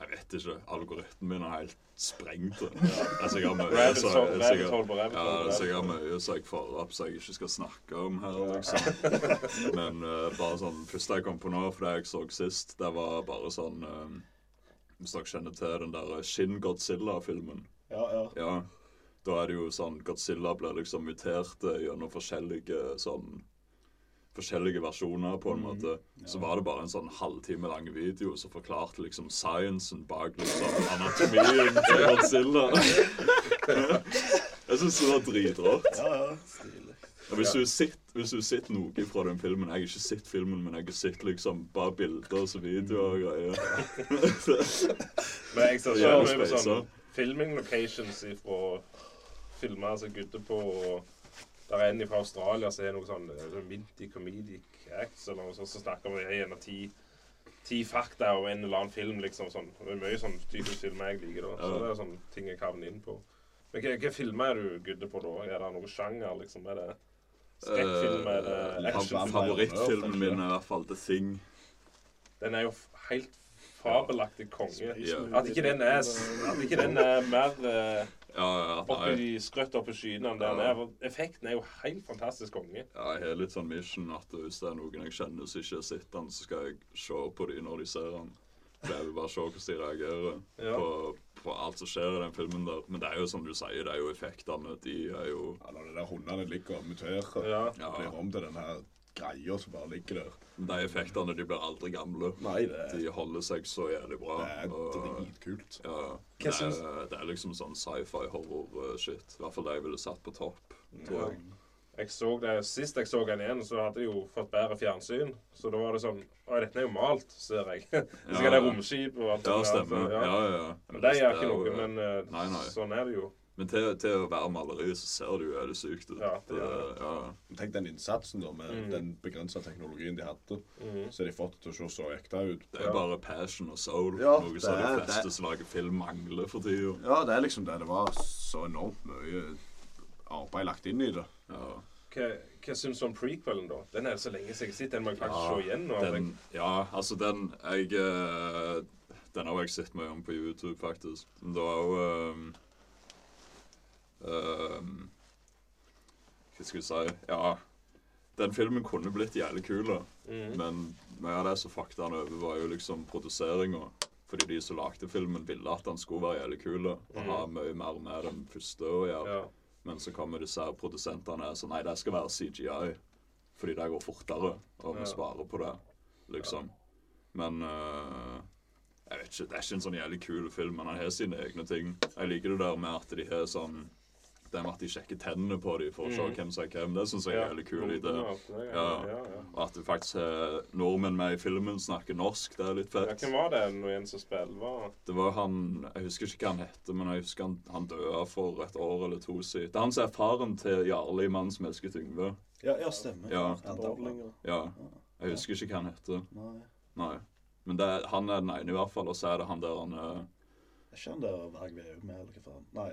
Speaker 5: jeg vet ikke. Algoritmen min er helt sprengt. da. Altså, jeg har mye
Speaker 1: Rabbit
Speaker 5: så-
Speaker 1: hole,
Speaker 5: så jeg-
Speaker 1: rabbit hole på rabbit
Speaker 5: Ja,
Speaker 1: hole. på
Speaker 5: det er
Speaker 1: rabbit
Speaker 5: sikkert
Speaker 1: hole.
Speaker 5: mye som jeg får opp som jeg ikke skal snakke om her, liksom. Men eh, bare sånn første jeg kom på nå, for det jeg så sist, det var bare sånn eh, Hvis dere kjenner til den der Shin Godzilla-filmen,
Speaker 3: Ja, ja.
Speaker 5: ja. Da er det jo sånn Godzilla blir liksom mutert eh, gjennom forskjellige sånn Forskjellige versjoner, på en
Speaker 3: Mm,
Speaker 5: måte. Så var det bare en sånn halvtime lang video som forklarte liksom sciencen bak liksom anatomien til Godzilla. Jeg syns det var dritrått.
Speaker 3: ja, ja. Stilig.
Speaker 5: Og hvis du sitter hvis du sitter noe fra den filmen Jeg har ikke sett filmen, men jeg har sett liksom bare bilder og så videoer og
Speaker 3: Mm.
Speaker 5: greier.
Speaker 1: Men jeg ser
Speaker 5: Ja,
Speaker 1: selv mye på
Speaker 5: space,
Speaker 1: sånn filming locations fra filmer som gutter på og der er en fra Australia som er noe sånn eh, sånn minty comedic acts eller noe sånt, som snakker om en av ti, ti fakta om en eller annen film, liksom sånn. Det er mye sånn typisk filmer jeg liker, da. Så
Speaker 5: Ja.
Speaker 1: det er sånn ting jeg havner inn på. Men hva, hva filmer er du gudde på, da? Er det noen sjanger, liksom? Er det skrekkfilm? Er
Speaker 5: Eh,
Speaker 1: det
Speaker 5: fa-
Speaker 1: actionfilm?
Speaker 5: Favorittfilmen min er i hvert fall The Thing.
Speaker 1: Den er jo f- helt fabelaktig konge.
Speaker 5: Ja.
Speaker 1: At ikke den er, at ikke den er mer eh,
Speaker 5: Ja, ja,
Speaker 1: oppe
Speaker 5: nei.
Speaker 1: i skrøtt oppe i skyene enn den er. Effekten er jo helt fantastisk konge.
Speaker 5: Ja, jeg har litt sånn mission at hvis det er noen jeg kjenner som ikke har sett den, så skal jeg se på dem når de ser den. For jeg vil bare se hvordan de reagerer
Speaker 1: Ja.
Speaker 5: på, på alt som skjer i den filmen der. Men det er jo som du sier, det er jo effektene. De er jo
Speaker 2: Ja, når de der hundene ligger og muterer
Speaker 1: Ja.
Speaker 5: Ja,
Speaker 2: og blir om til den her greia som bare ligger der.
Speaker 5: de effektene, de blir aldri gamle.
Speaker 2: Nei, det,
Speaker 5: De holder seg så jævlig bra.
Speaker 2: det er
Speaker 5: og-
Speaker 2: dritkult.
Speaker 5: Ja, det,
Speaker 1: Hva syns-
Speaker 5: er, det er liksom sånn sci-fi horror-shit. I hvert fall det jeg ville satt på topp.
Speaker 1: Ja. Jeg så det, Sist jeg så den igjen, så hadde jeg jo fått bedre fjernsyn. Så da var det sånn Å, dette er jo malt, ser jeg. Så skal det romskip og alt
Speaker 5: Ja,
Speaker 1: der,
Speaker 5: stemmer.
Speaker 1: så,
Speaker 5: Ja, ja. ja.
Speaker 1: Men det gjør ikke
Speaker 5: er jo-
Speaker 1: noe, men eh,
Speaker 5: Nei, nei.
Speaker 1: sånn er det jo.
Speaker 5: Men til, til å være maleri, så ser du jo er det sykt ut.
Speaker 1: Ja, det gjør
Speaker 5: ja.
Speaker 2: Tenk den innsatsen da, med
Speaker 1: Mm.
Speaker 2: den begrensa teknologien de hadde.
Speaker 4: Mm.
Speaker 1: Mhm.
Speaker 2: Så har de fått det til å se så ekte ut.
Speaker 5: Det er bare passion og soul.
Speaker 2: Ja,
Speaker 5: noe
Speaker 2: det
Speaker 5: som de
Speaker 2: er-
Speaker 5: fleste
Speaker 2: det-
Speaker 5: som lager film, mangler for tida.
Speaker 2: Ja, det er liksom det. Det var så enormt mye arbeid lagt inn i det.
Speaker 5: Ja.
Speaker 1: Hva, hva syns du om prequelen, da? Den er så lenge siden jeg har sett. Den må jeg faktisk
Speaker 5: Ja,
Speaker 1: se igjen nå.
Speaker 5: Den, ja, altså den jeg, eh, Den har jeg sett mye om på YouTube, faktisk. Men Det var jo ehm, ehm, Hva skal jeg si Ja. Den filmen kunne blitt jævlig kul, da.
Speaker 1: Mhm.
Speaker 5: men mye av det som fucket han over, var jo liksom produseringa. Fordi de som lagde filmen, ville at den skulle være jævlig kul da,
Speaker 1: Mhm.
Speaker 5: og ha mye mer med den første å gjøre.
Speaker 1: Ja.
Speaker 5: Men så kommer disse her produsentene og sier nei, det skal være CGI. Fordi det går fortere, og vi
Speaker 1: Ja.
Speaker 5: sparer på det, liksom. Men øh, jeg vet ikke, det er ikke en sånn jævlig kul film, men han har sine egne ting. Jeg liker det der med at de har sånn Det med at de sjekker tennene på dem for å se
Speaker 1: Mhm.
Speaker 5: hvem som er hvem. Det syns jeg er en jævlig kul idé.
Speaker 1: Ja, ja,
Speaker 5: Ja.
Speaker 1: ja, ja.
Speaker 5: Og at det faktisk er nordmenn med i filmen snakker norsk, det er litt
Speaker 1: Ja,
Speaker 5: fett.
Speaker 1: hvem var det nå igjen som spilte? Var
Speaker 5: Det var han Jeg husker ikke hva han hette, men jeg husker han, han døde for et år eller to siden. Det er han som er faren til Jarle i 'Mannen som elsket Yngve'.
Speaker 3: Ja, ja stemmer.
Speaker 5: Ja.
Speaker 3: det var bra.
Speaker 4: Dårlinger.
Speaker 5: Ja. Jeg husker ikke hva han heter.
Speaker 3: Nei.
Speaker 5: Nei. Men det, er- han er den ene, i hvert fall. Og så er det han der han eh,
Speaker 3: Er ikke han der Varg Veum med, eller hva faen? Nei.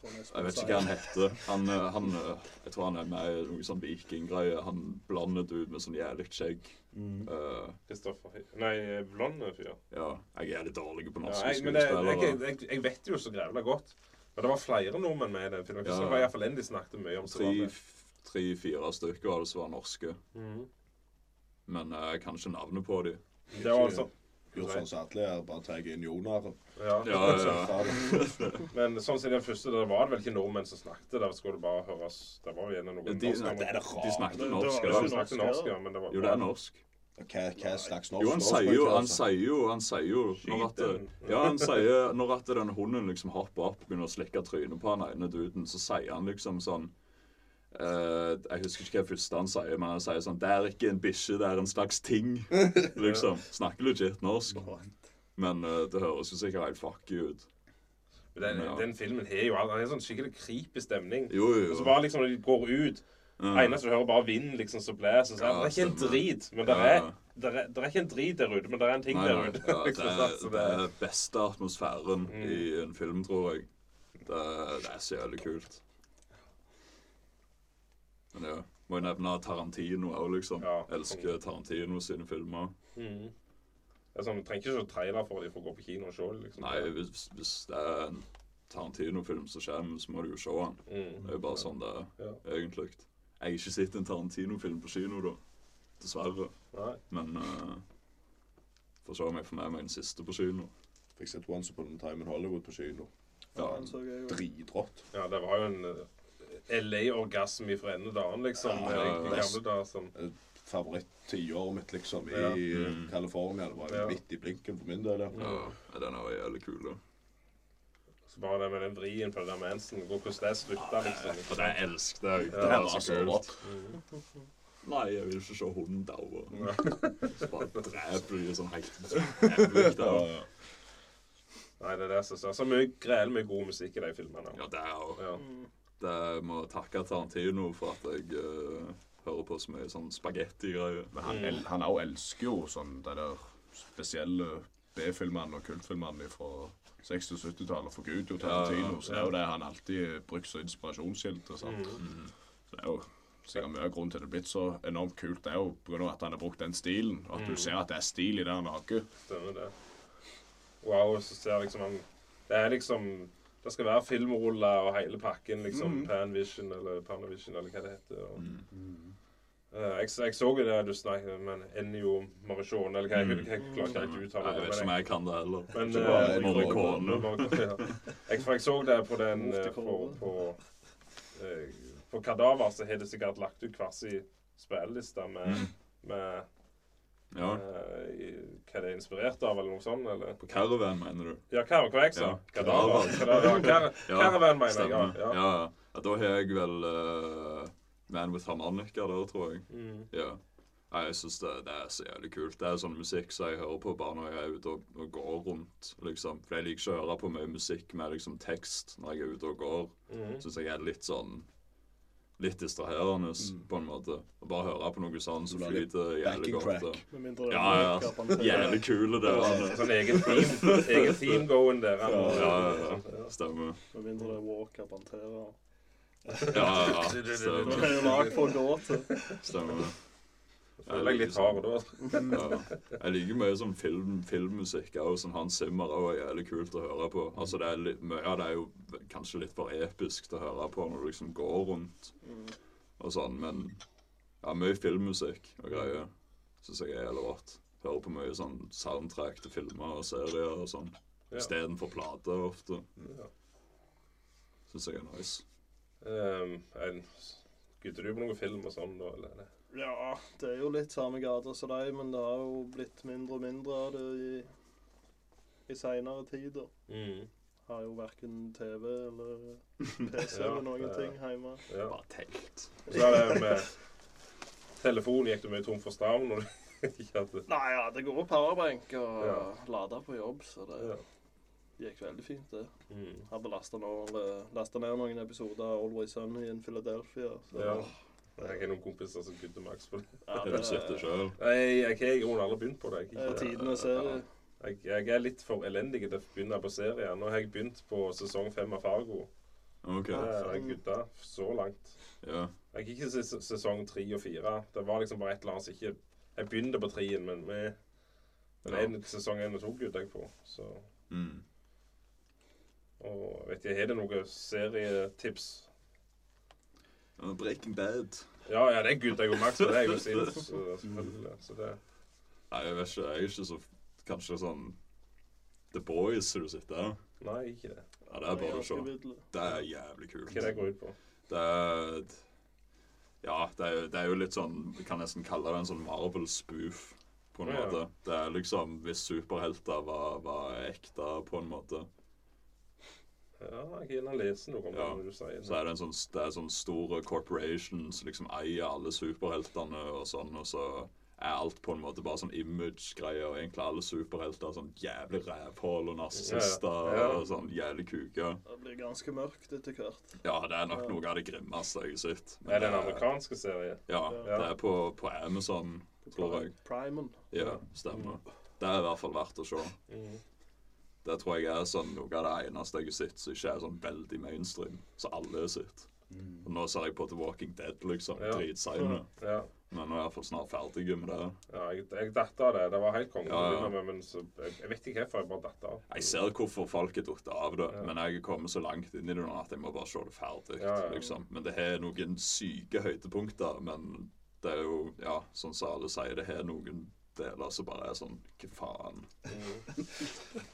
Speaker 4: Tror jeg
Speaker 5: Jeg vet ikke hva han heter. Han, eh, han eh, Jeg tror han er med i noe sånn vikinggreie. Han blandet ut med sånn jævlig skjegg.
Speaker 3: Mm.
Speaker 5: Eh,
Speaker 1: Kristoffer Nei, blonde fyr.
Speaker 5: ja. Jeg er litt dårlig på
Speaker 1: Ja,
Speaker 5: norske
Speaker 1: jeg, men det, jeg,
Speaker 5: skuespillere.
Speaker 1: jeg, jeg vet jo så grævla godt. Men det var flere nordmenn med i den filmen.
Speaker 5: Ja.
Speaker 1: Så det var iallfall en de snakket mye om. som var med.
Speaker 5: Tre-fire stykker av det som var norske.
Speaker 1: Mhm.
Speaker 5: Men eh, jeg kan ikke navnet på dem.
Speaker 1: Det var altså
Speaker 2: Gjort sånn som alle er, bare tar inn Jonar.
Speaker 1: ja.
Speaker 5: Ja, ja, ja.
Speaker 1: Men sånn som i den første, der var det vel ikke nordmenn som snakket. Der skulle det bare høres Det var jo gjerne noen
Speaker 5: De,
Speaker 1: norske
Speaker 5: de, de
Speaker 4: Det-
Speaker 5: snakket
Speaker 4: det var-
Speaker 5: norsk.
Speaker 1: Ja, de
Speaker 5: eller?
Speaker 1: snakket norsk, ja, men det var
Speaker 5: Jo, det er norsk.
Speaker 2: Hva, hva slags norsk
Speaker 5: Jo, han sier jo Han sier jo, han sier jo når at, eh,
Speaker 1: Skyt den.
Speaker 5: Ja, han sier når at den hunden liksom hopper opp og begynner å slikke trynet på han ene duden, så sier han liksom sånn eh, jeg husker ikke hva første han sier, men han sier sånn Det er ikke en bikkje, det er en slags ting. Liksom. Snakker legit norsk. Men eh, det høres jo sikkert helt fucky ut.
Speaker 1: Men Den,
Speaker 5: Ja.
Speaker 1: den filmen har jo all- den er sånn skikkelig creepy stemning.
Speaker 5: Jo, jo,
Speaker 1: Og så
Speaker 5: jo.
Speaker 1: bare liksom når de går ut
Speaker 5: Ja.
Speaker 1: Eneste du hører, bare vind liksom som blåser. så
Speaker 5: Ja,
Speaker 1: det er ikke en
Speaker 5: stemmer.
Speaker 1: drit. Men det
Speaker 5: Ja.
Speaker 1: er, det er, det er ikke en drit der ute, men det er en ting
Speaker 5: Nei,
Speaker 1: der
Speaker 5: nei.
Speaker 1: ute.
Speaker 5: Ja, det,
Speaker 1: Ikke
Speaker 5: er,
Speaker 1: sant? Så
Speaker 5: det
Speaker 1: det- Mm.
Speaker 5: er beste atmosfæren i en film, tror jeg. Det, er- det er så jævlig kult. Men ja, må jo nevne Tarantino òg, liksom.
Speaker 1: Ja.
Speaker 5: Elsker Tarantino sine filmer.
Speaker 1: Mhm. Det er sånn, Du trenger ikke se trailer for dem for å gå på kino og se det, liksom.
Speaker 5: Nei, hvis, hvis det er en Tarantino-film som kommer, så må du jo se den.
Speaker 1: Mhm.
Speaker 5: Det er jo bare sånn det er,
Speaker 1: Ja.
Speaker 5: egentlig. Jeg har ikke sett en Tarantino-film på kino, da. Dessverre.
Speaker 1: Nei.
Speaker 5: Men uh, får se om jeg får med meg den siste på kino.
Speaker 2: Fikk sett Once Upon a Time in Hollywood på kino.
Speaker 5: Ja,
Speaker 4: Den så jeg jo.
Speaker 2: Dritrått.
Speaker 1: Ja, det var jo en eh, LA-orgasme ifra ende til annen, liksom.
Speaker 2: Ja,
Speaker 1: med de
Speaker 5: ja, ja.
Speaker 1: gamle sånn. der som
Speaker 2: Favoritt-tiåret mitt, liksom, i
Speaker 1: Ja.
Speaker 5: Mm.
Speaker 2: California. Det var jo
Speaker 1: Ja.
Speaker 2: midt i blinken for min del. Ja.
Speaker 5: ja, den er jo jævlig kul, da.
Speaker 1: Så bare det med den vrien på det der med Ensen, hvor- hvordan det slutta,
Speaker 5: For
Speaker 1: liksom.
Speaker 5: det elsket jeg.
Speaker 1: Ja,
Speaker 5: Det var
Speaker 2: altså,
Speaker 5: så kult. Nei, jeg vil ikke se hunden daue. Så bare dreper de sånn helt jævlig daue.
Speaker 2: Ja,
Speaker 1: Nei, det er det som er så- Så mye grell med god musikk i de filmene.
Speaker 5: Ja, det er jo
Speaker 1: Ja.
Speaker 5: Det må jeg takke Tarantino for at jeg eh, hører på så mye sånn spagettigreier.
Speaker 2: Men han, el han også elsker jo sånn de der spesielle B-filmene og kultfilmene fra 60- og 70-tallet. For Gud og
Speaker 5: Ja,
Speaker 2: Tarantino,
Speaker 5: ja,
Speaker 2: så er jo det han alltid brukt som inspirasjonskilde. sant? Så det er jo sikkert mye av grunnen til det er blitt så enormt kult. Det er jo på grunn av at han har brukt den stilen, og at du ser at det er stil i det han lager.
Speaker 1: Stemmer det. Wow, så ser jeg liksom han Det er liksom Det skal være filmruller og hele pakken, liksom. Panvision eller Panavision eller hva det heter. Og,
Speaker 5: Mm.
Speaker 1: Eh, jeg, jeg så jo det du snakket med Ennio Maricione, eller hva jeg, jeg, jeg klarer ikke å uttale
Speaker 5: Nei, jeg
Speaker 1: det.
Speaker 5: vet ikke om jeg kan Mm. det heller.
Speaker 1: Men
Speaker 5: Så
Speaker 1: eh,
Speaker 5: bare
Speaker 1: jeg-
Speaker 5: Morricone.
Speaker 1: Ja. Jeg, for jeg så det på den eh, på, på, eh, på Kadaver, så har de sikkert lagt ut hver sin spilleliste med, med
Speaker 5: Mm. Ja.
Speaker 1: eh, i- hva det er inspirert av, eller noe sånt. Eller?
Speaker 5: På Caravan, mener du?
Speaker 1: Ja, Kar hva jeg sa?
Speaker 5: Ja,
Speaker 1: Kadaver. Kadaver. Kar- Caravan, mener jeg. Ja.
Speaker 5: Stemmer.
Speaker 1: ja.
Speaker 5: Ja, ja. ja. Da har jeg vel eh, Man with Harmonica der, tror jeg.
Speaker 1: Mm.
Speaker 5: Ja. Nei, jeg syns det, det er så jævlig kult. Det er sånn musikk som jeg hører på bare når jeg er ute og, og går rundt. liksom. For jeg liker ikke å høre på mye musikk med liksom tekst når jeg er ute og går.
Speaker 1: Mhm.
Speaker 5: Syns jeg er litt sånn Litt distraherende,
Speaker 1: Mm.
Speaker 5: på en måte. Å bare høre på noe sånn som
Speaker 2: Du lager
Speaker 5: flyter jævlig
Speaker 2: backing
Speaker 5: godt.
Speaker 2: track.
Speaker 5: da.
Speaker 4: Med mindre
Speaker 5: Ja, ja.
Speaker 4: Pantera.
Speaker 5: Jævlig kule det var.
Speaker 1: Sånn egen team, egen team going der.
Speaker 5: Ja,
Speaker 1: Ja.
Speaker 5: ja, ja. Stemmer.
Speaker 4: Med mindre det er Walker Pantera.
Speaker 5: Ja, ja, ja.
Speaker 4: Det
Speaker 5: Stemmer.
Speaker 4: er jo lag for å gå til.
Speaker 5: Stemmer.
Speaker 1: Føler jeg litt hard da.
Speaker 5: Ja. Jeg liker mye sånn film, filmmusikk òg. Sånn Hans Zimmer også er jævlig kult å høre på. Altså, det er litt, Mye av det er jo kanskje litt for episk til å høre på når du liksom går rundt og sånn, men ja, mye filmmusikk og greier syns jeg er jævlig rått. Hører på mye sånn soundtrack til filmer og serier og sånn
Speaker 1: Ja.
Speaker 5: istedenfor plater ofte.
Speaker 1: Ja.
Speaker 5: Syns jeg er nice.
Speaker 1: Um, en- Gutter du på noen film og sånn, da? Eller?
Speaker 4: Ja, det er jo litt samme gata som deg, men det har jo blitt mindre og mindre av det i, i seinere tider.
Speaker 1: Mm.
Speaker 4: Har jo verken TV eller PC
Speaker 1: Ja,
Speaker 4: eller noen
Speaker 1: det-
Speaker 4: ting hjemme.
Speaker 1: Ja.
Speaker 5: Bare telt.
Speaker 1: Og Så er det med telefonen gikk du mye tom for strøm når du ikke hadde
Speaker 4: Nei ja, det går powerbank og
Speaker 1: Ja.
Speaker 4: lade på jobb, så det
Speaker 1: ja.
Speaker 4: gikk veldig fint, det.
Speaker 1: Mm.
Speaker 4: Hadde lasta ned noen episoder av Always Sunny in Philadelphia. Så,
Speaker 1: ja. Jeg har noen kompiser som gudde maks på det.
Speaker 4: Ja,
Speaker 5: Du sitter sjøl.
Speaker 1: Nei, jeg har i grunnen aldri begynt på det. Jeg,
Speaker 4: er
Speaker 1: har ikke-
Speaker 4: tidenes serie.
Speaker 1: jeg, jeg er litt for elendig til å begynne på serier. Nå har jeg begynt på sesong fem av Fargo.
Speaker 5: OK.
Speaker 1: Det er jeg
Speaker 4: sånn.
Speaker 1: gudda så langt.
Speaker 5: Ja.
Speaker 1: Jeg gikk ikke ses sesong tre og fire. Det var liksom bare et eller annet som ikke Jeg begynte på treen, men vi men
Speaker 5: Ja.
Speaker 1: en, sesong én og to gudda jeg på. Så
Speaker 5: Mm.
Speaker 1: Og vet jeg, Har du noen serietips?
Speaker 5: Ja, Breaking Bad.
Speaker 1: Ja, ja, det er gudda jeg og Max på. Det er jo sint, så selvfølgelig. Så det
Speaker 5: Nei, jeg vet ikke. Jeg er ikke så Kanskje sånn The Boys som du sitter her.
Speaker 1: Nei, ikke det.
Speaker 5: Ja, det er bare å se.
Speaker 4: ganske vidle.
Speaker 5: Det er jævlig kult.
Speaker 1: Hva det går ut på?
Speaker 5: Det er Ja, det er, det er jo litt sånn Vi kan nesten kalle det en sånn Marvel-spoof, på en
Speaker 1: Ja.
Speaker 5: måte. Det er liksom hvis superhelter var, var ekte, på en måte.
Speaker 1: Ja, jeg kan gjerne lese noe om det
Speaker 5: Ja.
Speaker 1: når du sier
Speaker 5: Så
Speaker 1: det.
Speaker 5: er det en sånn, det er sånn store corporation som liksom eier alle superheltene og sånn, og så er alt på en måte bare sånn image-greier, og egentlig alle superhelter er sånn jævlig rævhål og narsissister
Speaker 1: Ja, ja.
Speaker 5: og sånn jævlig kuker.
Speaker 4: Det blir ganske mørkt etter hvert.
Speaker 5: Ja, det er nok noe av det grimmeste jeg har sett. Men
Speaker 1: Er det en
Speaker 5: det er-
Speaker 1: amerikansk serie? Ja.
Speaker 5: Ja, det er på, på Amazon, tror jeg.
Speaker 4: Primen.
Speaker 5: Ja, stemmer. Det er i hvert fall verdt å se. Mm.
Speaker 1: Mhm.
Speaker 5: Det tror jeg er sånn noe av det eneste jeg har sett som ikke er sånn veldig mainstream, som alle har sett. Og nå ser jeg på The Walking Dead, liksom.
Speaker 1: Mm. Ja.
Speaker 5: Dritseine.
Speaker 1: Ja.
Speaker 5: Men nå er jeg iallfall snart ferdig med det.
Speaker 1: ja jeg, jeg datt av det. Det var helt konge. til
Speaker 5: Ja,
Speaker 1: å
Speaker 5: ja.
Speaker 1: begynne med, Men så, jeg, jeg vet ikke hvorfor jeg bare datt av.
Speaker 5: Jeg ser hvorfor folk er datt av det,
Speaker 1: Ja.
Speaker 5: men jeg er kommet så langt inn i det nå at jeg må bare se det ferdig.
Speaker 1: Ja, ja.
Speaker 5: Liksom. Men det har noen syke høydepunkter. Men det er jo, ja, sånn som alle sier, det har noen deler som bare er sånn Hva faen?
Speaker 1: Mm.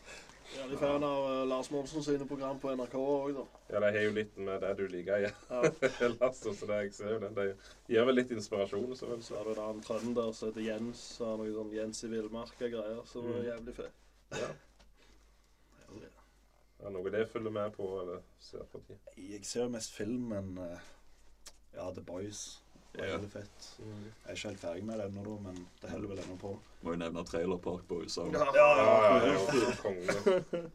Speaker 4: Ja, de er fan av eh, Lars Monsen sine program på NRK òg, da.
Speaker 1: Ja, De har jo litt med det du liker, ja. Ellers, så det, jeg ser jo den. De gir vel litt inspirasjon, så vel.
Speaker 4: Så er det da en trønder som heter Jens, og har noe sånn
Speaker 1: Mm.
Speaker 4: Jens i villmarka-greier, som er jævlig fett.
Speaker 1: Ja. Han noe det følger med på eller ser på tid.
Speaker 3: Jeg ser mest film, men eh, ja, The Boys var
Speaker 5: Ja.
Speaker 3: veldig fett. Jeg er ikke helt ferdig med det ennå, da, men det holder vel ennå på.
Speaker 5: Må jo nevne Trailer Park Boys òg.
Speaker 1: Ja, ja, ja. Konge.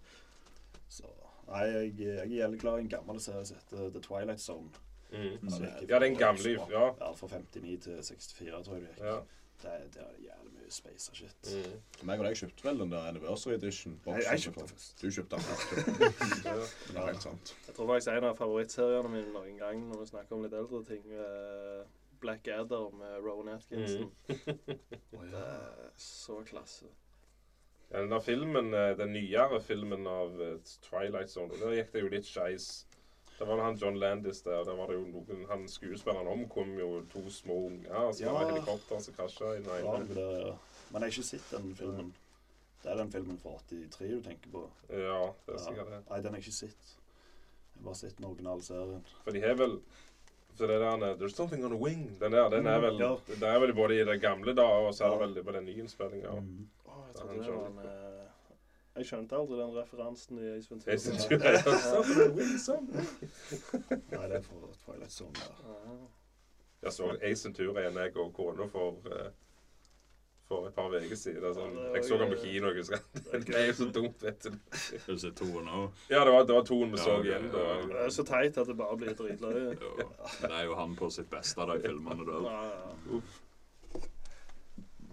Speaker 3: Så nei, jeg, jeg er veldig glad i en gammel serie som heter The Twilight Zone.
Speaker 1: Mm.
Speaker 3: som
Speaker 5: Mm.
Speaker 3: gikk
Speaker 1: Ja, den
Speaker 3: fra-
Speaker 1: gamle Ja.
Speaker 3: Ja, fra 59 til 64, tror jeg det gikk.
Speaker 1: ja.
Speaker 3: Det, det er jævlig mye space og shit.
Speaker 1: Mm.
Speaker 2: Meg og deg kjøpte vel den der Anniversary Edition?
Speaker 3: Jeg, jeg kjøpte den først.
Speaker 2: Du kjøpte den først.
Speaker 1: ja.
Speaker 2: Det er helt sant.
Speaker 4: Jeg tror faktisk en av favorittseriene mine noen gang når vi snakker om litt eldre ting, er eh, Black Adder med Rowan Atkinson.
Speaker 1: Mm.
Speaker 4: Det er så klasse.
Speaker 1: Ja, Den der filmen, eh, den nyere filmen av eh, Twilight Zone, der gikk det jo litt skeis. Det var han John Landis der, der var det jo noen, han skuespilleren omkom jo to små unger, så
Speaker 3: Ja.
Speaker 1: var det helikopter som krasja i den
Speaker 3: Det
Speaker 1: ene.
Speaker 3: var noe der, ja. Men jeg har ikke sett den filmen. Det er den filmen fra 83 du tenker på.
Speaker 1: Ja, det er
Speaker 3: Ja.
Speaker 1: sikkert det.
Speaker 3: Nei, den har jeg ikke sett. Jeg har bare sett den originale serien.
Speaker 1: For de har vel for det der, eh, There's something on the wing. Den der, den er vel,
Speaker 3: Ja.
Speaker 1: den er vel både i det gamle da, og så er det
Speaker 3: Ja.
Speaker 1: vel på den nye innspillinga.
Speaker 3: Mm.
Speaker 4: Å, jeg trodde det var en eh, Jeg skjønte aldri den referansen i Ace Ventura.
Speaker 1: Jeg synes jo det altså. er something on the wing, something.
Speaker 3: Nei, det er fra Twilight Zone. Ja.
Speaker 4: Ja.
Speaker 1: Jeg så Ace Ventura igjen, jeg og kona, for, eh, for et par uker siden. Sånn.
Speaker 4: Ja, det er
Speaker 1: Jeg så
Speaker 4: jo-
Speaker 1: den på kino. jeg husker. Det er jo så dumt, vet du.
Speaker 5: Er det to nå?
Speaker 1: Ja, det var, det var toen vi
Speaker 5: Ja,
Speaker 1: så
Speaker 5: ok,
Speaker 1: igjen. da.
Speaker 5: ja.
Speaker 4: Det er så teit at det bare blir dritløye.
Speaker 5: Jo. Det er jo han på sitt beste av de
Speaker 4: Ja,
Speaker 5: filmene der.
Speaker 4: ja.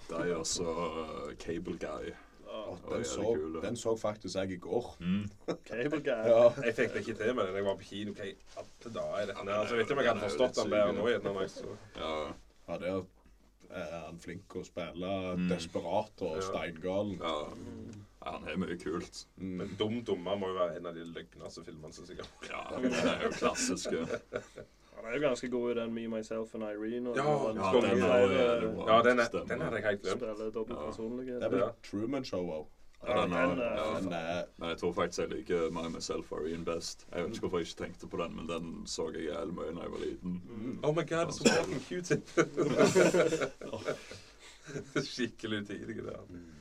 Speaker 5: De er også uh, Cable Guy.
Speaker 4: Ja.
Speaker 5: Oi, er
Speaker 2: Den
Speaker 5: det
Speaker 2: så,
Speaker 5: kul, da.
Speaker 2: den så faktisk jeg i går.
Speaker 5: Mm.
Speaker 4: Cable guy.
Speaker 2: Ja.
Speaker 1: Jeg fikk det ikke til med den. Jeg var på kino. Hva i alle dager er dette? her? Altså, jeg vet ikke om jeg hadde forstått den bedre nå. igjen, når jeg så-
Speaker 5: Ja.
Speaker 2: Ja, der er han flink å spille
Speaker 5: Mm.
Speaker 2: desperat og
Speaker 1: Ja.
Speaker 2: steingalen.
Speaker 5: ja.
Speaker 4: Mm.
Speaker 5: Han er mye kult.
Speaker 2: Mm.
Speaker 1: Men Dum Dummer må jo være en av de løgneste filmene som sikkert
Speaker 5: Ja, det er jo klassisk. Ja,
Speaker 4: Han er jo ganske god i den Me, Myself and Irene. Og
Speaker 1: Ja,
Speaker 4: den
Speaker 5: ja
Speaker 4: som
Speaker 5: den
Speaker 1: er-
Speaker 5: er jo
Speaker 4: spiller- eh,
Speaker 1: Ja, den, er,
Speaker 5: Stemmer.
Speaker 1: den hadde jeg helt glemt.
Speaker 4: spiller dobbelt
Speaker 5: Ja.
Speaker 4: personlighet.
Speaker 2: Det er vel
Speaker 1: Ja.
Speaker 2: Truman Show eh, òg.
Speaker 5: Ja, den er,
Speaker 4: Den er-
Speaker 1: eh,
Speaker 5: ja.
Speaker 2: Den er
Speaker 5: Men jeg tror faktisk jeg liker My Myself Irene best. Jeg vet ikke hvorfor jeg ikke tenkte på den, men den så jeg jævlig mye da jeg var liten.
Speaker 1: Oh my god, så fucking Q-tip! Skikkelig utidig, det. der.
Speaker 5: Mm.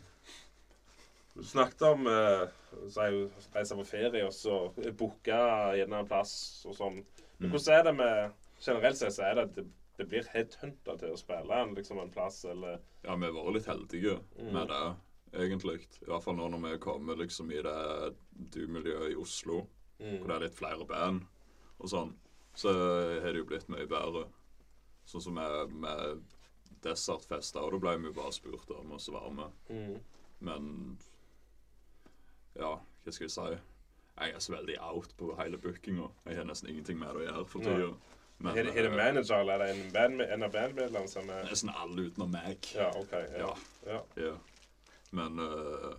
Speaker 1: Du snakket om eh, så er jo reise på ferie og så booke gjerne en plass og sånn. Men
Speaker 5: Mm.
Speaker 1: hvordan er det med Generelt sett så er det at det, det blir headhunter til å spille en, liksom en plass eller
Speaker 5: Ja, vi har vært litt heldige med det, egentlig. I hvert fall nå når vi er kommet liksom i det du-miljøet i Oslo, hvor det er litt flere band og sånn, så har det jo blitt mye bedre. Sånn som med, med dessertfester, og da ble vi jo bare spurt om å være med.
Speaker 1: Mm.
Speaker 5: Men ja, hva skal jeg si? Jeg er så veldig out på hele bookinga. Jeg har nesten ingenting med det å gjøre for
Speaker 1: Nei.
Speaker 5: tida.
Speaker 1: Er det, er det manager eller er det en, band, en av bandmedlemmene som er
Speaker 5: Nesten alle utenom meg.
Speaker 1: Ja, OK. Ja.
Speaker 5: Ja.
Speaker 1: ja.
Speaker 5: Ja. Men eh,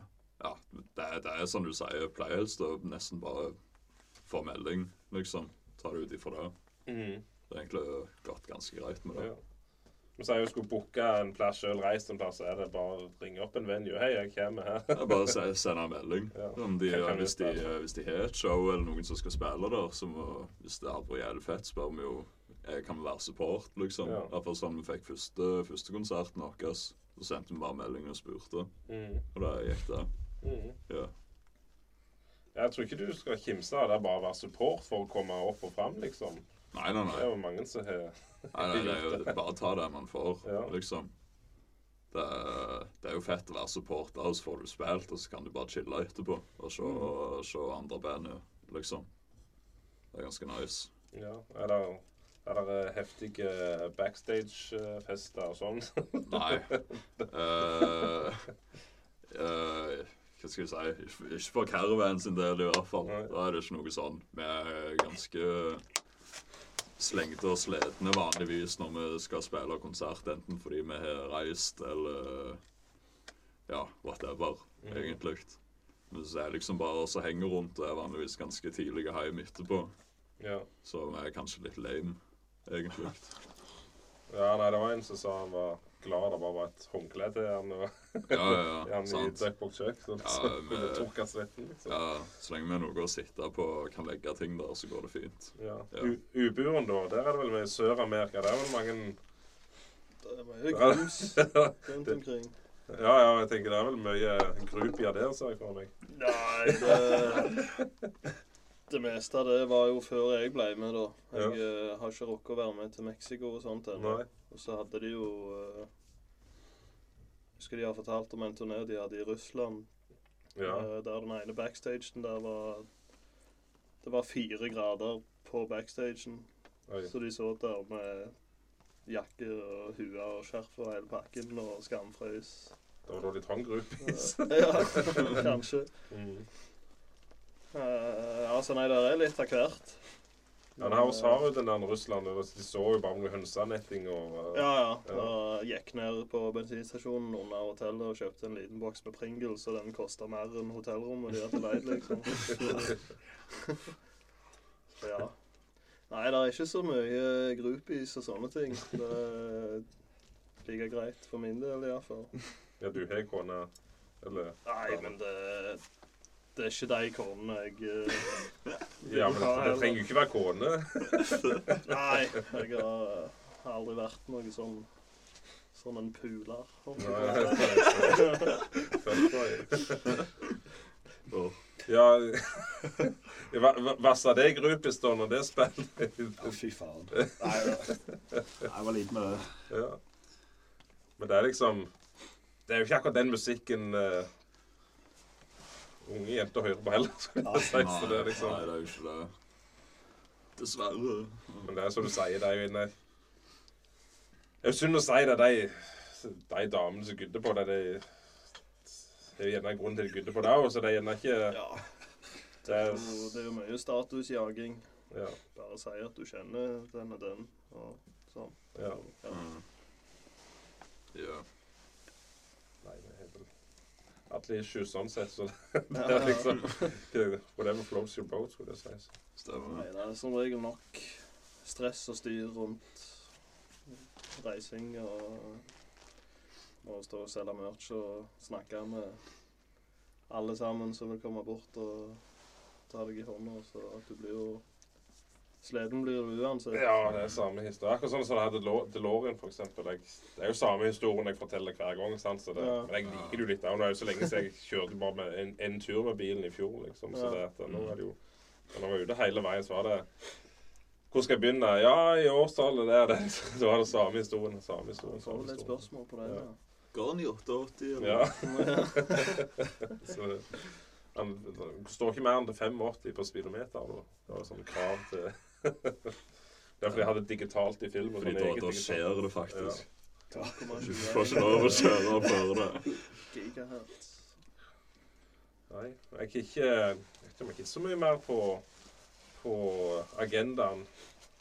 Speaker 5: ja, det, er- det er som du sier, jeg pleier helst å nesten bare få melding, liksom. Ta det ut ifra det.
Speaker 1: Mm.
Speaker 5: Det er egentlig gått ganske greit med det.
Speaker 1: ja. Men så er jeg jo skulle booke en plass sjøl, reist en plass, så er det bare å ringe opp en venue. 'Hei, jeg kommer her.'
Speaker 5: Jeg bare se- sender en melding.
Speaker 1: Ja.
Speaker 5: Om de, eh,
Speaker 1: Kan- kan vi
Speaker 5: hvis, de,
Speaker 1: spille?
Speaker 5: hvis de har et show eller noen som skal spille der, så må, hvis det hadde vært jævlig fett, spør vi jo jeg kan være support, liksom.
Speaker 1: Ja.
Speaker 5: I hvert fall sånn vi fikk første, første konserten vår. Så sendte vi bare melding og spurte,
Speaker 1: Mm.
Speaker 5: og da gikk det.
Speaker 1: Mm.
Speaker 5: Ja.
Speaker 1: Jeg tror ikke du skal kimse av det, er bare å være support for å komme opp og fram, liksom.
Speaker 5: Nei,
Speaker 1: Det
Speaker 5: nei, nei.
Speaker 1: er jo mange som har
Speaker 5: Nei, nei, det er jo bare ta det man får,
Speaker 1: Ja.
Speaker 5: liksom. Det er, det er jo fett å være supporter, og så får du spilt, og så kan du bare chille etterpå og se,
Speaker 1: Mm.
Speaker 5: se andre band, liksom. Det er ganske nice.
Speaker 1: Ja. Er det, er det heftige eh, backstage-fester og sånn?
Speaker 5: Nei. Eh, eh, hva skal jeg si? Ikke- Ikke for Caravan sin del, i hvert fall.
Speaker 1: Nei.
Speaker 5: Da er det ikke noe sånn. Vi er ganske slengte og sletne vanligvis når vi skal spille konsert, enten fordi vi har reist eller ja, whatever, egentlig. Men så er det liksom bare oss som henger rundt, og er vanligvis ganske tidlig hjem etterpå.
Speaker 1: Ja.
Speaker 5: Så vi er kanskje litt lame, egentlig.
Speaker 1: ja. Nei, det var en som sa han var glad det bare var et håndkle til han. og...
Speaker 5: Ja, ja, ja.
Speaker 1: Han i
Speaker 5: sant.
Speaker 1: Duckbox Chuck, så
Speaker 5: Ja,
Speaker 1: så
Speaker 5: men- eh,
Speaker 1: kunne tråkke svetten, liksom.
Speaker 5: Ja, så lenge vi har noe å sitte på og kan legge ting der, så går det fint.
Speaker 1: Ja.
Speaker 5: Ja.
Speaker 1: U- Uburen, da. Der er det vel med Sør-Amerika. Der er vel mange
Speaker 4: Det er mye grums rundt omkring.
Speaker 1: Ja, ja, jeg tenker det er vel mye groupier der, ser jeg for meg.
Speaker 4: Nei, det Det meste av det var jo før jeg ble med, da. Jeg eh, har ikke rukket å være med til Mexico og sånt ennå.
Speaker 1: Nei.
Speaker 4: Og så hadde de jo eh, Husker de har fortalt om en turné de hadde i Russland,
Speaker 1: Ja.
Speaker 4: eh, der den ene backstagen der var Det var fire grader på backstagen,
Speaker 1: Oi.
Speaker 4: så de så der med jakke og hue og skjerf og hele pakken og skamfrøys.
Speaker 1: Det var da de trang groupies.
Speaker 4: Ja, kanskje.
Speaker 1: Mm.
Speaker 4: Eh, altså, nei, det er litt av hvert.
Speaker 1: Ja, nei, oss har jo den der Russland, og de så jo bare noe hønsenetting og eh,
Speaker 4: Ja, ja. Jeg gikk ned på bensinstasjonen under hotellet og kjøpte en liten boks med Pringles, og den kosta mer enn hotellrommet de hadde leid, liksom. Så, så ja. Nei, det er ikke så mye groupies og sånne ting. Det er like greit for min del, iallfall.
Speaker 1: Ja, du har kone, eller
Speaker 4: Nei, men det, det er ikke de konene jeg eh,
Speaker 1: Ja, men det trenger jo ikke være kone.
Speaker 4: Nei, jeg har, eh, har aldri vært noe sånn Sånn en puler. holdt jeg på å si.
Speaker 5: Åh.
Speaker 1: Ja Hva- hva- Hva sa det grupis da når det spiller?
Speaker 3: Å, fy faen. Nei, det- Nei, jeg var liten med det.
Speaker 1: Ja. Men det er liksom Det er jo ikke akkurat den musikken eh, unge jenter hører på heller. skulle jeg si, så det er
Speaker 5: Nei,
Speaker 1: liksom
Speaker 5: det er jo ikke det. Dessverre.
Speaker 1: Men det er som du sier, det er jo inne Det er jo synd å si det. De, de damene som gudder på det, de det er jo gjerne en grunn til de gudder på det òg, så det er gjerne ikke
Speaker 4: Ja,
Speaker 1: det er,
Speaker 4: og det er jo mye statusjaging.
Speaker 1: ja,
Speaker 4: Bare si at du kjenner den og den, og sånn.
Speaker 1: ja.
Speaker 4: Ja.
Speaker 5: Mm. Ja.
Speaker 1: Nei, det er vel Alle er sju sånn sett, så det er liksom Whatever flows your boat, skulle jeg si. Så.
Speaker 5: Stemmer.
Speaker 4: Nei, det er som regel nok stress og styr rundt reising og må stå og selge merch og snakke med alle sammen som vil komme bort og ta deg i hånda, så at du blir jo Sliten blir du uansett.
Speaker 1: Ja, det er samme historie. Akkurat sånn som det her Delo- DeLorean, for eksempel. Jeg, det er jo samme historien jeg forteller hver gang. sant? Så det,
Speaker 4: Ja.
Speaker 1: Men jeg liker det jo litt. da. Og Nå er det så lenge siden jeg kjørte bare med en, en tur med bilen i fjor, liksom. Så
Speaker 4: Ja.
Speaker 1: det, at nå er det jo Men når jeg var ute hele veien, så var det Hvor skal jeg begynne? Ja, i årstallet der, det. Så var det samme historien. Samme historien,
Speaker 4: Så får
Speaker 1: samme
Speaker 4: du litt
Speaker 1: historien.
Speaker 4: spørsmål på det.
Speaker 1: Ja.
Speaker 4: Ja.
Speaker 5: Går den i 88, eller?
Speaker 1: Ja. Så han han står ikke mer enn til 85 på speedometer. Da. Det var sånn krav til Det er fordi jeg hadde digitalt i film. og
Speaker 5: Fordi
Speaker 1: sånn
Speaker 5: da,
Speaker 1: eget
Speaker 5: da
Speaker 1: digitalt.
Speaker 5: skjer det faktisk. Du får
Speaker 4: 2,21
Speaker 5: ikke lov å kjøre før det.
Speaker 4: gigahertz.
Speaker 1: Nei, jeg er ikke jeg vet ikke om jeg er så mye mer på, på agendaen.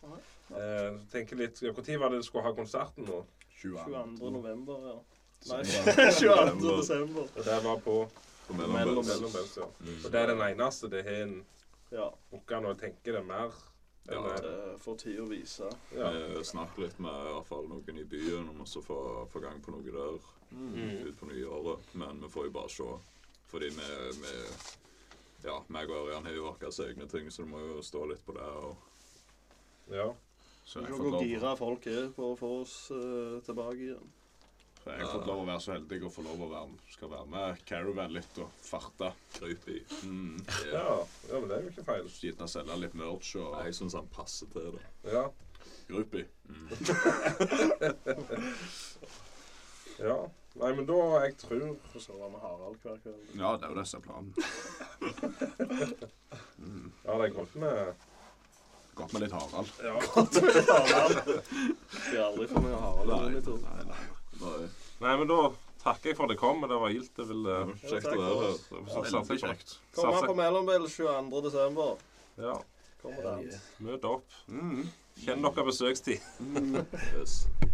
Speaker 4: Nei.
Speaker 1: Eh, tenker litt, Når var det du skulle ha konserten nå?
Speaker 4: 22. november, ja. Nei,
Speaker 2: Nei.
Speaker 4: 22. desember.
Speaker 1: Og Det var på
Speaker 5: På mellombels.
Speaker 1: Mellombels. Ja.
Speaker 5: Mm.
Speaker 1: Og det er den eneste det har en
Speaker 4: Ja,
Speaker 1: booka når jeg tenker det er mer.
Speaker 5: Ja,
Speaker 1: enn, eh,
Speaker 4: det får tid å vise.
Speaker 1: ja.
Speaker 5: Eh, Snakke litt med i hvert fall noen i byen om å få, få gang på noe der
Speaker 1: Mm.
Speaker 5: ut på nyåret. Men vi får jo bare se. Fordi vi, vi Ja, meg og Ørjan har jo våre egne ting, så du må jo stå litt på det. Og
Speaker 1: ja.
Speaker 2: Så
Speaker 4: Se
Speaker 2: jeg har
Speaker 4: hvor
Speaker 2: fått lov-
Speaker 4: gira folk er på å få oss eh, tilbake igjen.
Speaker 2: så jeg har fått lov å være så heldig å få lov å være, skal være med Caravan litt og farte.
Speaker 5: creepy.
Speaker 2: Mm.
Speaker 1: Ja. ja, men det er jo ikke feil.
Speaker 2: Gjerne selge litt merch og
Speaker 5: Jeg syns han passer til det.
Speaker 1: Ja.
Speaker 2: groupie.
Speaker 1: Ja. Nei, men da Jeg tror
Speaker 4: Og så var vi Harald hver kveld.
Speaker 2: Ja, det er jo det som er planen.
Speaker 1: Ja, det er godt med
Speaker 2: Godt med litt Harald.
Speaker 1: Ja.
Speaker 4: Blir aldri for mye Harald.
Speaker 2: Nei, nei,
Speaker 4: eller noe.
Speaker 2: nei.
Speaker 5: Nei,
Speaker 1: Nei, men da takker jeg for at det kom, og det var gildt. Det eh, ville
Speaker 5: Kjekt å være her.
Speaker 2: Veldig kjekt.
Speaker 4: Kom her på Mellombell 22. desember.
Speaker 1: Ja.
Speaker 4: Kommer den.
Speaker 2: Mm.
Speaker 1: Møt opp. Kjenn dere besøkstid.
Speaker 5: Yes.